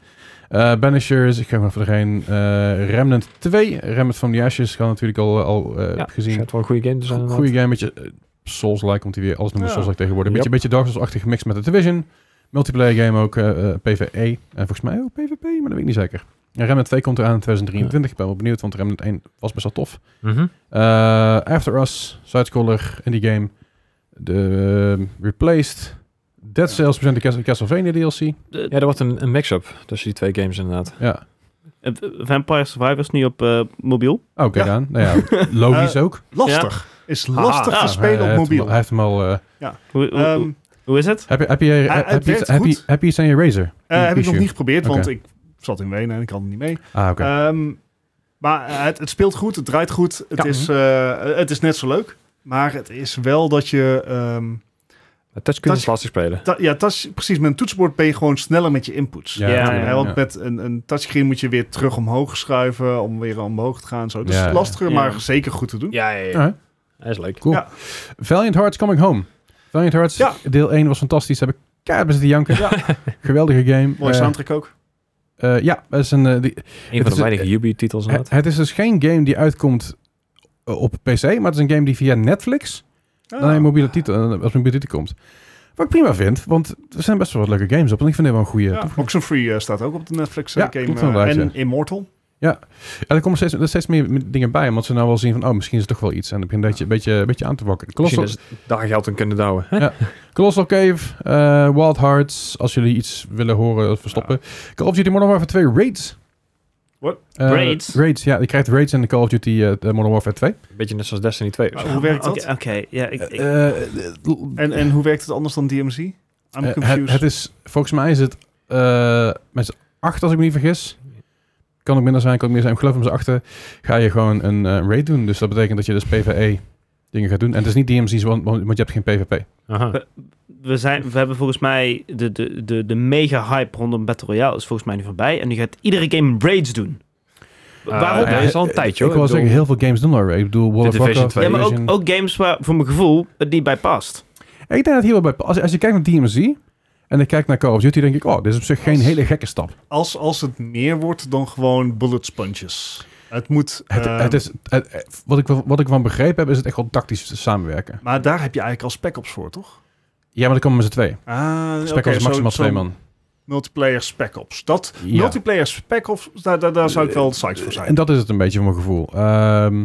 Eh Banishers, ik ga maar voor erheen. Eh Remnant 2, Remnant van the Ashes, gaan natuurlijk al, al eh,
ja,
gezien.
schijnt wel een goede game te zijn.
Go-
inderdaad.
Goeie game, beetje eh, Souls-like, komt hij weer. Alles noemen
Dus Ja.
Souls-like tegenwoordig. Beetje,
Yep.
beetje Dark Souls-achtig gemixt met de Division. Multiplayer game ook, eh, eh, PvE. En volgens mij ook PvP, maar dat weet ik niet zeker. En Remnant 2 komt eraan in 2023. Ik ben wel benieuwd, want Remnant 1 was best wel tof.
Mhm.
Eh, After Us, Sidescroller, indie game. De eh, Replaced. Dead
Ja.
Cells present de Cas- Castlevania DLC.
De-
Ja, er wordt een, een mix-up tussen die twee games inderdaad.
Ja.
eh, Vampire Survivors nu op eh, mobiel.
Oh, kijk
Ja.
aan. Nou ja, logisch ook.
Lastig. Is lastig
Ja,
te spelen
hij heeft
op
hem al-
mobiel.
Hij heeft hem al... eh,
Hoe, hoe,
Ehm,
hoe- hoe is het?
heb je- heb je-
hij
heb je
werkt
heb je-
Eh, goed.
heb je iets aan je Razer?
eh, heb ik nog
issue.
niet geprobeerd, want
Oké.
ik zat in Wenen en ik had het niet mee.
Ah, oké.
Ehm, maar eh, het, het speelt goed, het draait goed. Het,
Ja.
is,
Mhm.
eh, het is net zo leuk. Maar het is wel dat je... ehm,
Maar Touchscreen
Touch-
is lastig spelen.
ta- ja, touch, precies. Met een toetsenbord ben je gewoon sneller met je inputs.
Ja,
Ja,
Ja,
tuurlijk,
ja,
want
ja.
met een, een touchscreen moet je weer terug omhoog schuiven om weer omhoog te gaan. en Zo. Dus
Ja,
het is
ja.
lastiger,
Ja.
maar zeker goed te doen.
Ja, ja,
Alright.
Hij is leuk.
Cool.
Ja.
Valiant Hearts Coming Home. Valiant Hearts,
Ja.
deel 1 was fantastisch. Heb ik keihard bezig te janken.
Ja.
Geweldige game.
Mooie
Eh,
soundtrack ook.
eh, ja, het is een, eh, die-
Een van
is-
de weinige Ubi-titels
het,
inderdaad.
het is dus geen game die uitkomt eh, op PC, maar het is een game die via Netflix
Ah.
dan een mobiele titel, eh, als mobiele titel komt. Wat ik prima vind, want er zijn best wel wat leuke games op. En ik vind dit wel een goede.
Ja, Oxenfree eh, staat ook op de Netflix eh,
Ja,
game.
klopt
eh,
inderdaad,
en
ja.
Immortal.
En er komen steeds, er steeds meer m- dingen bij, omdat ze nou wel zien van, oh, misschien is het toch wel iets. En dan begin je een beetje, een beetje aan te wakkeren.
Misschien
Colossal,
is daar geld aan kunnen douwen. hè?
Colossal Cave, eh, Wild Hearts, als jullie iets willen horen of verstoppen. Call of Duty Modern Warfare 2 Raids.
What?
Eh,
Raids?
Raids, ja. Je krijgt raids in de Call of Duty eh, Modern Warfare 2.
Beetje net zoals Destiny 2. of zo.
Hoe werkt dat?
Oké, oké, ja, ik, ik-
Eh, eh,
En, en hoe werkt het anders dan DMC? I'm
eh, het,
confused.
het is, volgens mij is het eh, met z'n acht, als ik me niet vergis. Kan ook minder zijn, kan ook meer zijn. Ik geloof om z'n achter ga je gewoon een eh, raid doen. Dus dat betekent dat je dus PvE dingen gaat doen. En het is niet DMC's, want, want want je hebt geen PvP.
Aha. Eh,
we, zijn, we hebben volgens mij de, de, de, de mega hype rondom Battle Royale is volgens mij nu voorbij. En nu gaat iedere game raids doen.
Eh,
Waarom?
ja, is al een tijdje,
Ik
hoor.
wil
Ik
zeggen,
bedoel-
heel veel games doen al raid. Ik bedoel, World of
Division
Warcraft,
2.
ja, maar ook,
Division.
ook games waar voor mijn gevoel het niet bij past.
Ik denk dat hier wel bij... Als, als je kijkt naar DMZ en ik kijk naar Call of Duty, denk ik... Oh, dit is op zich geen hele gekke stap.
Als, als het meer wordt dan gewoon bullet sponges. Het moet...
Het,
ehm,
het is, het- het- wat, ik, wat ik van begrepen heb, is het echt wel tactisch samenwerken.
Maar daar heb je eigenlijk al spec ops voor, toch?
Ja, maar dan komen we met z'n twee.
Ah,
Spec als maximaal twee man.
Multiplayer spec ops. Dat,
Ja. Eh,
Multiplayer spec ops, daar, daar, daar zou ik wel psyched voor zijn.
En dat is het een beetje voor mijn gevoel. Ehm,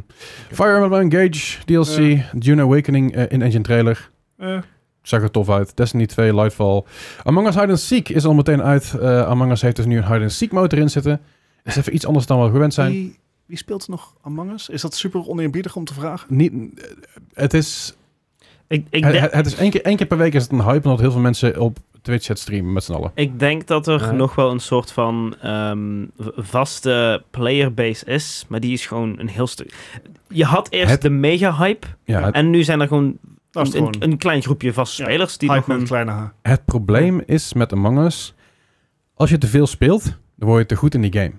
Fire Emblem Engage, DLC, Dune Awakening eh, in-engine trailer.
Eh,
Zag er tof uit. Destiny 2, Lightfall. Among Us Hide and Seek is al meteen uit. Eh, Among Us heeft dus nu een Hide and Seek motor in zitten. Is even iets anders dan wat we gewend zijn.
wie, wie speelt er nog Among Us? Is dat super oneerbiedig om te vragen?
Niet, het is
Ik, ik,
Het-
denk-
het, het is één keer, één keer per week is het een hype omdat heel veel mensen op Twitch het streamen met z'n allen.
ik denk dat er
Ja.
nog wel een soort van ehm, v- vaste playerbase is. Maar die is gewoon een heel stuk. Je had eerst
Het-
de mega hype.
Ja, het,
En nu zijn er gewoon
Nou, is
een,
het gewoon
een, een klein groepje vaste
Ja,
spelers die nog
hype met een
een...
kleine H.
het probleem is met Among Us, als je te veel speelt, dan word je te goed in die game.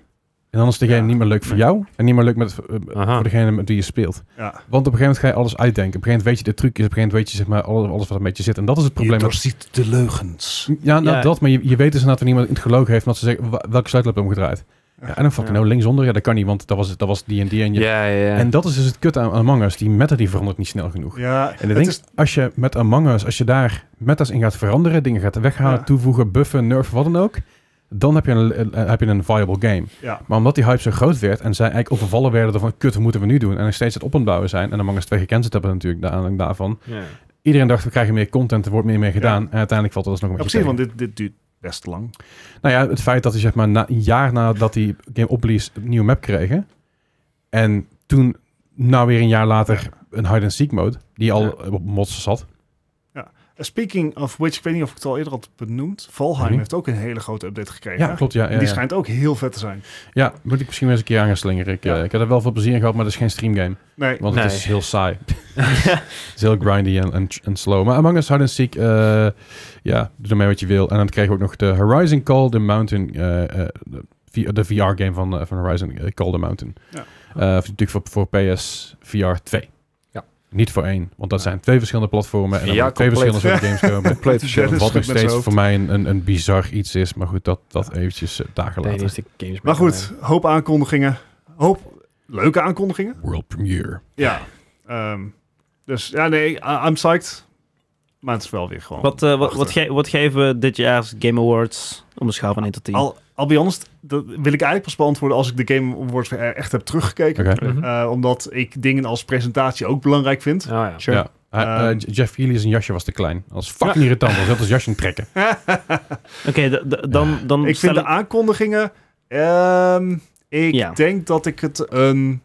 En dan is de game
Ja.
niet meer leuk voor
Nee.
jou en niet meer leuk met, eh,
Aha.
voor degene met wie je speelt.
Ja.
Want op een gegeven moment ga je alles uitdenken. Op een gegeven moment weet je de trucjes, op een gegeven moment weet je zeg maar, alles, alles wat er met je zit. En dat is het probleem.
Je
met-
doorziet de leugens.
Ja, nou
Ja.
dat, maar je, je weet dus inderdaad wanneer iemand in het gelogen heeft, omdat ze zeggen, wa- welke sleutel heb je omgedraaid? Ja, en dan fucking
Ja.
nou linksonder, ja dat kan niet, want dat was het- dat was die en die. En, je,
Ja, ja, ja.
en dat is dus het kut aan aan Among Us, die meta die verandert niet snel genoeg.
Ja,
En
het
ik denk,
is,
als je met Among Us, als je daar metas in gaat veranderen, dingen gaat weghalen,
Ja.
toevoegen, buffen, nerven, wat dan ook, dan heb je, een, eh, heb je een viable game.
ja.
Maar omdat die hype zo groot werd en zij eigenlijk overvallen werden van, kut, wat moeten we nu doen? En nog steeds het op aan het bouwen zijn, en Among Us 2 gecanceld hebben natuurlijk, naar aanleiding daarvan.
Ja.
Iedereen dacht, we krijgen meer content, er wordt meer mee gedaan,
Ja.
en uiteindelijk valt dat dus nog
Ja,
een beetje
precies, want
tegen.
dit, dit duurt best lang.
Nou ja, het feit dat hij zeg maar na, een jaar nadat die game opblies een nieuwe map kregen, en toen, nou weer een jaar later, een hide-and-seek mode, die al
Ja.
op mods zat.
Speaking of which, ik weet niet of ik het al eerder had benoemd. Valheim
Mhm.
heeft ook een hele grote update gekregen.
Ja, klopt, ja. ja,
En die
ja.
schijnt ook heel vet te zijn.
Ja, moet ik misschien wel eens een keer aan gaan slingeren. Ik,
Ja.
eh, ik heb er wel veel plezier in gehad, maar dat is geen streamgame.
Nee,
Want het
Nee.
is heel saai. het is heel grindy en, en, en slow. Maar Among Us Hide and Seek, eh, ja, doe ermee wat je wil. En dan kregen we ook nog de Horizon Call the Mountain, eh, eh, de, VR-game van, eh, van Horizon eh, Call the Mountain.
Ja.
Eh, natuurlijk voor, voor PS VR 2.
Ja.
Niet voor één, want dat
Ja.
zijn twee verschillende platformen en er
Ja,
moeten twee
compleet.
verschillende soorten games komen.
Compleet
verschil.
verschil.
Wat nog
Dennis schudt met zijn
steeds
hoofd.
voor mij een, een, een bizar iets is, maar goed, dat, dat eventjes eh, dagen
Nee,
later.
is de games
Maar goed, hoop aankondigingen. Hoop leuke aankondigingen.
World premiere.
Ja. Ehm, dus ja, nee, I- I'm psyched. Maar het is wel weer gewoon...
Wat, eh, wat, wat,
wachten.
ge- wat geven we dit jaar's Game Awards om een schaal van 1 tot
eh,
10?
Al, al bij honest, dat wil ik eigenlijk pas beantwoorden als ik de Game Awards weer e- echt heb teruggekeken.
Oké.
Eh, omdat ik dingen als presentatie ook belangrijk vind.
ja.
Sure.
Ja. Hij-
Ehm.
eh, Jeff Healy zijn jasje was te klein. Als fucking irritant. Als dat jasje aan het trekken.
Oké, d- d- dan, dan
ik
Hm, stel
vind de aankondigingen... ehm, ik
Ja.
denk dat ik het een...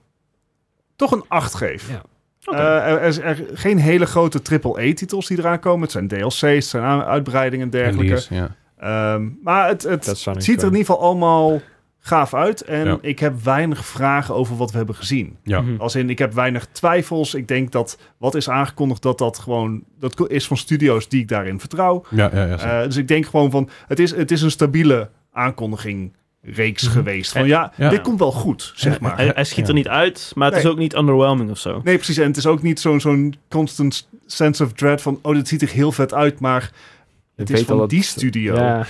Toch een 8 geef.
Ja.
Oké.
Eh, er, er zijn er geen hele grote AAA-titels die eraan komen. Het zijn DLC's, het zijn aan- uitbreidingen en dergelijke.
Release, ja.
Ehm, maar het, het,
Dat zou
het
niet
ziet er in
kunnen.
ieder geval allemaal gaaf uit. En
Ja.
ik heb weinig vragen over wat we hebben gezien.
Ja.
Hm.
Mhm.
Als in, ik heb weinig twijfels. Ik denk dat wat is aangekondigd, dat dat gewoon... Dat ko- is van studio's die ik daarin vertrouw.
Ja, ja, ja. zeker.
Eh, dus ik denk gewoon van... Het is, het is een stabiele aankondiging reeks geweest. Van ja,
Ja.
dit komt wel goed, zeg maar.
hij, hij schiet er
Ja.
niet uit, maar het is
Nee.
ook niet underwhelming of zo.
Nee, precies. En het is ook niet zo'n zo'n constant sense of dread van... Oh, dit ziet er heel vet uit, maar het is van die studio.
Ja,
Eh.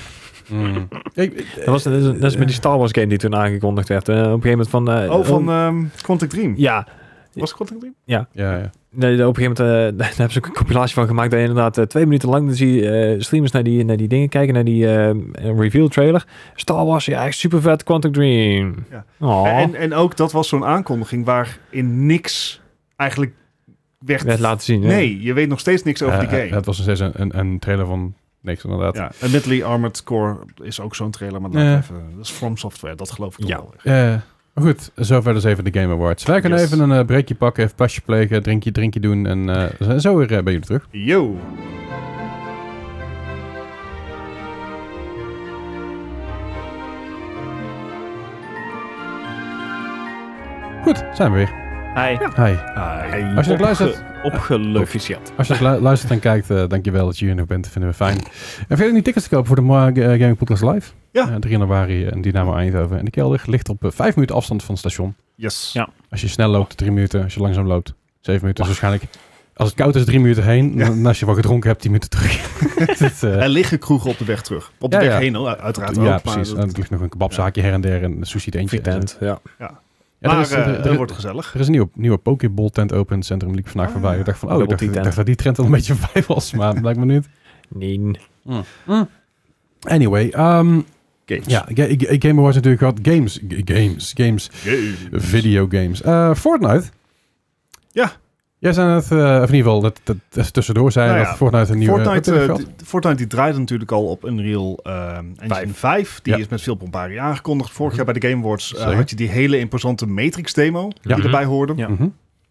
Mm. Ik- ik-
dat was dat is, dat is met die Star Wars game die toen aangekondigd werd. Eh, op een gegeven moment van... eh,
Oh, van ehm Quantic Dream.
ja,
Was het Quantic Dream?
ja, ja.
nee, op een gegeven moment eh, daar hebben ze ook een compilatie van gemaakt. Dat je inderdaad eh, twee minuten lang dan zie je, eh, streamers naar die, naar die dingen kijken, naar die eh, reveal trailer. Star Wars, ja, echt super vet. Quantum Dream.
Ja.
Oh.
En, en ook dat was zo'n aankondiging waarin niks eigenlijk werd...
werd laten zien. ja.
nee, je weet nog steeds niks over
Eh,
die
eh,
game.
het was nog steeds een, een, een trailer van Niks inderdaad.
Ja, Admittedly, Armored Core is ook zo'n trailer, maar laat
Ja.
even, dat is From Software, dat geloof ik toch
Ja.
wel. echt.
Eh, maar goed, zover dus even de Game Awards. Wij gaan
Yes.
even een eh, breakje pakken, even pasje plegen, drinkje, drinkje doen en eh, zo weer eh, bij jullie terug.
Yo!
Goed, zijn we weer.
Hi.
Hi. Als je nog luistert,
Opge- opgelucht.
Proficiat.
Als je het lu- luistert en kijkt, eh, dankjewel dat je hier nog bent. vinden we fijn. En vergeet niet tickets te kopen voor de Moa G- eh, Gaming Podcast Live.
Ja.
Eh, 3 januari in Dynamo Eindhoven. En de kelder ligt op eh, 5 minuten afstand van het station.
Yes.
Ja.
Als je snel loopt, 3 minuten. Als je langzaam loopt, 7 minuten. Dus waarschijnlijk, als het koud is, 3 minuten heen.
Ja.
En als je wat gedronken hebt, 10 minuten terug. Dat, eh,
Er liggen kroegen op de weg terug. Op de
Ja,
weg
ja.
heen, hoor, uiteraard ook.
ja,
maar
precies.
dat-
En er ligt nog een kebabzaakje her en der. En een sushi eentje.
Tent, ja.
Ja, er
maar
is-
eh,
er- er-
het wordt gezellig.
Er is een nieuwe, nieuwe Pokéball tent open in het centrum. Liep vandaag
Ah.
voorbij. Ik dacht van, oh,
Double
ik dacht, ik
tea tent.
dacht dat die trend al een beetje voorbij was. Maar blijkt me niet.
Nee.
Anyway, ehm,
Games.
Ja, ga- ga- Game Awards natuurlijk gehad. Games, g- games, games,
Games.
videogames. Eh, Fortnite.
Ja.
Jij zei net, eh, of in ieder geval, dat, dat, dat tussendoor zei
Nou ja,
dat Fortnite een nieuwe...
Fortnite,
wat
eh,
had.
die- Fortnite die draaide natuurlijk al op Unreal ehm Engine 5. Die
Ja. Mhm.
is met veel pomparie aangekondigd. Vorig jaar bij de Game Awards eh,
Zeker.
had je die hele imposante Matrix demo
Ja.
die erbij hoorde.
Ja.
Mhm.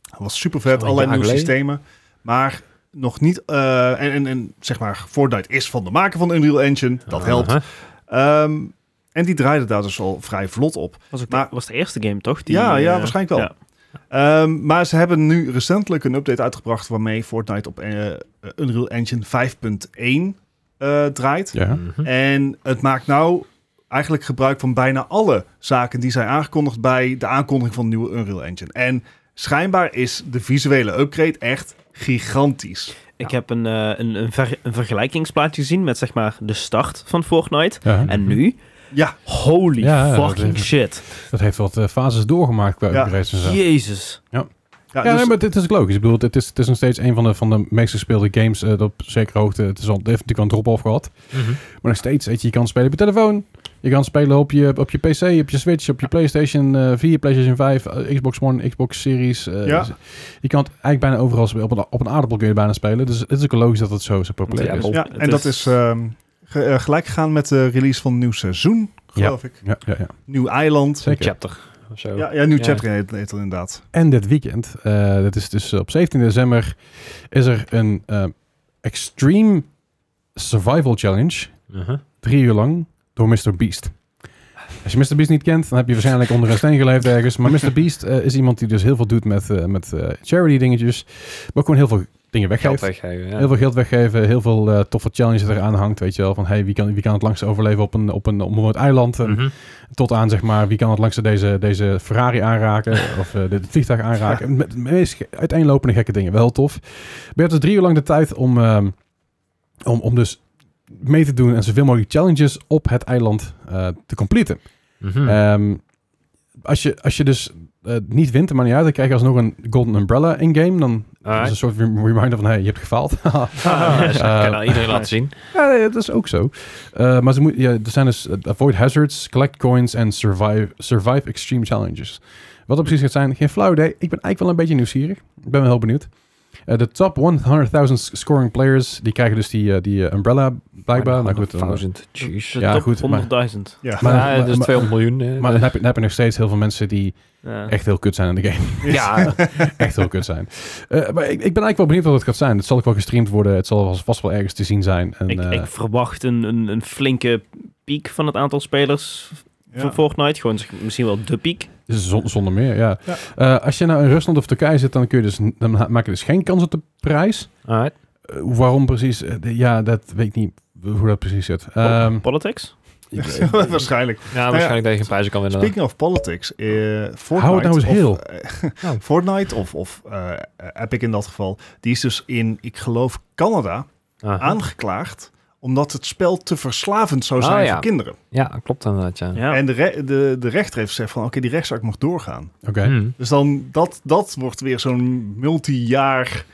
Dat was super
Dat
vet,
is al een
allerlei
jaar
nieuwe
geleden.
systemen. Maar nog niet... eh, en, en, en zeg maar, Fortnite is van de maker van Unreal Engine. Dat helpt.
Aha.
Ehm, en die draaide daar dus al vrij vlot op.
Was, ook
Maar-
de, was de eerste game, toch? Die,
Ja, ja,
eh,
waarschijnlijk wel.
ja.
Ehm, maar ze hebben nu recentelijk een update uitgebracht waarmee Fortnite op eh, Unreal Engine 5.1 eh, draait.
Ja.
Mhm.
En het maakt nou eigenlijk gebruik van bijna alle zaken die zijn aangekondigd bij de aankondiging van de nieuwe Unreal Engine. En schijnbaar is de visuele upgrade echt gigantisch.
Ik heb een, eh, een, een, ver- een vergelijkingsplaatje gezien met zeg maar de start van Fortnite.
Ja,
En nu?
Ja,
Holy
Mhm. Ja, dat
fucking
is-
shit.
dat heeft wat eh, fases doorgemaakt qua
Ja.
upgrades en zo. Ja,
Jezus.
ja,
nee,
dus-
maar dit is ook logisch. Ik bedoel, het is, het is nog steeds een van de, van de meest gespeelde games eh, dat op zekere hoogte. Het is al, het heeft natuurlijk al een drop-off gehad.
Mhm.
Maar nog steeds, weet je, je kan spelen op je telefoon. Je kan spelen op je, op je PC, op je Switch, op je PlayStation eh, 4, PlayStation 5, eh, Xbox One, Xbox Series. eh,
Ja.
Je kan het eigenlijk bijna overal spelen. Op een, op een aardappel kun je bijna spelen. Dus het is ook logisch dat het zo, zo populair
Ja,
is.
bol.
ja,
het
en dat
is-
is ehm, ge- eh, gelijk gegaan met de release van een nieuw seizoen, geloof ik.
Ja, ja, ja.
Nieuw eiland.
Zeker.
Chapter. Of zo.
Ja, ja, nieuw
Ja.
chapter heet, heet het inderdaad.
En dit weekend, eh, dat is dus op 17 december, is er een eh, Extreme Survival Challenge.
Aha.
drie uur lang door Mr. Beast. Als je Mr. Beast niet kent, dan heb je waarschijnlijk onder een steen geleefd ergens. Maar Mr. Beast eh, is iemand die dus heel veel doet met, eh, met eh, charity dingetjes. Maar ook gewoon heel veel dingen
Geld
weggeeft.
weggeven, ja.
Heel veel geld weggeven, heel veel eh, toffe challenges eraan hangt, weet je wel. Van, hey, wie kan, wie kan het langst overleven op een, op een onbewoond eiland? En
Mhm.
Tot aan, zeg maar, wie kan het langst deze, deze Ferrari aanraken? of eh, dit vliegtuig aanraken? Met de meest ge- uiteenlopende gekke dingen. Wel tof. Maar je hebt dus drie uur lang de tijd om, ehm, om, om dus mee te doen en zoveel mogelijk challenges op het eiland eh, te completen.
Mhm.
Ehm, als, je, als je dus eh, niet wint, maar niet uit, dan krijg je alsnog een Golden Umbrella in-game. Dan is het
Alright.
een soort rem- reminder van, hey, je hebt gefaald.
Ah, dat kan aan
eh,
iedereen laten zien.
Ja, nee, dat is ook zo. Eh, maar ze moet, ja, er zijn dus eh, avoid hazards, collect coins en survive, survive extreme challenges. Wat dat precies gaat zijn, geen flauw idee. Ik ben eigenlijk wel een beetje nieuwsgierig. Ik ben wel heel benieuwd. Eh, De top 100.000 scoring players, die krijgen dus die, eh, die eh, umbrella blijkbaar. Nou goed, dan,
100.000. Jeez.
De
Ja,
top
goed, maar-
100.000.
Ja.
Maar-
ja, dat is
maar-
200 miljoen. eh.
maar dan heb, je, dan heb je nog steeds heel veel mensen die
Ja.
echt heel kut zijn in de game.
ja,
echt heel kut zijn. Eh, maar ik, ik ben eigenlijk wel benieuwd wat het gaat zijn. Het zal ook wel gestreamd worden. Het zal vast wel ergens te zien zijn. En,
Ik,
eh,
ik verwacht een, een, een flinke piek van het aantal spelers van Fortnite. Gewoon zeg- misschien wel de piek.
Zon- zonder meer, ja.
Ja.
Eh, als je nou in Rusland of Turkije zit, dan, kun je dus, dan ha- maak je dus geen kans op de prijs.
Alright.
Eh, waarom precies? Eh, de- ja, dat weet ik niet hoe dat precies zit.
Oh.
Ehm,
Politics?
ik-
Waarschijnlijk.
ja, waarschijnlijk dat je geen prijzen kan winnen. dan.
Speaking of politics, eh, Fortnite...
Hou het nou eens
of,
heel. Nou.
eh, Fortnite of, of eh, Epic in dat geval, die is dus in, ik geloof, Canada
Aha.
aangeklaagd omdat het spel te verslavend zou zijn
Oh, ja.
voor kinderen.
Ja, klopt inderdaad, ja.
Ja.
En de, re- de, de rechter heeft gezegd van, oké, die rechtszaak mag doorgaan.
Oké.
Hmm.
Dus dan, dat, dat wordt weer zo'n multijaar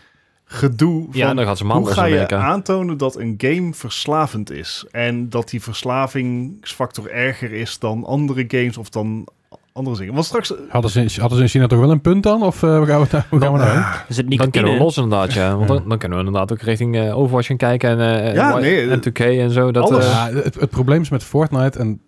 gedoe van...
Ja, dan gaat ze
hoe
maanden
ga je
werken.
aantonen dat een game verslavend is? En dat die verslavingsfactor erger is dan andere games of dan andere zingen. Want straks... eh,
Hadden ze, in- hadden ze in China toch wel een punt dan? Of eh, waar gaan we, daar- hoe gaan we
Ah,
nou heen?
Er zit
Dan kunnen we
nicotine
los inderdaad, ja. Want dan, dan kunnen we inderdaad ook richting eh, Overwatch gaan kijken en, eh
Ja,
en,
nee,
en 2K en zo. Dat,
alles.
eh,
Ja, het, het probleem is met Fortnite en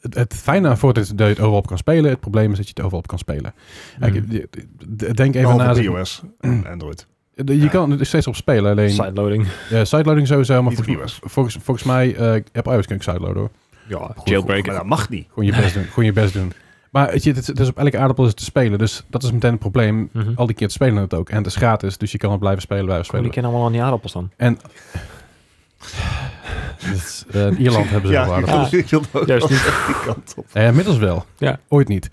het, het fijne aan Fortnite is dat je het overal op kan spelen. Het probleem is dat je het overal op kan spelen. Kijk,
mm,
je- je- Denk even
Behalve
na.
op iOS
Mm.
en Android.
Je kan er steeds op spelen. Alleen
sideloading.
ja, sideloading sowieso. Maar
Niet op
volgens, volgens, volgens mij eh heb iOS kan ik sideloaden hoor.
Ja,
Maar
jailbreaker.
dat mag niet.
Gewoon je best doen. Gewoon je best doen. Maar weet je, het, is- het is op elke aardappel is het te spelen. Dus dat is meteen het probleem.
Mhm.
Al die kids spelen het ook. En het is gratis. Dus je kan het blijven spelen, blijven
Oh, Die
spelen.
kennen allemaal aan die aardappels dan.
Dat is, eh, in Ierland hebben ze
Ja,
wel
ik
aardappels.
wilde- ik wilde ook
Juist
al
niet.
die kant op.
Eh, inmiddels wel.
Ja.
Ooit niet.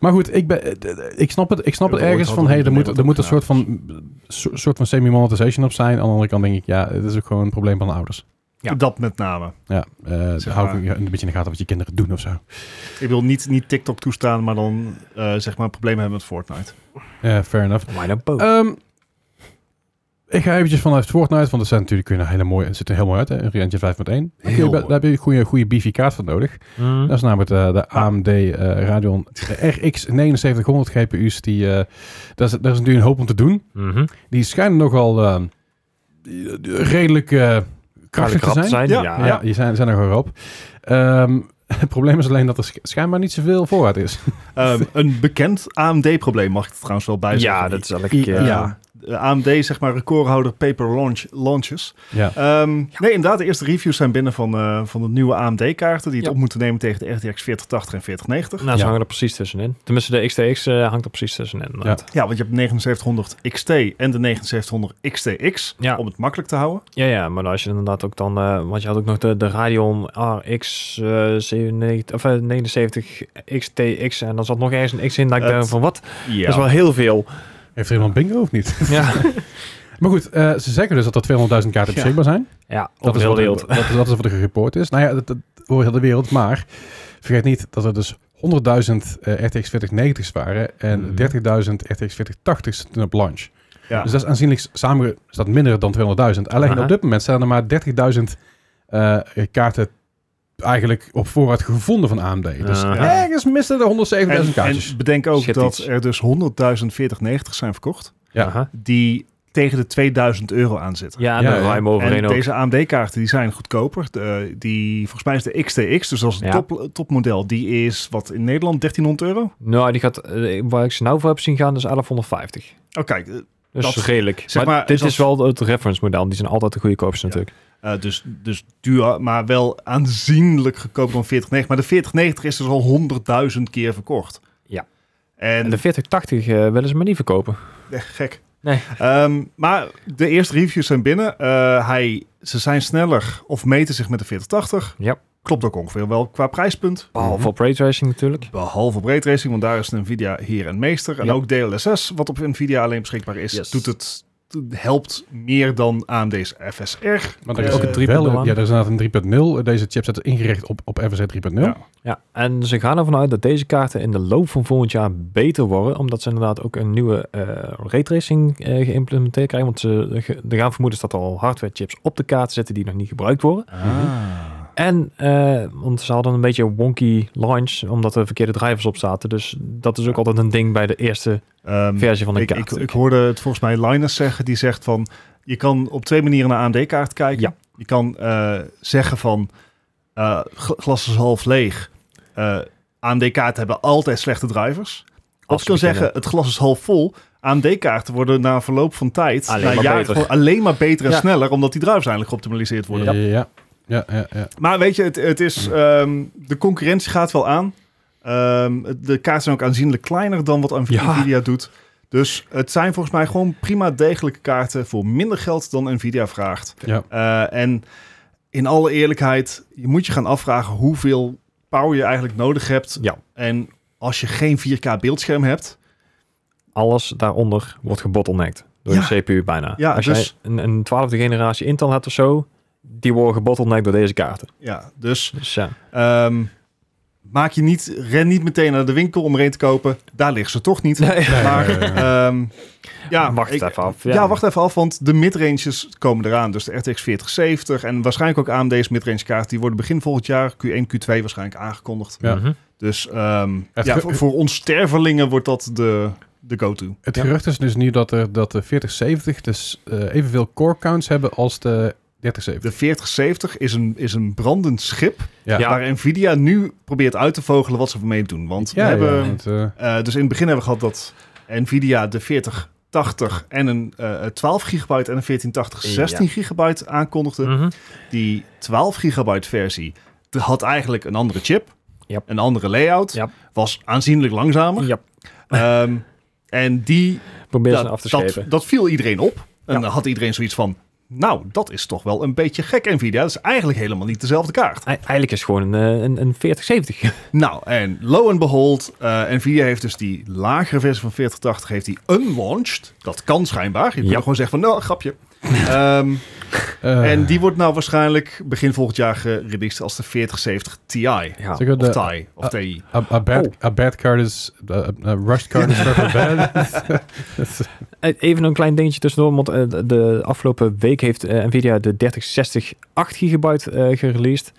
Maar goed, ik, ben, eh, eh, ik snap het, ik snap het
Ooit
ergens
had
van,
het
hey, er
in
moet,
Nederland
er
ook
moet een soort van, so- soort van semi-monetization op zijn. Aan de andere kant denk ik, ja, het is ook gewoon een probleem van de ouders.
Ja.
Dat met name.
Ja, eh
Zeg
hou
maar.
ik een beetje in de gaten wat je kinderen doen of zo.
Ik wil niet, niet TikTok toestaan, maar dan eh, zeg maar problemen hebben met Fortnite.
Ja, Eh, fair enough.
Why not both?
Ehm, ik ga eventjes vanuit Fortnite, want het zijn natuurlijk kun je een hele mooie, het ziet er heel mooi uit, hè, een Reentje 5.1. Daar, kun je,
Heel
bij-
mooi.
daar heb je een goede, goede BV-kaart voor nodig.
Mm.
Dat is namelijk de, de AMD eh, Radeon RX 7900 GPU's. Die, eh, daar, is, daar is natuurlijk een hoop om te doen.
Mhm.
Die schijnen nogal eh, die- die- redelijk eh, krachtig te
Krap
zijn.
zijn.
Ja,
Ja,
Ja,
ja, die zijn, zijn er gewoon op. Ehm, het probleem is alleen dat er sch- schijnbaar niet zoveel voorraad is.
Ehm, een bekend AMD-probleem mag ik er trouwens wel bij zeggen.
Ja, dat is elke keer.
Eh, de AMD, zeg maar, recordhouder paper launch, launches.
Ja.
Ehm, Nee, inderdaad, de eerste reviews zijn binnen van, eh, van de nieuwe AMD-kaarten... die het
Ja.
op moeten nemen tegen de RTX 4080 en 4090.
Nou, ze
Ja.
hangen er precies tussenin. Tenminste, de XTX eh, hangt er precies tussenin. inderdaad.
Ja, want je hebt de 7900 XT en de 7900 XTX,
Ja.
om het makkelijk te houden.
Ja, ja, maar als je inderdaad ook dan... eh, want je had ook nog de, de Radeon RX eh, 97, of, eh, 79 XTX. En dan zat nog ergens een X in. Dat ik
Het-
dacht van, wat?
Ja.
Dat is wel heel veel.
Heeft er iemand bingo of niet?
Ja,
Maar goed, eh, ze zeggen dus dat er 200.000 kaarten
Ja.
beschikbaar zijn.
ja
Dat is,
heel
wat er,
wereld.
dat, is, dat is wat er gereport is. Nou ja, dat, dat over heel de wereld. Maar vergeet niet dat er dus 100.000 eh, RTX 4090's waren en
Mhm.
30.000 RTX 4080's toen op launch.
Ja.
Dus dat is aanzienlijk s- samen is dat minder dan 200.000. Alleen
Aha.
op dit moment zijn er maar 30.000 eh, kaarten eigenlijk op voorraad gevonden van AMD. Dus
Aha.
ergens misten er 107.000
en,
kaartjes.
en bedenk ook
Shit,
dat
iets.
er dus 100.000 4090 zijn verkocht...
Ja.
Aha.
die tegen de 2000 euro aan zitten.
Ja,
Ja,
daar
ja.
ruim overheen
en
ook.
deze AMD-kaarten die zijn goedkoper. De, die, volgens mij is de XTX, dus dat is het
Ja.
top, topmodel, die is wat in Nederland 1300 euro.
Nou, die gaat... eh, waar ik ze nou voor heb zien gaan, is 1150.
Oh, kijk, eh,
Dus
Dat-
redelijk.
zeg
maar,
maar,
dit
dat-
is wel het reference model. Die zijn altijd de goedkoopste
Ja.
natuurlijk.
eh, dus, dus duur, maar wel aanzienlijk goedkoper dan 4090. Maar de 4090 is dus al 100.000 keer verkocht.
Ja.
En,
En de 4080 eh willen ze maar niet verkopen.
eh, gek.
Nee.
Ehm, maar de eerste reviews zijn binnen. Eh, hij, ze zijn sneller of meten zich met de 4080.
Ja.
Klopt ook ongeveer wel qua prijspunt.
Behalve op raytracing natuurlijk.
Behalve op raytracing, want daar is Nvidia hier en meester. En
Ja.
ook DLSS, wat op Nvidia alleen beschikbaar is,
Yes.
doet het helpt meer dan AMD's FSR.
Want
er
er
is
is
ook een
3.0
wel,
aan.
ja, er is inderdaad een 3.0. Deze chipset is ingericht op, op FSR 3.0.
Ja.
Ja, en ze gaan ervan uit dat deze kaarten in de loop van volgend jaar beter worden. Omdat ze inderdaad ook een nieuwe eh raytracing eh, geïmplementeerd krijgen. Want ze ge- er gaan vermoedens dat er al hardware chips op de kaart zitten die nog niet gebruikt worden.
Ah.
En, eh, want ze hadden een beetje een wonky launch, omdat er verkeerde drivers op zaten. Dus dat is ook altijd een ding bij de eerste
Ehm,
versie van een
ik, ik,
kaart.
ik hoorde het volgens mij Linus zeggen, die zegt van, je kan op twee manieren naar AMD-kaart kijken.
Ja.
Je kan eh, zeggen van, eh, gl- glas is half leeg. AMD-kaarten hebben altijd slechte drivers. Of je kan
Absoluut,
zeggen,
ja.
het glas is half vol. AMD-kaarten worden na verloop van tijd,
Alleen
na
maar
jaren,
beter.
gewoon alleen maar beter en
Ja.
sneller, omdat die drivers eindelijk geoptimaliseerd worden.
Ja, ja, ja, ja, ja.
Maar weet je, het, het is, ehm, de concurrentie gaat wel aan. Ehm, het- de kaarten zijn ook aanzienlijk kleiner dan wat Nv-
Ja.
Nvidia doet. Dus het zijn volgens mij gewoon prima degelijke kaarten voor minder geld dan Nvidia vraagt.
ja.
Eh, en in alle eerlijkheid, je moet je gaan afvragen hoeveel power je eigenlijk nodig hebt.
Ja.
En als je geen 4K beeldscherm hebt,
Alles daaronder wordt gebottlenecked door
Ja.
de CPU bijna.
Ja,
Als
dus-
jij een, een 12e generatie Intel hebt of zo, die worden gebottlenecked door deze kaarten.
ja, dus
Dus ja.
Ehm, Maak je niet, ren niet meteen naar de winkel om er een te kopen. Daar liggen ze toch niet.
Nee.
Maar,
nee, nee, nee.
ehm, ja,
wacht
ik-
even af.
Ja. wacht even af, want de midranges komen eraan. Dus de RTX 4070 en waarschijnlijk ook AMD's midrange kaart. Die worden begin volgend jaar, Q1, Q2 waarschijnlijk aangekondigd.
Ja.
Mhm.
Dus ehm,
Echt
ja,
ge-
voor, voor ons stervelingen wordt dat de, de go-to.
Het
Ja.
gerucht is dus nu dat, er, dat de 4070 dus eh, evenveel core counts hebben als de
De
3070.
4070 is een, is een brandend schip
Ja.
Ja.
waar Nvidia nu probeert uit te vogelen wat ze ermee doen. Want we hebben...
want, eh,
Eh, dus in het begin hebben we gehad dat Nvidia de 4080 en een eh, 12 gigabyte en een 1480 16 gigabyte aankondigde.
Mhm.
Die 12 gigabyte versie de- had eigenlijk een andere chip,
Ja.
een andere layout,
Ja.
was aanzienlijk langzamer.
Ja,
Ehm, en die,
probeer ze af
dat,
te
dat,
schepen.
dat viel iedereen op. En
Ja.
dan had iedereen zoiets van, nou, dat is toch wel een beetje gek Nvidia. Dat is eigenlijk helemaal niet dezelfde kaart.
E- Eigenlijk is het gewoon een, eh, een, een 4070.
Nou, en lo and behold, eh, Nvidia heeft dus die lagere versie van 4080 heeft die unlaunched. Dat kan schijnbaar. Je
Ja.
kan er gewoon zeggen van, nou, grapje. Ehm,
eh,
en die wordt nou waarschijnlijk begin volgend jaar gereleased als de 4070 Ti.
Ja.
zeggen we
Of
eh,
Oh.
de-
Ti, of TI.
A, a bad, a bad card is... A, a rushed card is forever bad.
Eh, Even een klein dingetje tussendoor, want eh, de- de afgelopen week heeft eh, Nvidia de 3060 8 gigabyte eh gereleased.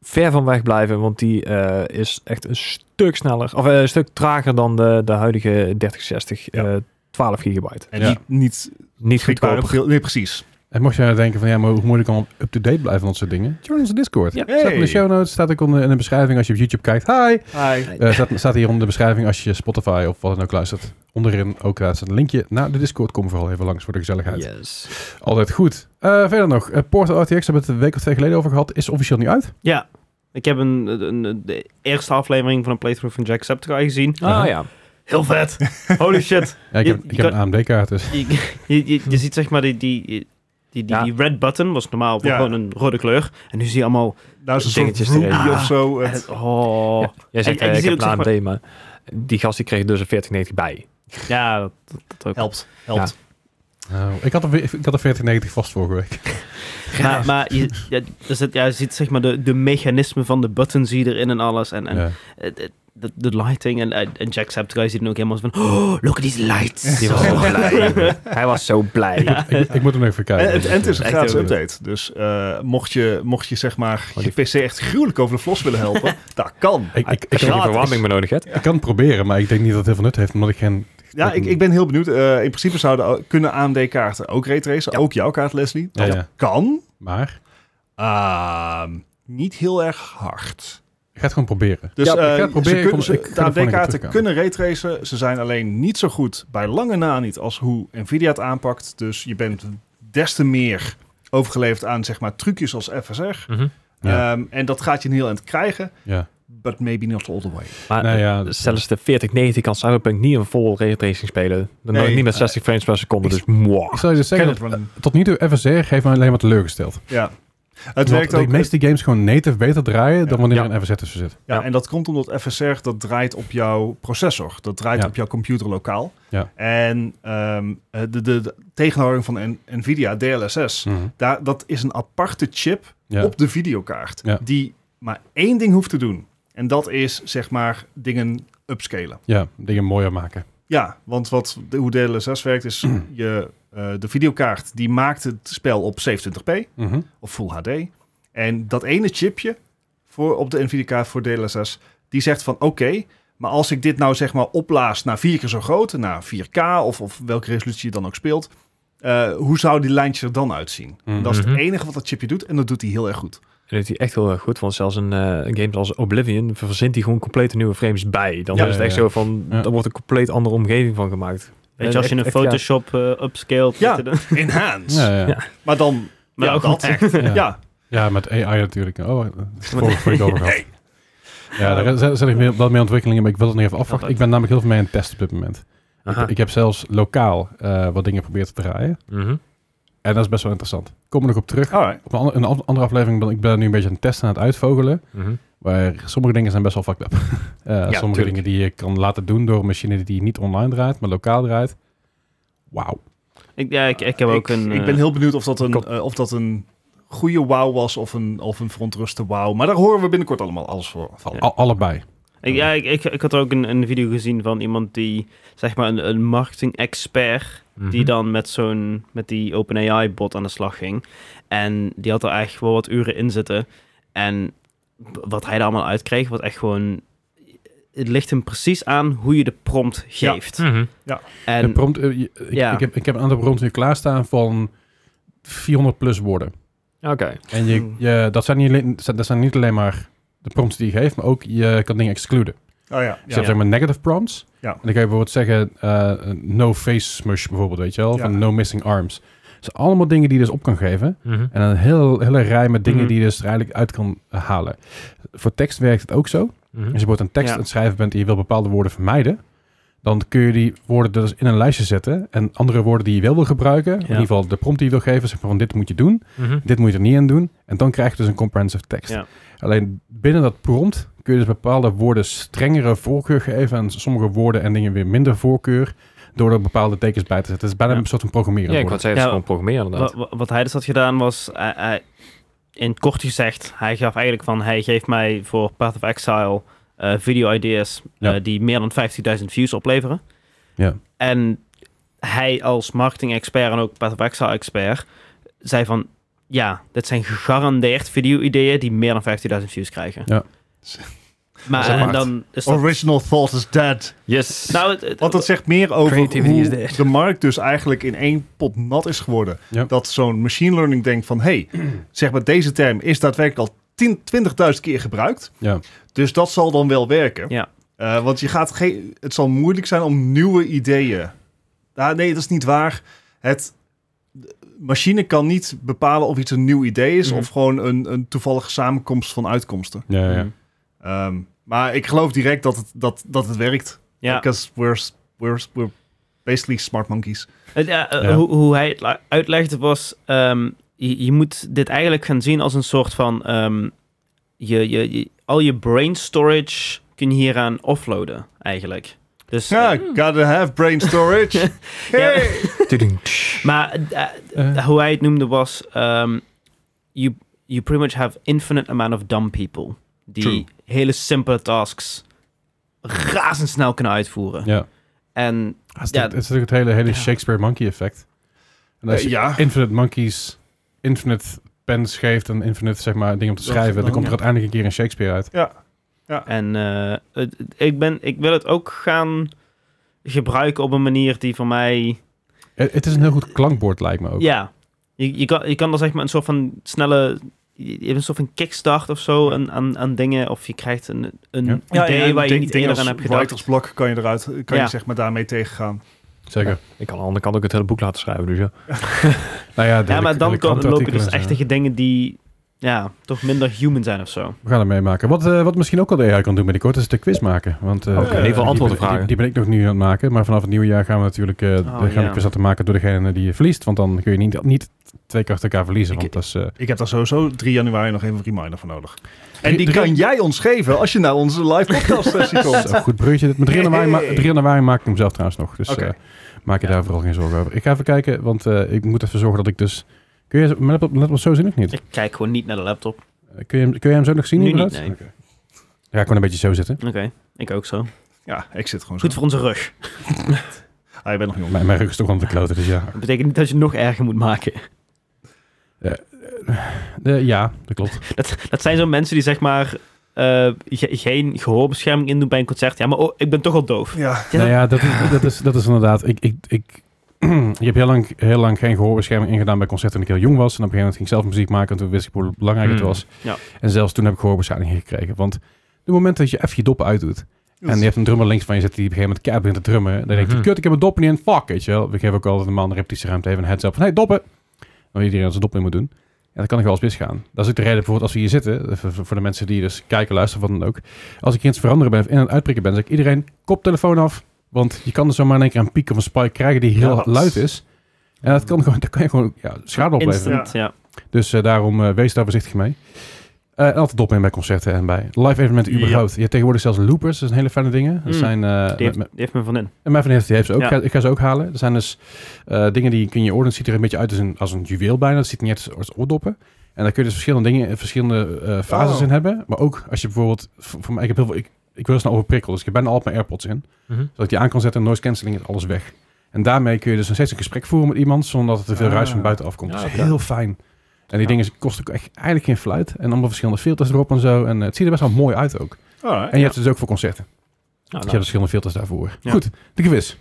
Ver van weg blijven, want die eh, is echt een stuk sneller, of eh, een stuk trager dan de, de huidige 3060 eh 12 gigabyte.
En
Ja.
niet, niet
Niet
beschikbaar.
goedkoop.
op- Nee, precies.
En mocht je nou denken van ja, maar hoe moeilijk kan up-to-date blijven van dat soort dingen? Join onze Discord.
Ja.
Staat in de show notes, staat ook onder in de beschrijving als je op YouTube kijkt. Hi!
Hi.
Eh, staat, staat hier onder de beschrijving als je Spotify of wat dan ook luistert. Onderin ook daar staat een linkje naar de Discord. Kom vooral even langs voor de gezelligheid.
Yes.
Altijd goed. Eh, verder nog, eh, Portal RTX, daar hebben we het een week of twee geleden over gehad, is officieel niet uit.
Ja, ik heb een, een, een- de eerste aflevering van een playthrough van Jacksepticeye gezien.
Ah ja.
Heel vet. Holy shit.
Ja, ik
Je-
heb,
je
ik heb
kan-
een AMD-kaart, dus
Je, je, je, je ziet zeg maar die, die, die, die, die
Ja.
red button was normaal
Ja.
gewoon een rode kleur. En nu zie je allemaal...
Nou is een soort
Dingetjes erin.
groepie of zo. Het-
eh, Oh.
Ja. Jij zegt,
En- en
eh, ik
je ziet
heb een
ook,
AMD, maar die gast die kreeg dus een 4090 bij.
Ja, dat, dat, dat ook.
Helpt. Helpt.
nou,
Oh.
ik, had een, ik had een 4090 vast vorige week.
Maar, maar je, ja, dus het, ja, je ziet zeg maar de, de mechanismen van de button zie je erin en alles. En, en
Ja.
het- het- de, de lighting en, en en Jacksepticeye ziet er ook helemaal zo van... Oh, look at these lights.
Die was zo blij. Hij was zo blij.
Ja.
Ik, ik moet hem even
En,
kijken.
Eh, het, en het is een
Echt
gratis
heel
update. Dus eh, mocht, je, mocht je zeg maar je PC echt gruwelijk over de vlos willen helpen, dat kan.
Ik, ik, ik,
Als
kan,
je die
Gratis.
verwarming maar nodig hebt.
ik kan het proberen, maar ik denk niet dat het heel veel nut heeft, omdat ik geen...
Ja, ik, ik ben heel benieuwd. Eh, in principe zouden o- kunnen AMD-kaarten ook raytracen. Ook jouw kaart, Leslie.
Ja,
Dat
ja.
kan.
Maar,
Ehm, niet heel erg hard.
ik ga het gewoon proberen.
Dus
Ja, ik
eh,
ga het proberen. Ik
ze kunnen,
kom-
ze-
ik ga
de
er volgende keer
AMD-kaarten
terugkomen.
kunnen raytracen. Ze zijn alleen niet zo goed, bij lange na niet, als hoe Nvidia het aanpakt. Dus je bent des te meer overgeleverd aan zeg maar trucjes als FSR.
Mhm.
Ja.
Ehm, en dat gaat je niet heel eind krijgen.
Ja.
But maybe not all the way.
Maar
Nou ja,
Dus
dat-
Zelfs de 4090 kan Cyberpunk niet in vol raytracing spelen. Dan
Nee.
niet met 60 frames per seconde, dus moi.
ik zal je dus zeggen, dat,
Can it run?
tot nu toe FSR heeft me alleen maar teleurgesteld.
Ja. Het
Want
werkt ook.
de meeste games gewoon native beter draaien dan wanneer
Ja.
er een FSR tussen zit.
Ja,
Ja.
en dat komt omdat FSR dat draait op jouw processor. Dat draait
Ja.
op jouw computer lokaal.
Ja.
En ehm, eh, de, de, de tegenhouding van N- NVIDIA, DLSS,
Hm.
daar, dat is een aparte chip
Ja.
Mhm. op de videokaart.
Ja.
Die maar één ding hoeft te doen. En dat is zeg maar dingen upscalen.
ja, dingen mooier maken.
Ja, want wat, de- hoe DLSS werkt is, je, eh, de videokaart die maakt het spel op 27p
Mhm.
of Full HD. En dat ene chipje voor, op de NVIDIA voor DLSS, die zegt van oké, maar als ik dit nou zeg maar opblaas naar vier keer zo groot, naar 4K of, of welke resolutie je dan ook speelt, eh, hoe zou die lijntjes er dan uitzien?
Mhm.
Dat is het
Mhm.
enige wat dat chipje doet en dat doet hij heel erg goed.
En dat is echt heel erg goed, want zelfs een eh, game als Oblivion verzint hij gewoon compleet nieuwe frames bij. Dan
Ja,
is het echt
ja, ja.
zo van,
Ja.
er wordt een compleet andere omgeving van gemaakt.
Weet je, als je
Echt-
een
echt, ja.
Photoshop eh, upscaled...
Ja.
weet je dan-
Enhance.
Ja, ja.
Ja.
Maar dan,
Maar
ja,
ook
dat.
goed echt.
Ja.
Ja,
Ja, met AI natuurlijk. Oh, eh, voor, voor ik over gehad. Ja, daar zijn, zijn er meer, wel meer ontwikkelingen, maar ik wil het nog even afwachten. Ik ben namelijk heel veel mee aan het testen op dit moment.
Aha.
Ik heb zelfs lokaal eh, wat dingen geprobeerd te draaien.
Mhm.
En dat is best wel interessant. Kom er nog op terug.
alright.
Op een ander- in een andere aflevering ben ik ben nu een beetje aan het testen, aan het uitvogelen.
Mhm.
Maar sommige dingen zijn best wel fucked up. Eh, sommige
tuurlijk.
dingen die je kan laten doen door een machine die niet online draait, maar lokaal draait. Wauw.
Ik, ja, ik, ik heb ook een...
ik
eh,
ben heel benieuwd of dat een, eh, of dat een goede wow was of een, of een verontruste wow. Maar daar horen we binnenkort allemaal alles voor, van.
Al- allebei.
Ik, ja, ik, ik, ik had ook een, een video gezien van iemand die, zeg maar, een, een marketing-expert,
Mhm.
die
Mhm.
dan met zo'n, met die OpenAI-bot aan de slag ging. En die had er eigenlijk wel wat uren in zitten. En wat hij er allemaal uitkreeg, was echt gewoon, het ligt hem precies aan hoe je de prompt
Ja. Hm.
geeft.
Mhm.
En
En,
prompt, eh, je- ik,
Ja.
ik, heb, ik heb een aantal prompts hier klaarstaan van 400 plus woorden.
Oké.
En je, je, dat, zijn niet, alleen- dat zijn niet alleen maar de prompts die je geeft, maar ook je kan dingen excluden.
Oh ja.
Dus
ja.
je hebt zeg maar negative prompts.
Ja.
En dan kan je bijvoorbeeld zeggen eh, no face smush bijvoorbeeld, weet je wel.
Ja.
Van no missing arms. Dat zijn allemaal dingen die je dus op kan geven.
Mhm.
En een heel, hele rij met dingen
Mhm.
die je dus er eigenlijk uit kan eh, halen. Voor tekst werkt het ook zo. Als je
Mhm.
bijvoorbeeld een tekst
Ja.
aan het schrijven bent en je wil bepaalde woorden vermijden. Dan kun je die woorden dus in een lijstje zetten. En andere woorden die je wel wil gebruiken. In ieder geval de prompt die je wil geven. Zeg maar van dit moet je doen.
Mhm.
Dit moet je er niet in doen. En dan krijg je dus een comprehensive tekst.
Ja.
Alleen binnen dat prompt kun je dus bepaalde woorden strengere voorkeur geven. En sommige woorden en dingen weer minder voorkeur. Door er bepaalde tekens bij te zetten. Het is bijna
Ja.
een soort van programmeren.
Ja, ik
worden.
wou zeggen, het is
Ja,
gewoon programmeren
Wa-
inderdaad.
wa- Wat, hij dus had gedaan was, hij- hij- in kort gezegd, hij gaf eigenlijk van, hij geeft mij voor Path of Exile eh, video ideas
Ja.
eh, die meer dan 15.000 views opleveren.
Ja.
En hij als marketing expert en ook Path of Exile expert zei van, ja, dit zijn gegarandeerd video ideeën die meer dan 15.000 views krijgen.
Ja.
Maar
Dat is
en
apart.
dan is dat...
Original thought is dead.
Yes.
Nou, het- het-
Want dat zegt meer over
Creativity is
hoe
dead.
de markt dus eigenlijk in één pot nat is geworden.
Ja.
Dat zo'n machine learning denkt van... hey, zeg maar deze term is daadwerkelijk al 10, 20.000 keer gebruikt.
Ja.
Dus dat zal dan wel werken.
Ja.
Eh, want je gaat geen, het zal moeilijk zijn om nieuwe ideeën... Ah, nee, dat is niet waar. Het de machine kan niet bepalen of iets een nieuw idee is...
Mhm.
of gewoon een, een toevallige samenkomst van uitkomsten.
Ja,
Mm.
ja.
Ehm, maar ik geloof direct dat het, dat, dat het werkt.
ja.
Because we're, s- we're, s- we're basically smart monkeys.
Het, ja, eh,
Ja.
Hoe, hoe hij het la- uitlegde was, ehm, je, je moet dit eigenlijk gaan zien als een soort van, ehm, je, je, je- al je brain storage kun je hieraan offloaden eigenlijk. Dus, eh,
Ja, Ah, gotta have brain storage. Hey!
Tudum.
maar eh,
Eh,
hoe hij het noemde was, ehm, you, you pretty much have infinite amount of dumb people die
True.
hele simpele tasks razendsnel kunnen uitvoeren.
ja.
En
Dat is
Ja.
natuurlijk- dat is natuurlijk het hele, hele
Ja.
Shakespeare monkey effect. En als
Eh,
je
ja,
infinite monkeys, infinite pens geeft en infinite zeg maar dingen om te
Dat is
schrijven,
het
dan,
dan,
komt
ja.
er uiteindelijk een keer een Shakespeare uit.
En eh, het- het- ik, ben, ik wil het ook gaan gebruiken op een manier die voor mij...
Het, Eh, het is een heel goed klankbord lijkt me ook.
Ja, je, je, kan, je kan er zeg maar een soort van snelle... Je je hebt een soort van kickstart of zo aan, aan, aan dingen. Of je krijgt een, een
Ja.
ja,
idee
ja,
waar je
ding-
niet
dingen
eerder
als
aan hebt gedacht.
Writers block kan je eruit, kan
Ja.
je zeg maar daarmee tegengaan.
Zeker.
Ik kan aan de andere kant ook het hele boek laten schrijven, dus ja.
Nou ja, de
Ja, maar
hele- hele
dan kan, loop je
krantenartikelen
dus
en zo.
echt tegen dingen die ja, toch minder human zijn of zo.
We gaan het meemaken. Wat, eh, wat misschien ook al de AI kan doen binnenkort, is de quiz maken. Want, eh,
Oké, in ieder geval
die
antwoorden
ben- die-
vragen.
Die, ben ik nog nu aan het maken. Maar vanaf het nieuwe jaar gaan we natuurlijk eh we gaan
ja.
de quiz laten maken door degene die je verliest. Want dan kun je niet, niet twee keer achter elkaar verliezen.
Ik-
want dat is, eh,
Ik heb daar sowieso 3 januari nog even een reminder voor nodig. En die
drie-
kan jij ons geven als je naar onze live podcast sessie komt.
Zo, goed bruggetje. dit. Maar 3 januari, ma- 3 januari maak ik hem zelf trouwens nog. Dus
Oké.
eh, maak je daar vooral geen zorgen over. Ik ga even kijken, want eh, ik moet even zorgen dat ik dus... Kun je mijn laptop, mijn laptop zo zien of niet?
Ik kijk gewoon niet naar de laptop.
Eh, Kun je, hem- kun je hem zo nog zien?
Nu
inderdaad?
niet, nee.
Oké. Dan ga ik gewoon een beetje zo zitten.
Oké, ik ook zo.
Ja, ik zit gewoon zo.
Goed voor onze rug.
Ah, je bent nog jong.
Mijn, mijn rug is toch aan de kloten, dus ja.
Dat betekent niet dat je het nog erger moet maken.
Eh, ja, dat klopt.
Dat, dat zijn zo mensen die zeg maar eh, ge- geen gehoorbescherming in doen bij een concert. Ja, maar oh, ik ben toch al doof.
Ja,
Ja.
Nou ja, dat is, dat is, dat is inderdaad... Ik, ik, ik, je hebt heel lang, heel lang geen gehoorbescherming ingedaan bij concerten toen ik heel jong was. En op een gegeven moment ging ik zelf muziek maken. En toen wist ik hoe belangrijk het
Hmm.
was.
Ja.
En zelfs toen heb ik gehoorbeschadiging gekregen. Want op het moment dat je even je dop uitdoet... En je hebt een drummer links van je zitten die op een gegeven moment keihard begint te drummen. Dan denk je,
Mhm.
kut, ik heb mijn dop niet in. Fuck, weet je wel. We geven ook altijd een man een repetitieruimte even een heads-up van, hey, doppen. Dan iedereen dat zijn dop in moet doen. En dat kan nog wel eens misgaan. Dat is ook de reden bijvoorbeeld als we hier zitten, eh, voor- voor voor de mensen die dus kijken, luisteren, wat dan ook. Als ik iets veranderen ben of in aan het uitprikken ben, zeg ik iedereen, koptelefoon af. Want je kan er zomaar in één keer een piek of een spike krijgen die heel
Ja, dat-
luid is. En dat kan gewoon, daar kan je gewoon ja, schade opleveren.
Instant, ja.
Dus eh, daarom eh, wees daar voorzichtig mee. Eh, en altijd dop in bij concerten en bij live evenementen
Ja.
überhaupt. Je hebt tegenwoordig zelfs loopers, dat zijn hele fijne dingen. Dat
Mm.
zijn, eh,
Die, heeft,
me-
die heeft me van in.
en mijn vriendin heeft, die heeft ze ook.
Ja.
Ik ga- ik ga ze ook halen. Er zijn dus eh, dingen die kun je oren. Het ziet er een beetje uit als een, als een juweel bijna. Het ziet niet uit als oordoppen. En daar kun je dus verschillende dingen, eh, verschillende eh, fases
Oh.
in hebben. Maar ook als je bijvoorbeeld, voor, voor mij, ik heb heel veel, ik, ik wil er snel over prikkelen, dus ik heb bijna altijd mijn AirPods in.
Mhm.
Zodat ik die aan kan zetten en noise cancelling is alles weg. En daarmee kun je dus nog steeds een gesprek voeren met iemand zonder dat er te veel
Ah.
ruis van buiten afkomt.
Ja,
dat is
oké.
heel fijn. En die
Ja.
dingen is- kosten ook echt eigenlijk geen fluit. En allemaal verschillende filters erop en zo. En eh, het ziet er best wel mooi uit ook.
Alright.
En je hebt het dus ook voor concerten.
Ja,
Dus
nou,
je hebt verschillende filters daarvoor.
Ja.
Goed, de quiz.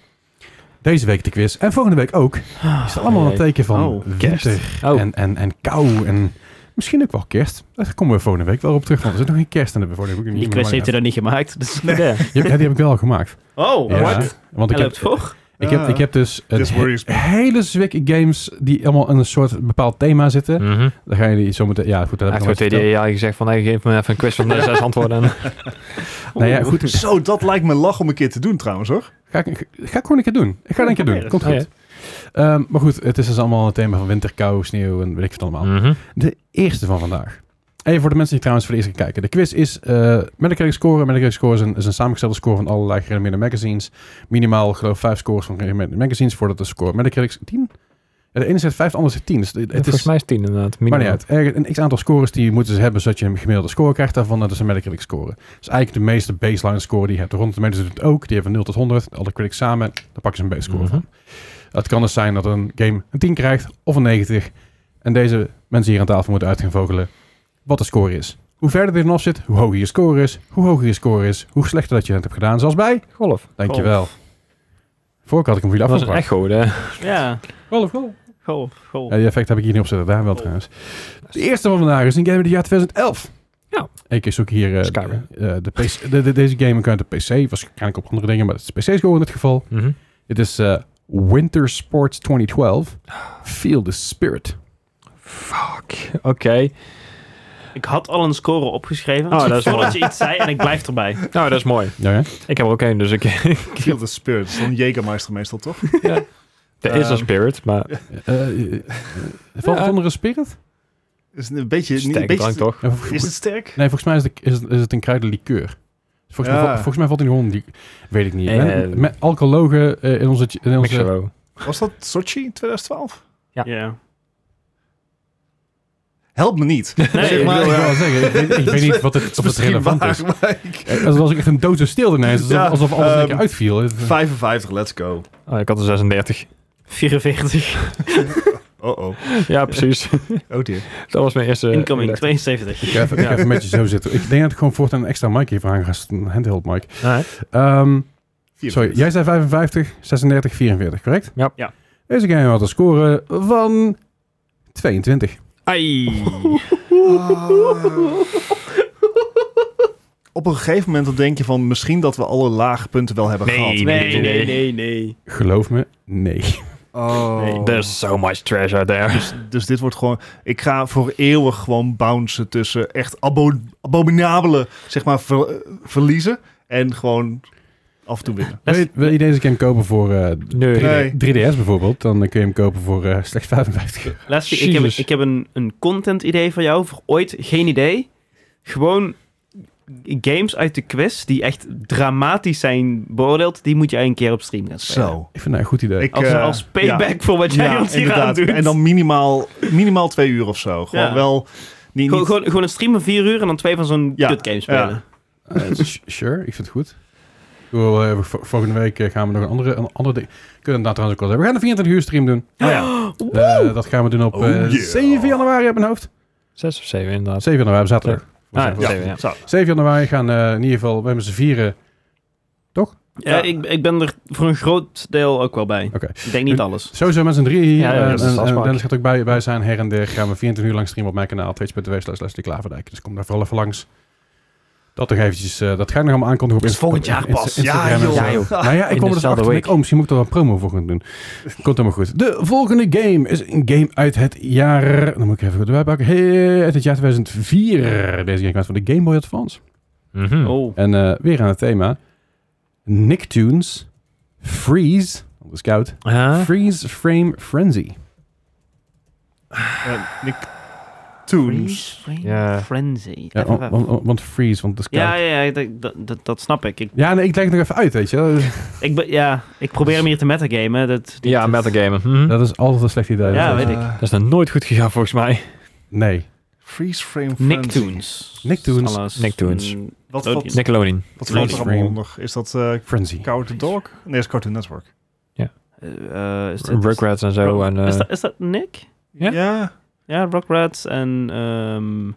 Deze week de quiz. En volgende week ook.
Ah,
Is er allemaal een
jee.
teken van
Oh, kerst.
winter
Oh.
en, en, en kou en misschien ook wel kerst. Daar komen we volgende week wel op terug, want er zit nog geen kerst in de bevoordeling.
Die quiz heeft hij dan niet gemaakt. Dus.
Ja.
Ja, die heb ik wel gemaakt.
Oh,
Ja,
what?
Want ik
Hij
heb,
loopt voor.
ik, heb, ik heb dus
Eh,
een
This
he-
worries me.
hele zwik games die allemaal in een soort bepaald thema zitten.
Mhm.
Dan ga je die zo meteen... Ja, goed, dat
Hij
heb
heeft
ik nog
gewoon tegen
nooit
die AI gezegd van, hey, geef me even een quiz van eh, zes antwoorden. En,
verteld. Nou ja, goed.
Zo, dat lijkt me lach om een keer te doen trouwens hoor.
Ga ik, ga ik gewoon een keer doen. Ik ga het een keer doen. Komt
Oh, ja.
goed. Ehm, maar goed, het is dus allemaal een thema van winter, kou, sneeuw en weet ik het allemaal.
Mhm.
De eerste van vandaag. Even voor de mensen die trouwens voor de eerste keer kijken. De quiz is eh Metacritic score. Metacritic score is een, is een samengestelde score van allerlei gerenommeerde magazines. Minimaal geloof ik vijf scores van gerenommeerde magazines voordat de score Metacritic 10. Ja, de ene zet vijf, de andere zet tien. Dus het, het
Volgens
is
mij is tien inderdaad.
maar niet
minimaal.
uit. Er, een x aantal scores die moeten ze hebben zodat je een gemiddelde score krijgt daarvan. Dat is een Metacritic score. Dat is eigenlijk de meeste baseline score die je hebt. De Rotten Tomatoes doet het ook. Die hebben van 0 tot 100. Alle critics samen. Daar pakken ze een base score
Mhm.
van. Het kan dus zijn dat een game een 10 krijgt of een 90. En deze mensen hier aan tafel moeten uit gaan vogelen wat de score is. Hoe verder er vanaf zit, hoe hoger je score is. Hoe hoger je score is, hoe slechter dat je het hebt gedaan. Zoals bij,
Golf.
dankjewel. Vorige had ik hem voor
Dat
jullie
was een
afgebracht.
echo. De...
Ja,
Golf, golf.
goh, goh.
Ja, die effect heb ik hier niet op zitten. Daar wel trouwens. De eerste van vandaag is een game uit het jaar 2011.
Ja.
Ik zoek hier eh,
Skyrim.
eh, de PC, de, de- deze game kan uit de PC. Waarschijnlijk op andere dingen, maar het is PC score in dit geval.
Mhm.
Het is eh, Winter Sports 2012. Feel the Spirit.
Fuck. Oké.
Ik had al een score opgeschreven.
Oh, dat is
voordat
mooi.
je iets zei en ik blijf erbij.
Nou, dat is mooi.
Ja, hè?
Ik heb er ook één, dus ik...
Kill the Spirit. Dat is dan Jägermeister meestal toch?
Er is een
Ehm,
spirit, maar
Eh, eh, eh, valt het onder een spirit?
Is een beetje, niet, een
sterk drank
beetje
toch?
Ja, vol-
Is het sterk?
Nee, volgens mij is het, is het, is het een kruidenlikeur. Volgens, mij,
Ja.
val- volgens mij valt hij gewoon die. Weet ik niet.
Eh,
Men- men- alcohologen eh, in onze. In onze
Mixero.
Was dat Sochi 2012?
Ja.
Ja.
Help me niet.
Nee,
ik
Zeg maar,
wil
ja.
wel zeggen, ik weet, ik weet niet wat het,
Dat
of
is
het relevant
waar,
is.
maar ik-
Eh, Dat was ook echt een doodse stilte ineens. Alsof,
Ja,
alsof alles in één
ehm,
keer uitviel. Het-
55, let's go.
Oh, ik had er 36.
44.
Oh oh.
Ja, precies.
Oh dear.
dat was mijn
Eh,
eerste...
Incoming,
inleg.
72.
Ik ga even, ik ga even een beetje zo zitten. Ik denk dat ik gewoon voortaan een extra mic hiervoor aan ga zetten, Een handheld mic.
Ah, hè?
Ehm, sorry,
44.
jij zei 55, 36, 44, correct?
Ja.
Ja.
Deze game had een score van 22.
Ai.
Ah. Op een gegeven moment dan denk je van misschien dat we alle lage punten wel hebben
Nee,
gehad.
Nee,
nee, nee,
nee, nee, nee.
Geloof me, nee.
Oh.
Nee,
There's so much treasure there.
Dus, dus dit wordt gewoon... Ik ga voor eeuwig gewoon bouncen tussen echt abo- abominabele, zeg maar, ver- verliezen. En gewoon af en toe winnen.
Wil je, wil je deze game kopen voor eh,
Nee.
3D
Nee.
3DS bijvoorbeeld? Dan kun je hem kopen voor eh, slechts 55. euro.
Leslie, ik heb,
Jezus.
ik heb een, een content idee van jou. Voor ooit, geen idee. Gewoon games uit de quiz die echt dramatisch zijn beoordeeld. Die moet jij een keer op stream gaan spelen.
Zo.
Ik vind dat een goed idee.
Ik,
Als,
eh,
als payback
ja.
voor wat jij
Ja,
ons hier aan doet.
En dan minimaal, minimaal twee uur of zo. Gewoon
Ja.
wel... Niet,
gewoon,
niet,
gewoon, gewoon een stream van vier uur en dan twee van zo'n
Ja,
kutgame spelen.
Eh,
ja.
s- sure, ik vind het goed. Ik bedoel, eh, vo- volgende week eh, gaan we nog een andere, een andere ding. Kunnen we daar trouwens ook wel hebben. We gaan een 24 uur stream doen.
Oh ja.
Eh, dat gaan we doen op
Oh,
eh,
yeah.
7 januari op mijn hoofd.
Zes of zeven inderdaad.
7 januari, zaterdag.
Ah, ja.
Ja.
Zo.
7 januari gaan eh, in ieder geval, we hebben z'n vieren.
Ja, ik, ik ben er voor een groot deel ook wel bij.
Oké.
Ik denk niet alles.
Sowieso met z'n drieën hier.
Ja, ja,
Eh,
dat is
en, en
afspraak.
Dennis gaat ook bij, bij zijn her en der. Gaan we 24 uur lang streamen op mijn kanaal. Twitch.tv slash Leslie Klaverdijk. Dus kom daar vooral even langs. Dat nog eventjes. eh, dat ga ik nog allemaal aankondigen op
Dat is
Insta-
volgend jaar
Insta-
pas.
Instagram
Ja,
en
joh.
zo.
Ja, joh.
Nou ja, ik
In
kom er dus
dezelfde
achter. en
week.
ik, Oh, misschien moet ik er wel promo voor gaan doen. Komt helemaal goed. De volgende game is een game uit het jaar... Dan moet ik even goed erbij pakken. Hey, uit het jaar 2004. Deze game kwam van de Game Boy Advance.
Mhm.
Oh.
En eh, weer aan het thema. Nicktoons. Freeze. Dat is koud.
Huh?
Freeze Frame Frenzy.
Ja, Nick Toons.
Ja.
Frenzy.
Ja, want, want- want freeze, want het is
Ja,
koud. Ja,
ja, ja, dat- dat, dat, dat snap ik. Ik,
nee, ik leg het nog even uit, weet je. Dat is,
ik, ben- ja, ik probeer hem hier te metagamen. Dat, dit-
Ja,
dit-
metagamen. Mhm.
dat is altijd een slecht idee.
Ja,
Eh,
Dat is-
weet ik.
Dat is nog nooit goed gegaan volgens mij.
Nee.
Freeze Frame Frenzy.
Nicktoons.
Nicktoons.
Alles.
Nicktoons.
Mm,
Wat
Oh,
valt
die-
Nickelodeon.
wat valt er
Freeze
allemaal
Frame.
onder? Is dat eh
Frenzy.
Coward the Dog? Nee, dat is Cartoon Network.
eh, eh,
Dus
is dit-
Rugrats en zo. En, eh,
is, dat, is dat Nick?
Ja?
ja.
Ja, Rugrats en... ehm,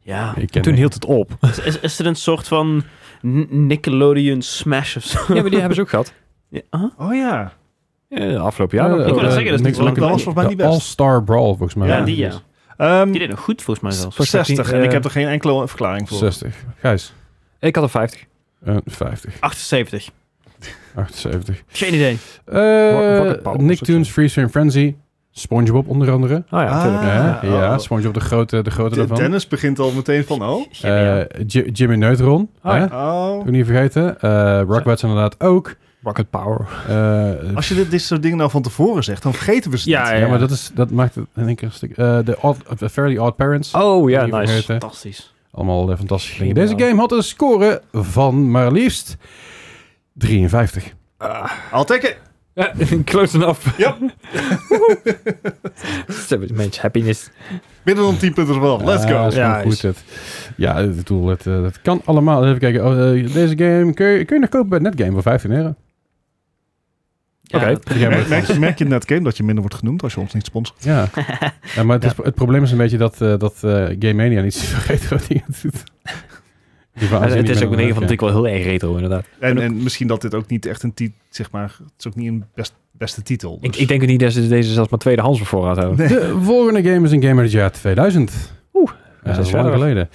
ja.
Ik ken
toen
die.
hield het op.
Is, is, is er een soort van N- Nickelodeon Smash of zo?
ja, maar die hebben ze ook gehad.
Ja, ah. huh?
Oh ja.
Ja, afgelopen jaar.
Ja,
nog.
ik wou
eh,
net zeggen, dat is niet zo
Nickelodeon.
lang
Dat was volgens mij niet
De
best.
All-Star Brawl, volgens mij.
Ja, die ja.
dus.
Ehm,
Die deed nog goed volgens mij zelfs.
voor 60. En
Eh,
ik heb er geen enkele verklaring voor.
60. Gijs.
Ik had er 50.
eh, 50.
78.
78.
Geen idee.
Wat- wat een
Eh
pauw,
Nicktoons,
succes.
Freeze Frame Frenzy. Spongebob onder andere.
Oh ja,
Ah.
natuurlijk.
Ja,
Ah,
ja,
oh.
Spongebob de grote, de grote
De-
daarvan.
Dennis begint al meteen van, oh.
Geniaal.
Eh, Ji- Jimmy Neutron.
Ah,
hè?
ja.
oh.
Ook niet vergeten. Eh Rugrats inderdaad ook.
Rocket Power.
Eh,
Als je dit, dit soort dingen nou van tevoren zegt, dan vergeten we ze
Ja,
niet.
ja, maar dat, is, dat maakt het in één keer een stuk... eh, De Odd- The Fairly Odd Parents.
Oh ja,
Niet
nice.
vergeten.
Fantastisch.
Allemaal eh, fantastische dingen.
Geniaal.
Deze game had een score van maar liefst 53.
I'll take it.
Ah. Ja, Close enough.
Ja.
Savage Mage Happiness.
Binnen dan 10 punten ervan. Let's
Ja,
go.
is gewoon
Oh, Ja,
goed,
is-
het. ja ik bedoel, het, eh, dat kan allemaal. Even kijken. Oh, eh, deze game kun je, kun je nog kopen bij Netgame voor 15 euro.
Ja,
Oké.
dat-
Die game-
Merk, merk je- merk je net game dat je minder wordt genoemd als je ons niet sponsort?
Ja. ja, maar het, is- het probleem is een beetje dat, eh, dat eh, Game Mania niet vergeet wat hij doet. Die van-
Ja, het
die
is
ben
ook in
dan
ieder geval natuurlijk wel heel erg retro, inderdaad.
En, en misschien dat dit ook niet echt een titel, zeg maar, het is ook niet een best, beste titel.
Ik,
dus-
ik denk ook niet dat ze deze zelfs maar tweedehands op voorraad houden.
Nee.
De volgende game is een game uit het jaar 2000.
Oeh,
Ja, dat
dat
is
is
lang
verder.
geleden.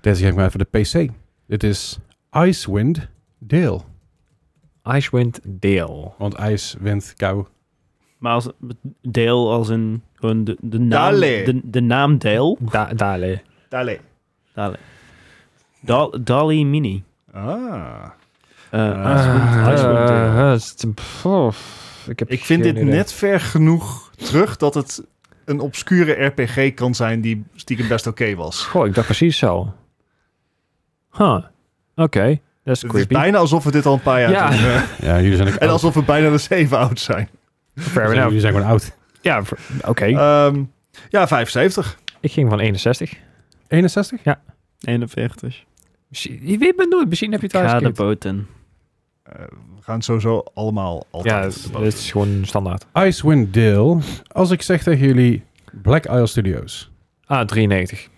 Deze game maar voor de PC. Dit is Icewind Dale.
Icewind Dale.
Want ijs, wind, kou.
Maar als deel als in gewoon de, de naam.
Dale.
De, de naam Dale.
Da Dale.
Dale.
Dale. Dal, Dali Mini.
Ah.
Eh,
Ah.
Icewind- Icewind Dale.
Eh, eh, st- pff, ik, heb
Ik vind
geen
dit
idee.
net ver genoeg terug dat het een obscure RPG kan zijn die stiekem best oké was.
Goh, ik dacht precies zo. Huh. Oké. Dat is
Dus
Het is
creepy.
bijna alsof we dit al een paar jaar
Ja.
doen. eh.
Ja, jullie zijn ook
En
oud.
alsof we bijna de 7 oud zijn.
Fair enough.
Jullie zijn gewoon oud.
Ja, ver- oké.
Eh,
Ehm, ja, 75.
ik ging van 61.
61?
41.
Misschien- Je weet maar nooit. Misschien heb je
Ik
het thuis
ga de
gekeken.
boot in.
Eh, we gaan sowieso allemaal
Ja, dus-
altijd.
dat is gewoon standaard.
Icewind Dale. Als ik zeg tegen jullie Black Isle Studios.
Ah, 93.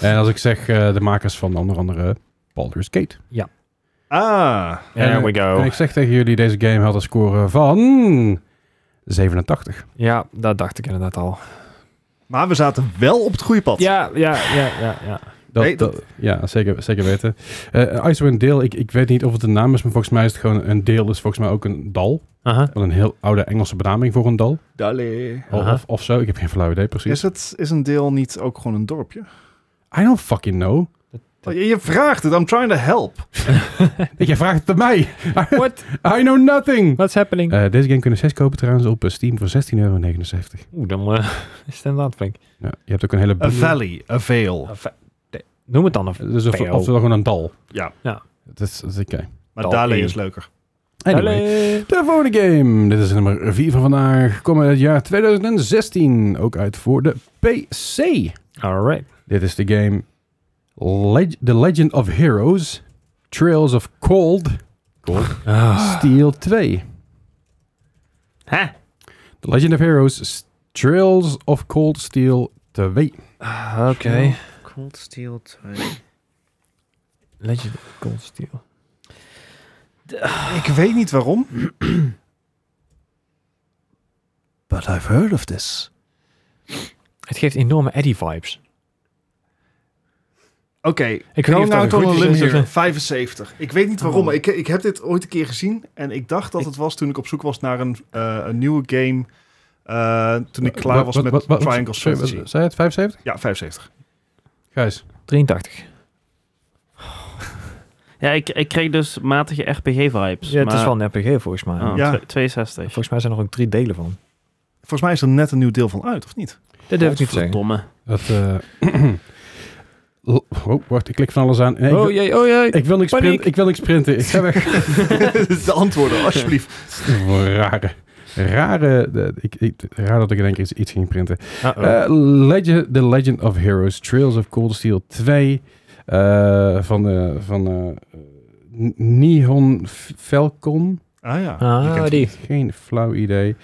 En als ik zeg eh, de makers van onder andere Baldur's Gate.
Ah,
En-
Eh,
There we
En
go.
ik zeg tegen jullie, deze game had een score van 87.
Ja, dat dacht ik inderdaad al.
maar we zaten wel op het goede pad.
Ja, ja, ja, ja. ja.
Dat,
Nee, dat-
dat- ja, zeker, zeker weten. Eh Icewind Dale, ik, ik weet niet of het een naam is, maar volgens mij is het gewoon een deel. is volgens mij ook een dal.
Aha.
Wel Een heel oude Engelse benaming voor een dal.
Dale.
Of-
Aha.
Of, of zo, ik heb geen flauw idee
Is,
precies.
het, is een deel niet ook gewoon een dorpje?
I don't fucking know.
Oh, je, je vraagt het, I'm trying to help.
Jij vraagt het aan mij.
What?
I know nothing.
What's happening?
Eh, deze game kunnen 6 kopen trouwens op eh, Steam voor 16,79 euro.
Oeh, dan eh, is het inderdaad flink.
Oh.
Nou,
Ja, je hebt ook een hele...
A
bundel.
valley, a veil.
Noem het dan. Of...
Dus of,
Veel.
of gewoon een dal.
Ja.
Ja.
Dat is, dat is oké.
Maar
Dal
Dale
één.
is leuker.
Anyway. De volgende game. Dit is nummer 4 van vandaag. Komt uit het jaar 2016. Ook uit voor de PC.
Alright.
Dit is de game Leg- The Legend of Heroes Trails of Cold,
Ah.
Ah. Steel 2.
Hè?
The Legend of Heroes S- Trails of Cold Steel 2.
Ah, Oké.
Cold Steel 2.
Legend of Cold Steel.
Ik weet niet waarom. But I've heard of this.
Het geeft enorme Eddie vibes.
Oké,
Ik weet
Going
niet of
out
dat een
on a
goed
limb
is.
here,
of-
75. Ik weet niet waarom,
Oh.
maar ik, ik heb dit ooit een keer gezien. En ik dacht dat
Ik-
het was toen ik op zoek was naar een, eh, een nieuwe game. eh, toen ik klaar
Wat-
was
wat-
met
wat- wat-
Triangle
sorry, wat-
Strategy.
Zei het 75?
Ja, 75.
Gijs.
83.
Ja, ik, ik kreeg dus matige RPG-vibes.
Ja, het is
maar-
wel een RPG volgens mij.
Oh,
Ja.
twe- 62.
Volgens mij zijn er nog ook drie delen van.
Volgens mij is er net een nieuw deel van uit, of niet?
Dat durf ik niet te zeggen.
Verdomme.
Dat, eh, oh, wacht, ik klik van alles aan. Nee, ik, wil,
Oh jee, oh jee.
ik, wil niks
paniek.
printen, ik wil niks printen. Ik ga weg.
de antwoorden, alsjeblieft.
Rare. Rare, de- ik, ik, raar dat ik in één keer iets, iets ging printen.
Uh-oh.
Eh, Legend, The Legend of Heroes, Trails of Cold Steel 2 eh, van, eh, van eh, N- Nihon F- Falcon.
Ah ja. Je
ah,
kent-
die.
Geen flauw idee.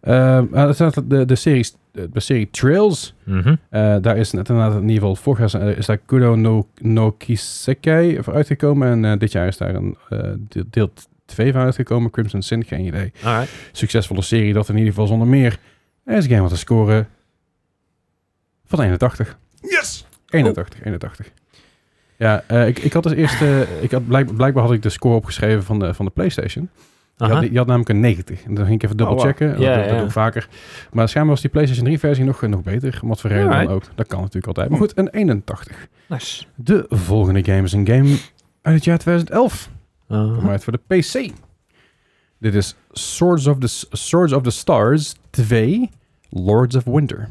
Ehm, ah, er staat de, de, serie, de serie Trails.
Mhm.
eh, daar is net inderdaad in ieder geval vorig jaar eh, is daar Kudo no, no Kisekai voor uitgekomen. En eh, dit jaar is daar een eh, de- deel 2 van uitgekomen. Crimson Sin, geen idee.
Alright.
Succesvolle serie, dat in ieder geval zonder meer. Er is een game wat te scoren van 81.
Yes!
81, 81. Ja, eh, ik, ik had als eerste... Ik had, blijk- blijkbaar had ik de score opgeschreven van de, van de PlayStation. Je
Aha.
had, je had namelijk een 90. En dan ging ik even dubbel
Oh, wauw.
checken.
Ja,
dat, dat
ja.
doe ik vaker. Maar schijnbaar was die PlayStation 3 versie nog, nog beter. Om wat voor reden dan
Alright.
ook. Dat kan natuurlijk altijd. Maar goed, een 81.
Nice.
De volgende game is een game uit het jaar 2011.
Aha.
Gemaakt voor de PC. Dit is Swords of the, S- Swords of the Stars 2 Lords of Winter.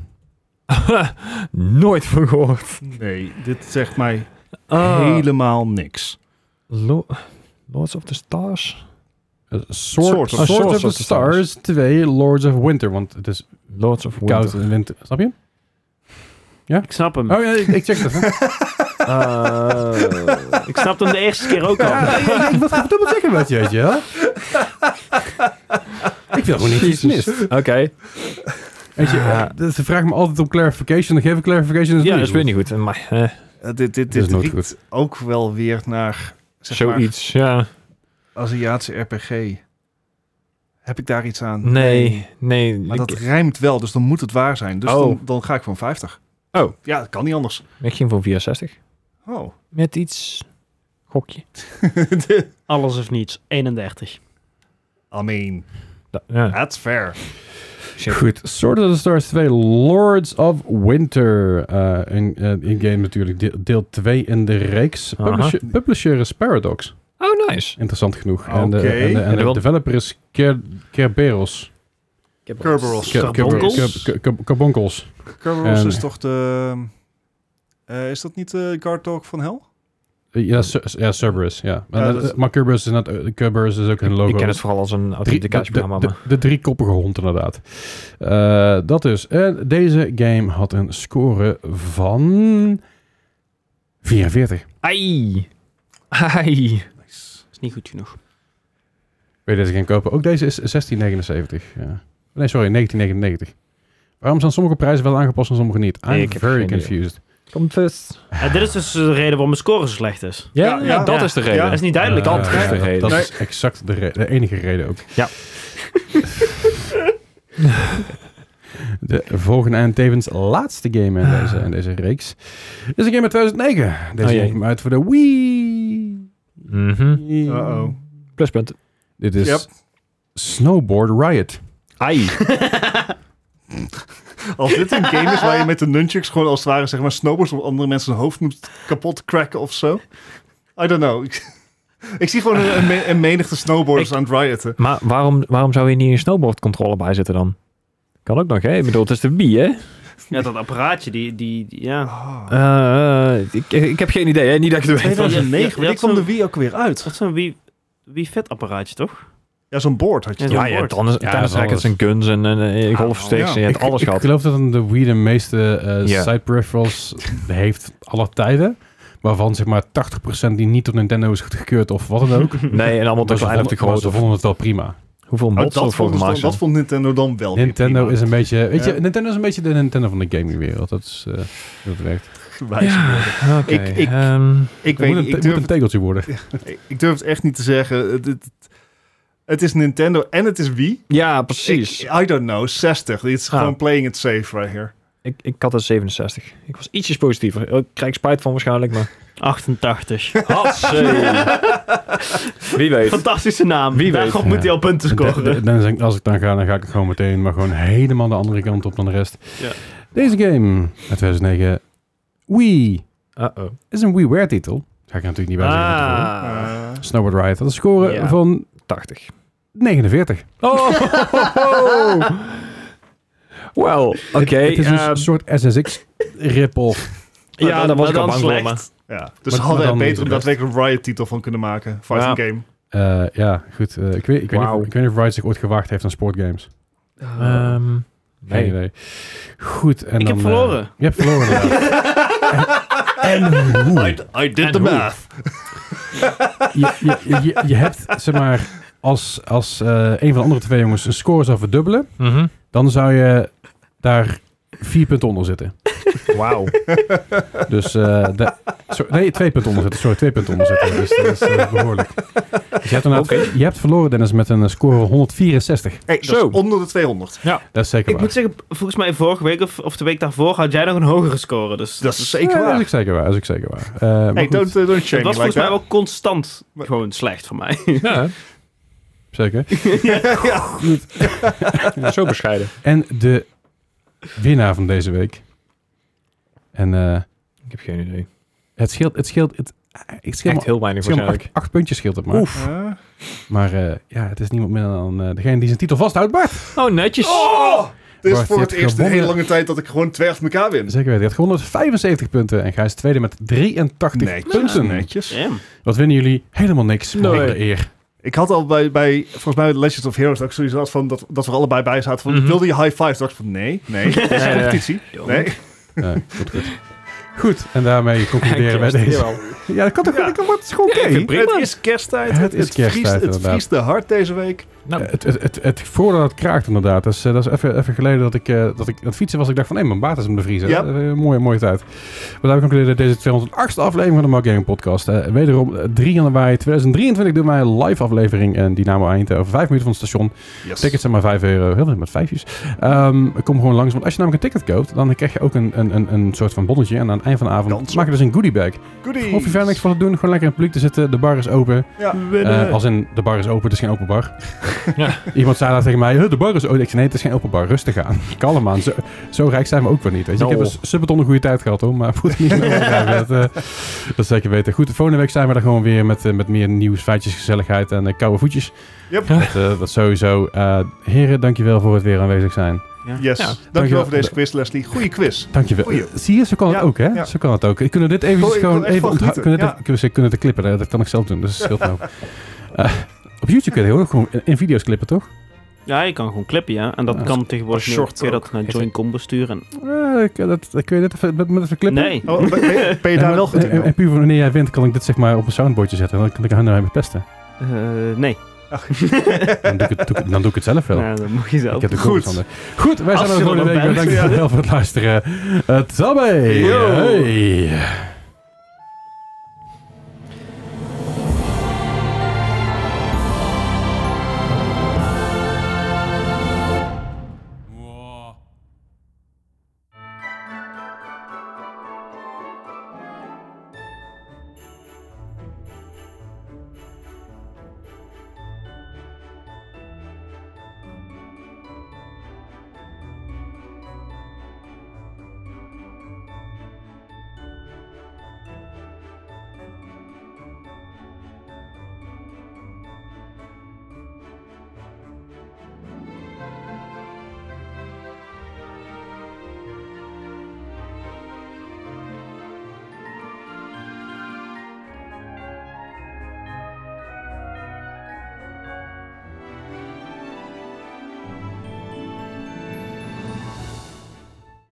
Nooit van gehoord.
Nee, dit zegt mij
Ah.
helemaal niks.
Lo- Lords of the Stars?
Eh, Sword-
Swords of-
Swords
Swords
of the Stars 2 Lords of Winter. Want het is
Lords of
koud
Winter. Hmm.
in de winter. Snap je?
Ik snap hem.
Oh ja, ik, ik check dat. hè.
Eh,
Ik snap hem de eerste keer ook al.
Ja, ik- ik- ik wil het dubbel checken met je, weet je wel. Ik wil gewoon niet iets mis.
Oké.
Weet je, eh, dus ze vragen me altijd om clarification. Dan geef ik clarification.
Ja,
het
dat is weer niet goed. Maar eh,
Eh, dit dit,
Dat
dit
is nooit
riekt
goed.
ook wel weer naar zeg maar,
zoiets, ja.
Aziatische RPG. Heb ik daar iets aan?
Nee, nee.
Maar dat
ik,
rijmt wel, dus dan moet het waar zijn. Dus
Oh.
dan, dan ga ik voor een 50.
Oh.
Ja, dat kan niet anders.
ik ging voor 64.
Oh.
Met iets... Gokje.
Alles of niets. 31.
I mean,
Da- ja.
that's fair.
Goed, Sword of the Stars 2 Lords of Winter. Eh, een, eh, een game natuurlijk, de- deel 2 in de reeks.
Aha.
Publisher, publisher is Paradox,
Oh, nice.
interessant genoeg. En de,
Oké.
en de, en
En
de
wel-
developer is Ker, Kerberos.
Kerberos.
Ker-
Carbonkels?
Ker- Ker- Ker- Carbonkels.
Kerberos
En-
is toch de... eh, is dat niet de Guard Dog van Hel?
Eh, Ja, Cer- ja Cerberus, ja. Maar,
Ja,
dat-
dat is-
maar Cerberus is, net, eh, Cerberus is ook een logo.
Ik ken het vooral als een
Drie- de,
authenticatieprogramma.
de-
maar-
de- de driekoppige hond, inderdaad. Eh, dat dus. En deze game had een score van 44.
Ai. Ai.
Is niet goed genoeg.
Wil je deze game kopen? Ook deze is 1679. Ja. Nee, sorry, 1999. Waarom zijn sommige prijzen wel aangepast en sommige niet? I'm
Ik heb
very
geen idee.
confused.
Komt first.
En dit is dus de reden waarom mijn score zo slecht is.
Ja,
Ja,
ja,
ja.
dat
Ja.
is de reden.
Dat is niet duidelijk.
Eh,
Ah, Dat is de reden.
Dat
Nee.
is exact de, re- de enige reden ook.
Ja.
de volgende en tevens laatste game in deze, in deze reeks is een game uit 2009. Deze
Oh jee.
game kwam uit voor de Wii.
Mhm.
Uh-oh.
Pluspunt.
Dit is
Yep.
Snowboard Riot.
Ai.
Als dit een game is waar je met de nunchucks gewoon als het ware zeg maar snowboards op andere mensen hun hoofd moet kapot cracken of zo. I don't know. Ik, ik zie gewoon een, een me- een menigte snowboarders aan het rioten.
Maar waarom, waarom zou je niet een snowboardcontrole bij zitten dan? Kan ook nog, hè? Ik bedoel, het is de wie, hè?
Ja, dat apparaatje, die... die, die- ja.
Ah.
Eh, eh, ik, ik heb geen idee, hè? Niet dat ik het weet.
2009,
Ja,
wanneer
dat
kwam
zo-
de Wii ook weer uit?
Dat is een Wii, Wii Fit apparaatje, toch?
Ja, zo'n board had je.
Ja,
toch?
Ja, je hebt tennis,
Ja,
tennis
dat is
rackets en guns en, en, en golfsticks
Ja.
en je hebt
Ik-
alles
ik,
gehad.
geloof dat een de Wii de meeste eh,
Ja.
side peripherals heeft alle tijden. Waarvan zeg maar 80% die niet door Nintendo is goedgekeurd of wat dan ook.
Nee, en allemaal te
Maar ze
klein of te
vonden- maar
groot.
ze
of
vonden het wel prima.
Hoeveel
Oh,
mods
dat,
ervoor
vond
gemaakt
dus,
zijn.
dat vond Nintendo dan wel. weer
Nintendo
prima.
is een beetje... Weet
Ja.
je, Nintendo is een beetje de Nintendo van de gamingwereld. Dat is eh, hoe dat werkt.
Wijze woorden.
Oké,
Ik- ik-
ehm,
Ik
Het
weet
moet,
niet,
een,
ik
het moet
durf,
een tegeltje worden.
ik durf het echt niet te zeggen. Het, het, het is Nintendo en het is Wii.
ja, precies.
Ik, I don't know, 60. Dit is
Ah.
gewoon playing it safe right here.
Ik, ik had een 67. Ik was ietsjes positiever. Ik krijg spijt van waarschijnlijk, maar...
88.
Hatsé. Wie weet.
Fantastische naam.
Wie weet.
Daarop moet hij al punten
Dan-
scoren.
dan- dan zeg ik- als ik dan ga, dan ga ik gewoon meteen maar gewoon helemaal de andere kant op dan de rest.
Ja.
Deze game uit 2009. Wii.
Uh-oh.
is een WiiWare-titel. Ga ik er natuurlijk niet bij zeggen. van tevoren.
Ah,
Eh,
Snowboard Riot had een score
Ja.
van
80.
49.
Oh! Wel, oké.
Het is dus een
ehm,
soort SSX rip-off.
Maar
ja,
dan-
daar was
maar
ik al
dan
bang voor,
slecht.
maar...
ja. Dus
Maar-
ze hadden
maar
er
dan
beter een
niet de
daadwerkelijk een Riot-titel van kunnen maken. Fighting game.
Eh, ja, goed. eh, ik, weet, ik, weet niet,
Wauw.
of- ik weet niet of Riot zich ooit gewaagd heeft aan sportgames.
Ehm,
Geen
nee.
idee. Goed. En
Ik
dan,
heb
eh,
verloren.
je hebt verloren, ja.
I, I did
En
the
hoe?
math.
je, je, je, je hebt, zeg maar, als, als eh, een van de andere twee jongens een score zou verdubbelen,
Mhm.
dan zou je daar vier punten onder zitten.
Wauw.
Dus, eh, da- zo- nee, twee punten onder zitten. Sorry, twee punten onder zitten. Dus dat is eh, behoorlijk. Dus je hebt, inderdaad- je hebt verloren, Dennis, met een score van 164.
Hey, dat
Zo.
is onder de 200.
Dat is zeker
Ik
waar.
moet zeggen, volgens mij vorige week of, of de week daarvoor had jij nog een hogere score. Dus
Dat is
Ja,
zeker
Dat
waar.
is ook zeker waar. Dat is ook zeker waar. Eh, maar
Hey,
goed,
don't, uh, don't shame
het was
me like
volgens mij
that.
wel constant gewoon slecht voor mij.
Ja,
Zeker.
zo bescheiden.
En de winnaar van deze week. En eh,
Ik heb geen idee.
het scheelt... Het scheelt, het, ik scheelt
Echt
maar,
heel weinig
het scheelt maar
waarschijnlijk.
acht, acht puntjes scheelt het maar.
Eh?
Maar eh, ja, het is niemand minder dan eh, degene die zijn titel vasthoudt, Bart.
Oh, netjes.
Oh! Dit is
Bart,
voor
je
het
hebt
eerst in een hele
gewonnen.
lange tijd dat ik gewoon twee achter elkaar win.
Zeker weten. Hij had 175 punten en Gijs tweede met 83
Netjes.
punten.
Netjes.
Damn.
Wat winnen jullie? Helemaal niks. maar
Nee.
alle eer.
Ik had al bij, bij volgens mij, Legends of Heroes, dat ik zoiets had van dat, dat we er allebei bij zaten. Van,
Mhm.
Wilde je high five? Dacht ik van, nee, nee, dat is
Nee,
een
nee.
competitie. Nee.
Eh, goed, goed. Goed, en daarmee concluderen wij
Kerst,
deze.
jawel.
Ja, dat kan toch
Ja.
dat kan- dat is gewoon oké.
ik vind het prima.
Het is kersttijd.
Het is kersttijd,
vriest, het
inderdaad.
vriest de hard deze week.
Nou,
Eh, Het, het, het, het voordeel dat het kraakt inderdaad. Dat is, eh, dat is even, even geleden dat ik, eh, dat ik aan het fietsen was. Ik dacht van, hé, mijn baard is om de vriezen.
Ja.
Eh, mooie, mooie tijd. We hebben concluderen deze 208e aflevering van de Mark Gaming Podcast. Eh, wederom eh, 3 januari 2023 doen wij een live aflevering in Dynamo Eindhoven. eh, Vijf minuten van het station.
Yes.
Tickets zijn maar 5 euro. Heel veel met vijfjes. Ehm, kom gewoon langs. Want als je namelijk een ticket koopt, dan krijg je ook een, een, een, een soort van bonnetje. En aan het eind van de avond
Kans op.
maak je dus een goodie bag.
Goodies.
Hoef je verder niks van te doen. Gewoon lekker in het publiek te zitten. De bar is open. Eh, als in, de bar is open, het is geen open bar.
Ja.
Iemand zei daar tegen mij, "Huh, de bar is open. Ik zei, nee, het is geen open bar. Rustig aan. Kalm aan. Zo, zo rijk zijn we ook weer niet. Weet je. Ik
Nou.
heb een subbeton een goede tijd gehad, hoor. Maar moet niet meer overdrijven. dat, eh, dat is zeker weten. Goed, de volgende week zijn we er gewoon weer met, eh, met meer nieuws, feitjes, gezelligheid en eh, koude voetjes.
Yep.
Dat, eh, dat sowieso. Eh heren, dankjewel voor het weer aanwezig zijn.
Yes.
Ja.
Dankjewel voor
Dankjewel.
deze quiz, Leslie. Goeie quiz.
Dankjewel. Eh,
Goeie.
Zie je, zo kan het
Ja,
ook, hè?
ja.
Zo kan het ook. Ik kunnen dit even
wil- ik wil
gewoon
echt
even
van
onthouden.
genieten,
Kunnen,
ja.
het- kunnen, ze- kunnen het klippen, hè? dat kan ik zelf doen, dus dat scheelt nou. Eh, op YouTube kun je heel ook gewoon in, in video's klippen, toch?
Ja, je kan gewoon clippen, ja. En dat
Ja, dat
kan tegenwoordig
dat
nu
short
kun je dat naar
Heeft
Join
het-
Combo sturen.
Eh, ik- dat, dat- kun je dit even, met, met even klippen?
Nee.
Oh, ben, ben- ben je daar
En-
wel goed
en, en,
in?
puur van wanneer jij wint, kan ik dit zeg maar op een soundboardje zetten. En dan kan ik hun ermee pesten.
Eh, nee.
Dan doe ik het, doe ik- dan doe ik het zelf wel.
Ja, dat moet je zelf.
Ik heb de
Goed.
goed. Handen. Goed, wij
Als
zijn er
je er
volgende
nog
week.
bent.
Dankjewel voor het luisteren. Het zal bij.
Yo.
Eh, Hey.